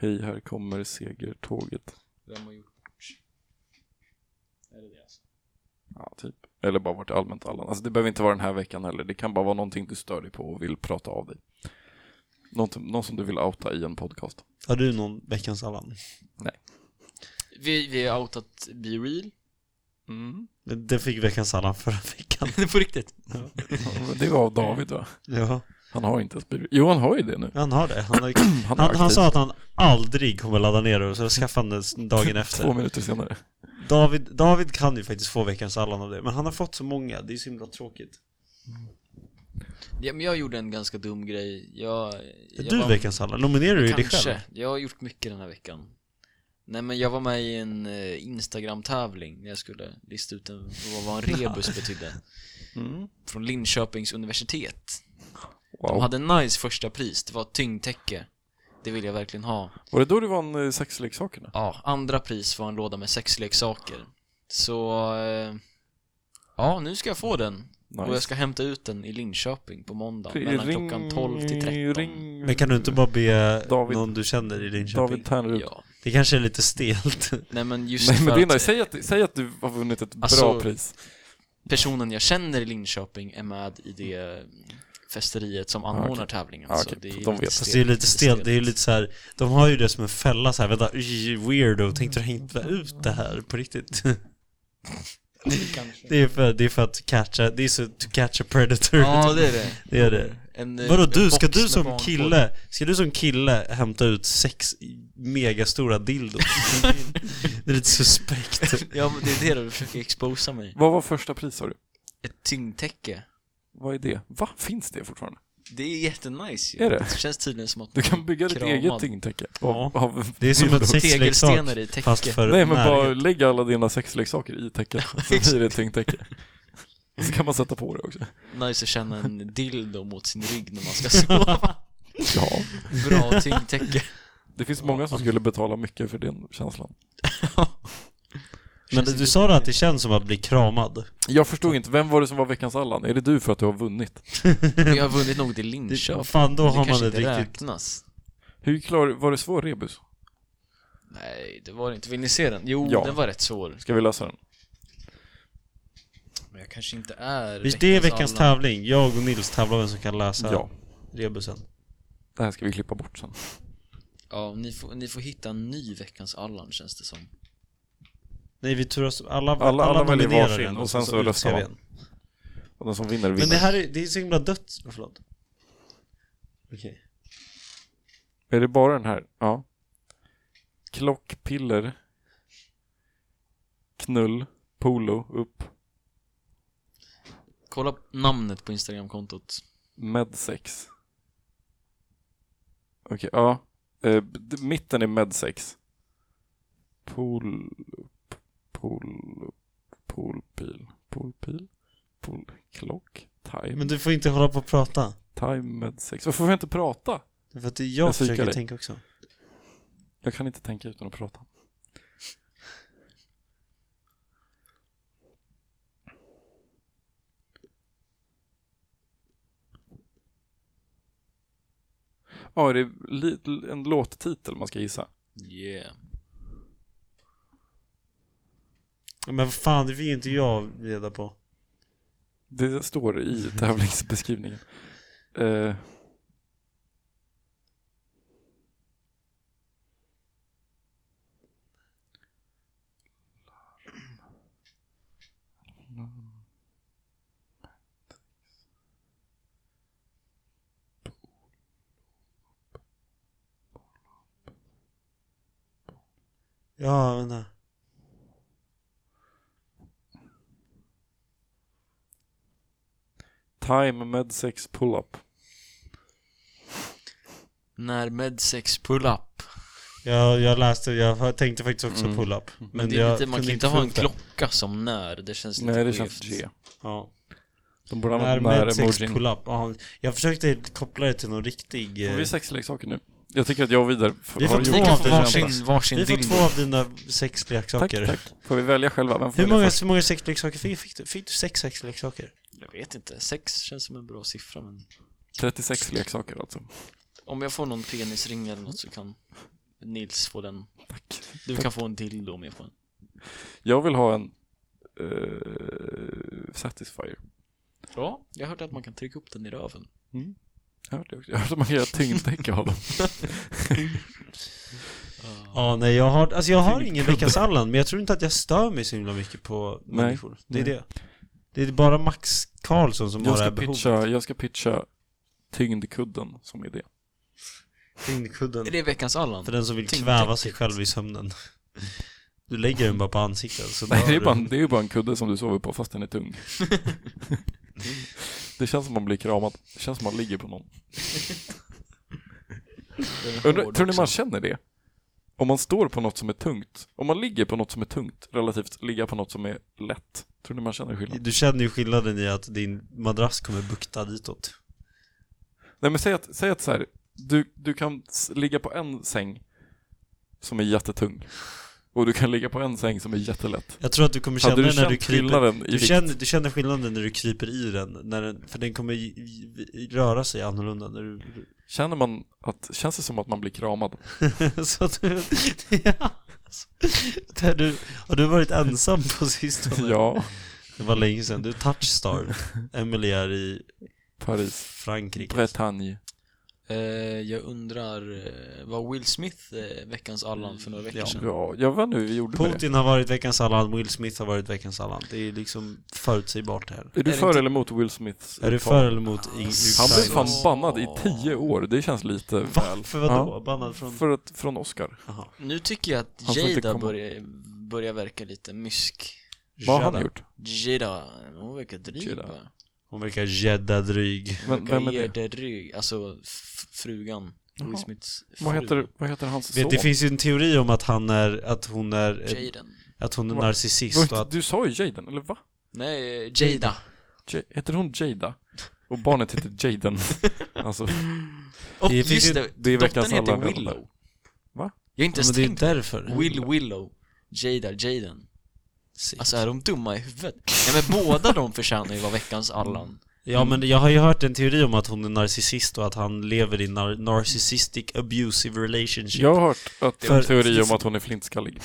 S2: Hej, här kommer segertåget.
S3: Vem har gjort? Är det det alltså?
S2: Ja, typ. Eller bara vårt allmänt Allan. Alltså det behöver inte vara den här veckan heller. Det kan bara vara någonting du stör dig på och vill prata av dig. Något, någon som du vill outa i en podcast.
S1: Har du någon veckans Allan?
S3: Vi, vi har outat Be Real. Mm.
S1: Den fick veckans Allan förra veckan.
S3: På riktigt?
S2: Ja, men Det var av David va?
S1: Ja,
S2: Han har inte ens blivit... Jo, han har ju det nu.
S1: han har det. Han, har,
S2: Han, är
S1: han, han
S2: aktiv.
S1: sa att han aldrig kommer ladda ner det, och så skaffade han det dagen
S2: Två
S1: efter.
S2: minuter senare.
S1: David, David kan ju faktiskt få veckans Allan av det, men han har fått så många, det är så himla tråkigt.
S3: Ja, men jag gjorde en ganska dum grej. Jag,
S1: Är
S3: jag
S1: du
S3: var-
S1: veckans Allan? Nominerar du dig själv?
S3: Kanske. Jag har gjort mycket den här veckan. Nej men jag var med i en eh, Instagram-tävling när jag skulle lista ut en, vad- vad en rebus betydde.
S1: Mm.
S3: Från Linköpings universitet. De
S2: Wow.
S3: hade en nice första pris, det var ett tyngdtäcke. Det vill jag verkligen ha.
S2: Var det då du vann eh, sexleksakerna?
S3: Ja, andra pris var en låda med sexleksaker. Så... Eh, ja, nu ska jag få den.
S2: Nice.
S3: Och jag ska hämta ut den i Linköping på måndag
S2: Ring-
S3: mellan klockan 12 till 13.
S2: Ring,
S1: Men kan du inte bara be
S2: David-
S1: någon du känner i Linköping?
S2: David Ternrud.
S3: Ja.
S1: Det kanske är lite stelt.
S3: Nej men just
S2: Nej men
S3: för
S2: det är nice.
S3: att
S2: Säg att, säg att du har vunnit ett bra
S3: Alltså-
S2: pris.
S3: personen jag känner i Linköping är med i det eh, festeriet som anordnar tävlingen.
S2: Ja,
S3: så
S2: Ah, okej,
S3: det
S2: de
S3: är lite
S2: vet.
S1: Fast det är lite stelt, det är
S3: stelt.
S1: lite så här. De har ju det som en fälla så här. vänta, "Oj, weirdo, tänkte du hämta ut det här på riktigt? det, är för, det är för att catcha, det är så to catch a predator
S3: Ja, det är det.
S1: Det är det
S3: En, eh,
S1: Vadå
S3: en
S1: du, ska
S3: box
S1: du
S3: med
S1: som
S3: barnporr.
S1: kille, ska du som kille hämta ut sex megastora dildos? det är lite suspekt
S3: Ja, men det är det du försöker exposa mig.
S2: Vad var första pris sa du?
S3: Ett tyngdtäcke.
S2: Vad är det? Va? Finns det fortfarande?
S3: Det är jättenice ju.
S2: Är det?
S3: Det känns tydligen som att
S2: Du kan bygga ditt
S3: Kramad.
S2: eget tyngdtäcke.
S1: Ja.
S2: Av, av,
S1: Det är som en sexleksak
S3: tegelstenar i täcke.
S1: fast för
S2: Nej men bara
S1: närhet.
S2: lägg alla dina sexleksaker i täcket. Så blir det ett tyngdtäcke. Så kan man sätta på det också.
S3: Nice att känna en dildo mot sin rygg när man ska sova.
S2: Ja.
S3: Bra tyngdtäcke.
S2: Det finns många som skulle betala mycket för den känslan.
S1: Men du sa då att det känns som att bli kramad?
S2: Jag förstod inte, vem var det som var veckans Allan? Är det du för att du har vunnit?
S3: Jag har vunnit något i
S1: Det,
S3: Linköping.
S1: vad fan, då
S3: men
S1: har man
S3: kanske
S1: det
S3: inte
S1: riktigt
S3: räknas.
S2: Hur klar, var det svår rebus?
S3: Nej, det var det inte. Vill ni se den? Jo,
S2: Ja.
S3: den var rätt svår.
S2: Ska vi lösa den?
S3: Men jag kanske inte är
S1: Visst, det är veckans
S3: Allan.
S1: tävling. Jag och Nils tävlar vem som kan läsa
S2: Ja.
S1: rebusen.
S2: Det här ska vi klippa bort sen.
S3: Ja, ni får, ni får hitta en ny veckans Allan känns det som.
S1: Nej, vi turas, alla,
S2: alla väljer
S1: nominerar
S2: varsin
S1: en
S2: och sen så
S1: utser
S2: röstar
S1: vi
S2: man.
S1: en.
S2: Och den som vinner vinner.
S1: Men det här är, det är så himla dött. Oh, Förlåt. Okej.
S2: Är det bara den här? Ja. Klockpiller. Knull. Polo. Upp.
S3: Kolla namnet på Instagramkontot.
S2: Medsex. Okej, ja. Eh, b- d- mitten är medsex. Pol... p- Pol... Polpil. Polpil. Pol... Klock. Time.
S1: Men du får inte hålla på och prata.
S2: Time medsex. Varför får jag inte prata?
S1: För att det är jag,
S2: Jag psykar
S1: försöker
S2: dig.
S1: tänka också.
S2: Jag kan inte tänka utan att prata. Ja, är det li- en låttitel man ska gissa?
S3: Yeah.
S1: Men vad fan, det fick inte jag reda på.
S2: Det står i tävlingsbeskrivningen. Eh.
S1: Ja, vänta.
S2: Time Medsex Pull-Up.
S3: När medsex pull-up.
S1: Jag, jag läste, jag tänkte faktiskt också
S2: Mm.
S1: pull-up. Men,
S3: Men det är
S1: jag
S3: lite, man
S1: kunde
S3: kan inte ha
S1: få
S3: en
S1: upp det.
S3: klocka som när. Det känns lite
S2: Nej, det
S3: skevt.
S2: känns G.
S1: Ja.
S2: De borde
S1: När
S2: använda
S1: med sex
S2: när-emojin.
S1: pull-up. Ja, jag försökte koppla det till någon riktig...
S2: Får
S1: eh,
S2: vi sexleksaker nu? Jag tycker att jag och Vidar f-
S1: Vi
S2: har
S1: får
S3: Ni
S2: gjort
S1: två
S3: kan
S1: av
S3: få
S1: det
S3: varsin,
S1: känns.
S3: varsin
S1: Vi får
S3: dildo.
S1: två av dina
S2: Tack,
S1: sexleksaker.
S2: tack. Får vi välja själva? Vem får
S1: Hur
S2: välja
S1: många,
S2: först?
S1: hur många sexleksaker fick, fick du? Fick du sex sexleksaker?
S3: Jag vet inte, sex känns som en bra siffra men
S2: 36 leksaker alltså.
S3: om jag får någon penisring eller något så kan Nils få den.
S2: Tack.
S3: Du kan få en dildo om jag får en.
S2: Jag vill ha en eh, Satisfyer.
S3: Ja, jag hörde att man kan trycka upp den i röven.
S2: Jag hörde också. Jag hörde att man kan göra tyngddäck av dem.
S1: Ja, nej jag har, alltså jag har ingen veckans Allan, men jag tror inte att jag stör mig så himla mycket på
S2: Nej,
S1: människor. Det är
S2: nej.
S1: det. Det är bara Max Karlsson som
S2: Jag
S1: har det
S2: ska,
S1: här behovet.
S2: pitcha, jag ska pitcha tyngdkudden som idé.
S1: Tyngdkudden.
S3: Är det veckans Allan?
S1: För den som vill
S3: Tyngd-
S1: kväva sig själv i sömnen. Du lägger den bara på ansiktet. Så
S2: Nej,
S1: dör
S2: det är,
S1: du.
S2: bara en, det är ju bara en kudde som du sover på fast den är tung. det känns som man blir kramad. Det känns som man ligger på någon.
S3: Den är
S2: Undrar,
S3: hård
S2: tror ni
S3: också.
S2: man känner det? Om man står på något som är tungt, om man ligger på något som är tungt relativt ligga på något som är lätt, tror ni man känner skillnad?
S1: Du känner ju skillnaden i att din madrass kommer bukta ditåt.
S2: Nej men säg att, säg att så här, du, du kan s- ligga på en säng som är jättetung och du kan ligga på en säng som är jättelätt.
S1: Jag tror att du kommer känna
S2: Hade du
S1: den när
S2: känt
S1: du kryper
S2: skillnaden i
S1: Du
S2: vikt?
S1: känner, du känner skillnaden när du kryper i den, när den för den kommer i- i- i- röra sig annorlunda när du...
S2: Känner man att, känns det som att man blir kramad?
S1: så att du... ja. där du... Har du varit ensam på sistone?
S2: Ja,
S1: Det var länge sedan. Du är touchstar. Emily är i
S2: Paris.
S1: Frankrike.
S2: Bretagne.
S3: Eh, jag undrar, eh, var Will Smith eh, veckans Allan för några veckor
S1: Ja.
S3: sedan?
S2: Ja, jag vet inte hur vi gjorde med det.
S1: Putin har varit veckans Allan, Will Smith har varit veckans Allan. Det är liksom förutsägbart här.
S2: Är du
S3: Är det
S2: för
S3: inte-
S2: eller emot Will Smiths
S1: Är du
S2: uttal?
S1: för eller emot i- i
S2: Han blev
S1: Ukraina?
S2: fan bannad i tio år, det känns lite
S1: Va?
S2: väl.
S1: För vadå? Bannad från...
S2: För att, från Oscar.
S1: Jaha.
S3: Nu tycker jag
S2: Han
S3: att
S2: får inte
S3: Jada
S2: komma.
S3: börjar, börjar verka lite mysk.
S2: Vad har
S1: Jedda.
S2: han gjort?
S3: Jada, hon verkar dryg
S2: Jada.
S3: bara.
S1: Hon verkar jäddadryg.
S2: Men, vem är det?
S3: Dryg. Alltså f- frugan.
S2: Jaha.
S3: Will Smiths fru.
S2: Vad heter, vad heter hans son?
S1: Vet, det finns ju en teori om att han är, att hon är, eh,
S3: Jaden.
S1: att hon är
S2: Va?
S1: narcissist och
S2: Var inte-
S1: att
S2: Du sa ju Jaden, eller va?
S3: Nej, eh, Jada.
S2: Ja- Heter hon Jada? Och barnet heter Jaden. Alltså,
S3: Och
S1: Det
S3: det
S1: finns ju-
S3: just det,
S2: det är veckans
S3: dottern heter
S2: alla
S3: Willow.
S2: vänner. Va?
S3: Jag har inte
S1: Ja,
S3: ens
S1: men det är
S3: tänkt
S1: därför.
S3: Will Willow. Jada, Jaden.
S1: Sick.
S3: Alltså är de dumma i huvudet? Nej men båda de förtjänar ju vara veckans Allan.
S1: Ja men jag har ju hört en teori om att hon är narcissist och att han lever i nar- narcissistic abusive relationship.
S2: jag har hört att det är en
S1: För-
S2: teori om att hon är flintskallig.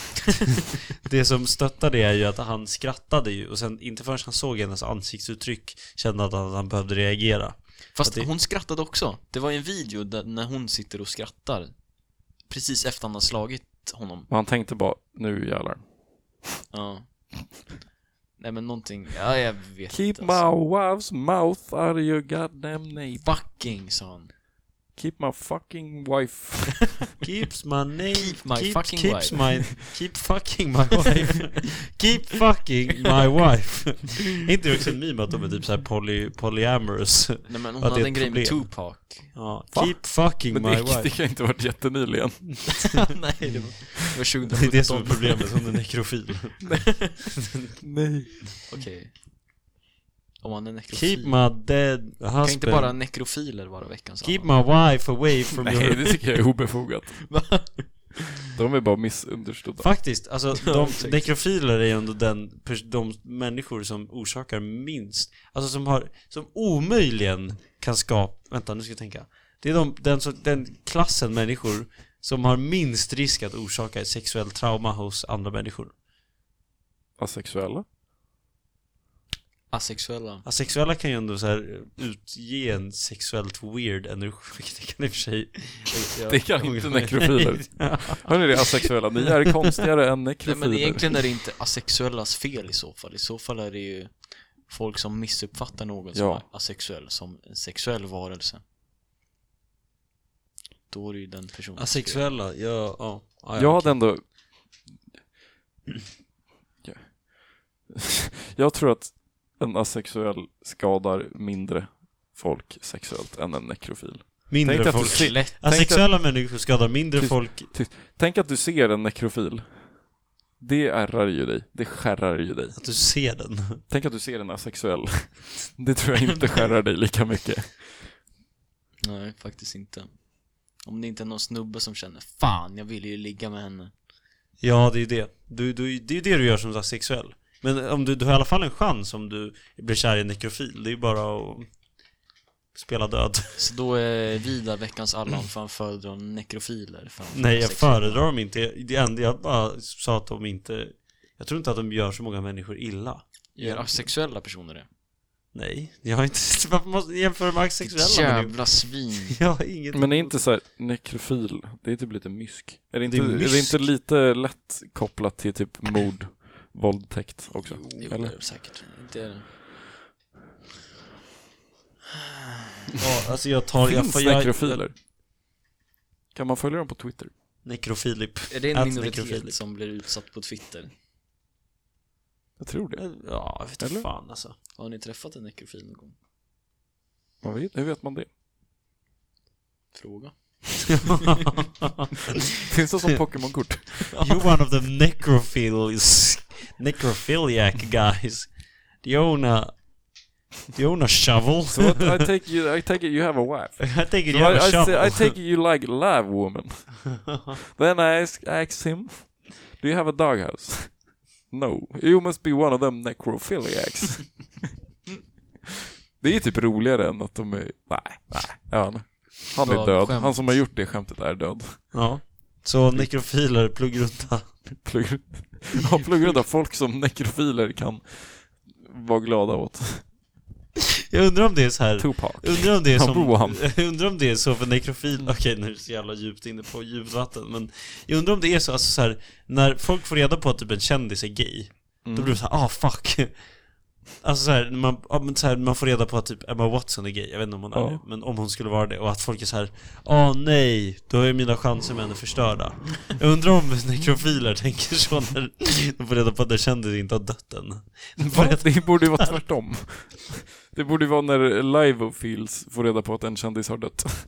S1: Det som stöttar det är ju att han skrattade ju och sen inte förrän han såg hennes ansiktsuttryck kände att han, att han behövde reagera.
S3: Fast
S1: Ja, det-
S3: hon skrattade också. Det var ju en video där när hon sitter och skrattar. Precis efter han har slagit honom.
S2: Och han tänkte bara, nu jävlar.
S3: Ja. Nej men någonting, ja jag vet
S2: Keep
S3: inte. alltså.
S2: my wife's mouth out of your goddamn name.
S3: Fucking sa han.
S2: Keep my fucking wife.
S1: Keeps my name...
S3: Keep my
S1: keep-
S3: fucking
S1: keeps
S3: wife.
S1: My, keep fucking my wife. keep fucking my wife. Är inte det också en meme att de är typ såhär poly, polyamorous?
S3: Nej men hon
S1: Ja, det är
S3: hade en
S1: ett
S3: grej med
S1: problem.
S3: Tupac.
S1: Ja,
S2: Va?
S1: keep fucking
S2: Men
S1: my
S2: det, det
S1: wife.
S2: kan ju inte ha varit jättenyligen.
S3: Nej det var, det var 2017.
S1: Det är det som är problemet, hon är nekrofil.
S2: Nej.
S3: Okej. Om man är nekrofil.
S1: Keep my dead husband.
S3: Kan inte bara nekrofiler vara veckans
S1: Keep
S3: annan?
S1: my wife away from
S2: Nej,
S1: your...
S2: det tycker jag är obefogat. De är bara missunderstådda.
S1: Faktiskt, alltså de,
S3: precis.
S1: nekrofiler är ju ändå den, pers- de människor som orsakar minst, alltså som har, som omöjligen kan skapa, vänta nu ska jag tänka. Det är de, den, som- den klassen människor som har minst risk att orsaka ett sexuellt trauma hos andra människor.
S2: Asexuella?
S3: Asexuella.
S1: Asexuella kan ju ändå så här utge en sexuellt weird energi, vilket det kan i och för sig...
S2: Det kan inte nekrofiler. Hörni det asexuella, ni är konstigare än
S3: Nej men
S2: nekrofiler.
S3: egentligen är det inte asexuellas fel i så fall. I så fall är det ju folk som missuppfattar någon som
S2: Ja.
S3: är asexuell som en sexuell varelse. Då är det ju den personen.
S1: Asexuella, ja, ja. ja,
S2: Jag hade ändå... Ja. Jag tror att en asexuell skadar mindre folk sexuellt än en nekrofil. Tänk
S1: Mindre
S2: att du
S1: folk.
S2: ser-
S3: Lätt.
S1: Asexuella människor skadar mindre
S2: Tyst.
S1: folk
S2: Tänk att du ser en nekrofil. Det ärrar ju dig. Det skärrar ju dig.
S1: Att du ser den.
S2: Tänk att du ser en asexuell. Det tror jag inte skärrar dig lika mycket.
S3: Nej, faktiskt inte. Om det inte är någon snubbe som känner Fan, jag vill ju ligga med henne.
S1: Ja, det är ju det. Du, du, det är ju det du gör som asexuell. Men om du, du har i alla fall en chans om du blir kär i en nekrofil. Det är ju bara att spela död.
S3: Så då är Vidar veckans Allan för han föredrar nekrofiler framför
S1: Nej, jag
S3: asexuella.
S1: föredrar dem inte. Det enda jag bara sa att de inte... Jag tror inte att de gör så många människor illa.
S3: Gör asexuella personer det?
S1: Nej, jag har inte... Varför måste jag jämföra med asexuella människor?
S3: Jävla svin.
S1: Jag har inget...
S2: Men är inte så här, nekrofil, det är typ lite mysk. Är det inte,
S1: Det är
S2: är det
S1: mysk.
S2: inte lite lätt kopplat till typ mord, våldtäkt också?
S3: Jo, det är
S2: Eller?
S3: det säkert. Inte är det.
S1: Ja, alltså jag tar...
S2: Finns
S1: jag, jag,
S2: nekrofiler? Kan man följa dem på Twitter?
S1: Nekrofilip.
S3: Är det en
S1: Att nekrofil.
S3: minoritet som blir utsatt på Twitter?
S2: Jag tror det.
S1: Ja, jag vet inte
S2: Eller?
S1: fan alltså.
S3: Har ni träffat en nekrofil någon gång?
S2: Man vet, hur vet man det?
S3: Fråga.
S2: Finns det som Pokémon-kort?
S1: You're one of the necrophils, necrophiliac guys. Do you own a, do you own a shovel?
S2: So what, I take you, I take it you have a wife.
S1: I take it
S2: So
S1: you have
S2: I,
S1: a
S2: I,
S1: shovel.
S2: say, I take it you like live woman. Then I ask, I ask him, do you have a doghouse? No, you must be one of them necrophiliacs. det är typ roligare än att de är, nej, nej, ja, nej. Han
S3: Bra
S2: är död.
S3: skämt.
S2: Han som har gjort det skämtet är död.
S1: ja. Så nekrofiler, pluggrunda.
S2: Plugg- Ja, pluggrunda folk som nekrofiler kan vara glada åt.
S1: Jag undrar om det är så här.
S2: Tupac.
S1: Undrar om det är
S2: Han
S1: som,
S2: bor han.
S1: undrar om det är så för nekrofil, okej nu är det så jävla djupt inne på djupt vatten men Jag undrar om det är så, alltså så här, när folk får reda på att typ en kändis är gay
S2: Mm.
S1: Då blir det så här, ah fuck Alltså så här, när man, ja, men så här, man får reda på att typ Emma Watson är gay, jag vet inte om hon är
S2: Ja.
S1: det, men om hon skulle vara det och att folk är så här, ah nej, då är mina chanser med henne förstörda Jag undrar om nekrofiler tänker så när de får reda på att en kändis inte har dött än De får
S2: Va?
S1: reda
S2: Det borde ju vara tvärtom. Det borde ju vara när Liveofils får reda på att en kändis har dött.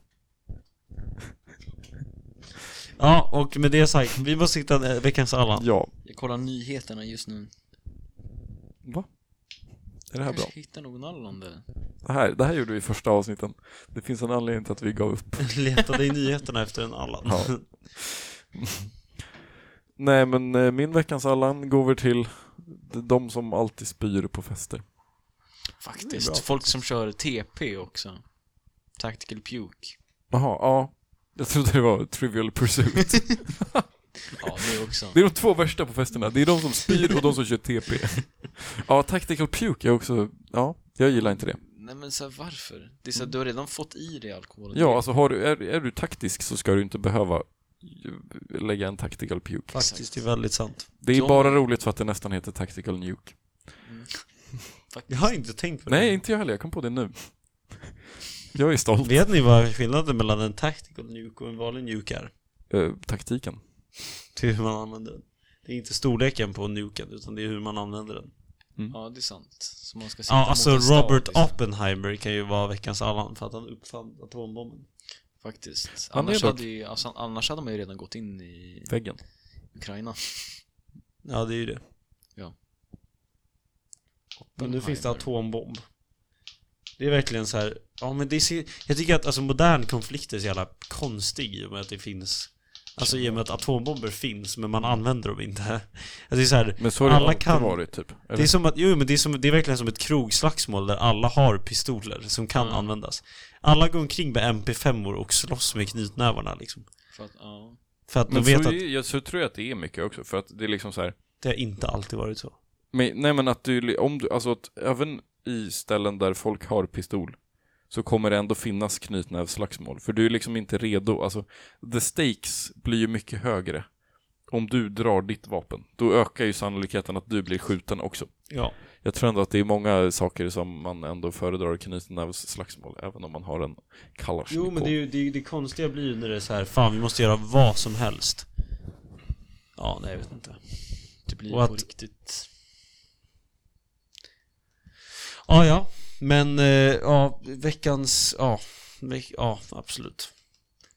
S1: Ja, och med det sagt, vi måste hitta eh, veckans Allan
S2: Ja.
S3: Jag kollar nyheterna just nu.
S2: Va? Är det här bra?
S3: Kanske hittar någon Allan där.
S2: Det här, det här gjorde vi i första avsnitten. Det finns en anledning till att vi gav upp.
S1: Letade i nyheterna efter en Allan.
S2: Ja. Nej, men eh, min veckans Allan går över till de som alltid spyr på fester.
S3: Faktiskt. Folk som kör TP också. Tactical Puke.
S2: Jaha, ja. Jag trodde det var Trivial Pursuit.
S3: Ja, det också.
S2: Det är de två värsta på festerna. Det är de som spyr och de som kör TP. Ja, Tactical Puke är också... Ja, jag gillar inte det.
S3: Nej men så här, varför? Det är så här, du har redan fått i dig alkoholen.
S2: Ja, alltså har du, är, är du taktisk så ska du inte behöva lägga en tactical puke.
S1: Faktiskt, det är väldigt sant.
S2: Det är
S3: De-
S2: bara roligt för att det nästan heter tactical nuke.
S1: Jag har inte tänkt på det.
S2: Nej, inte jag heller. Jag kom på det nu. Jag är stolt.
S1: Vet ni vad skillnaden mellan en tactical nuke och en vanlig nuke är?
S2: Eh, taktiken.
S1: Till hur man använder den. Det är inte storleken på nuken, utan det är hur man använder den.
S3: Ja, det är sant. Så man ska sitta
S1: Ja,
S3: mot
S1: alltså
S3: en stav,
S1: Robert
S3: liksom.
S1: Oppenheimer kan ju vara veckans Allan för att han uppfann atombomben.
S3: Faktiskt.
S2: Han är
S3: Annars,
S2: dock-
S3: hade ju, alltså, annars hade man ju redan gått in i
S2: Väggen.
S3: Ukraina.
S1: Ja, det är ju det.
S3: Ja.
S1: Men nu finns det
S3: Oppenheimer.
S1: atombomb. Det är verkligen så här, ja men det är, så- jag tycker att alltså, modern konflikt är så jävla konstig i och med att det finns Alltså i och med att atombomber finns men man använder dem inte. Alltså det är så här,
S2: Men så har det
S1: Alla
S2: alltid
S1: kan-
S2: varit typ. Eller?
S1: Det är som att, jo men det är, som, det är verkligen som ett krogslagsmål där alla har pistoler som kan
S3: Mm.
S1: användas. Alla går omkring med MP5 or och slåss med knytnävarna liksom.
S3: För att, ja.
S1: För att de
S2: Men
S1: vet
S2: så,
S1: att
S2: är- jag, så tror jag att det är mycket också. För att det är liksom så här.
S1: det har inte alltid varit så.
S2: Men, nej men att du, om du, alltså att även i ställen där folk har pistol så kommer det ändå finnas knytnävsslagsmål. För du är liksom inte redo, alltså the stakes blir ju mycket högre om du drar ditt vapen. Då ökar ju sannolikheten att du blir skjuten också.
S1: Ja.
S2: Jag tror ändå att det är många saker som man ändå föredrar knytnävsslagsmål, även om man har en Kalashnikov.
S1: Jo men det, är ju, det, är ju- det konstiga blir ju när det är så här, fan vi måste göra vad som helst. Ja, nej jag vet inte.
S3: Det blir
S1: Och
S3: typ på
S1: att-
S3: riktigt.
S1: Ja, ja. Men, eh, ja, veckans, ja. Veck, ja, absolut.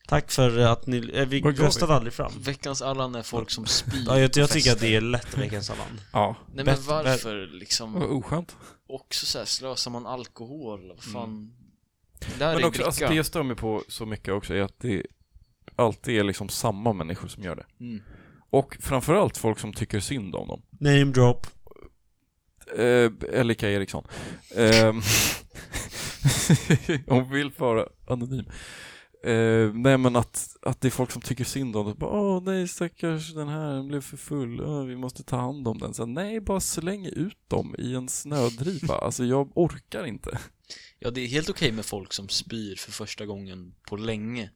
S1: Tack för att ni, eh, vi
S2: Vad gav vi?
S1: röstade aldrig fram.
S3: Veckans Allan är folk som spyr
S1: Ja, jag,
S3: på
S1: jag tycker att
S3: fester.
S1: det är lätt veckans Allan.
S2: Ja,
S3: Nej men
S1: bättre-
S3: varför
S2: vad
S3: liksom
S2: oskönt.
S3: också så här, slösar man alkohol? Vad fan? Det där är
S2: Men
S3: ju
S2: också,
S3: dricka.
S2: alltså, det jag stör mig på så mycket också är att det alltid är liksom samma människor som gör det.
S3: Mm.
S2: Och framförallt folk som tycker synd om dem.
S1: Name drop.
S2: Eh, Elika Eriksson. Eh, hon vill vara anonym. Eh, nej men att, att det är folk som tycker synd om det. Bara, Åh nej stackars den här den blev för full. Åh, vi måste ta hand om den. Så, nej bara släng ut dem i en snödriva. Alltså jag orkar inte.
S3: Ja, det är helt okej med folk som spyr för första gången på länge.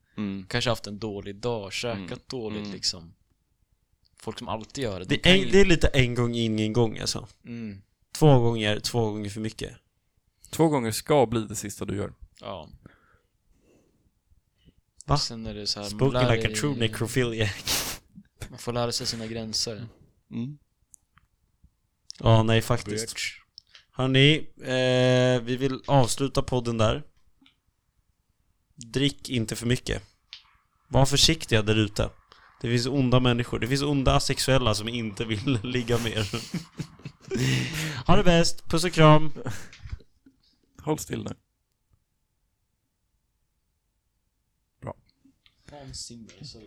S3: Kanske haft en dålig dag, käkat
S2: Mm.
S3: dåligt
S2: Mm.
S3: liksom. Folk som alltid gör det. de
S1: Det
S3: kan
S1: är,
S3: ju-
S1: en, det är lite en gång in, en gång alltså.
S3: Mm.
S1: Två gånger, två gånger för mycket.
S2: Två gånger ska bli det sista du gör.
S3: Ja.
S1: Va?
S3: Sen är det så här, man,
S1: Spoken
S3: lär
S1: like a true
S3: dig-
S1: necrophilia.
S3: man får lära sig sina gränser.
S2: Mm.
S1: Ja, nej faktiskt. Hörni, eh, vi vill avsluta podden där. Drick inte för mycket. Var försiktiga där ute. Det finns onda människor. Det finns onda asexuella som inte vill ligga med er. ha det bäst, puss och kram.
S2: Håll still nu.
S3: Vansinne, sorry.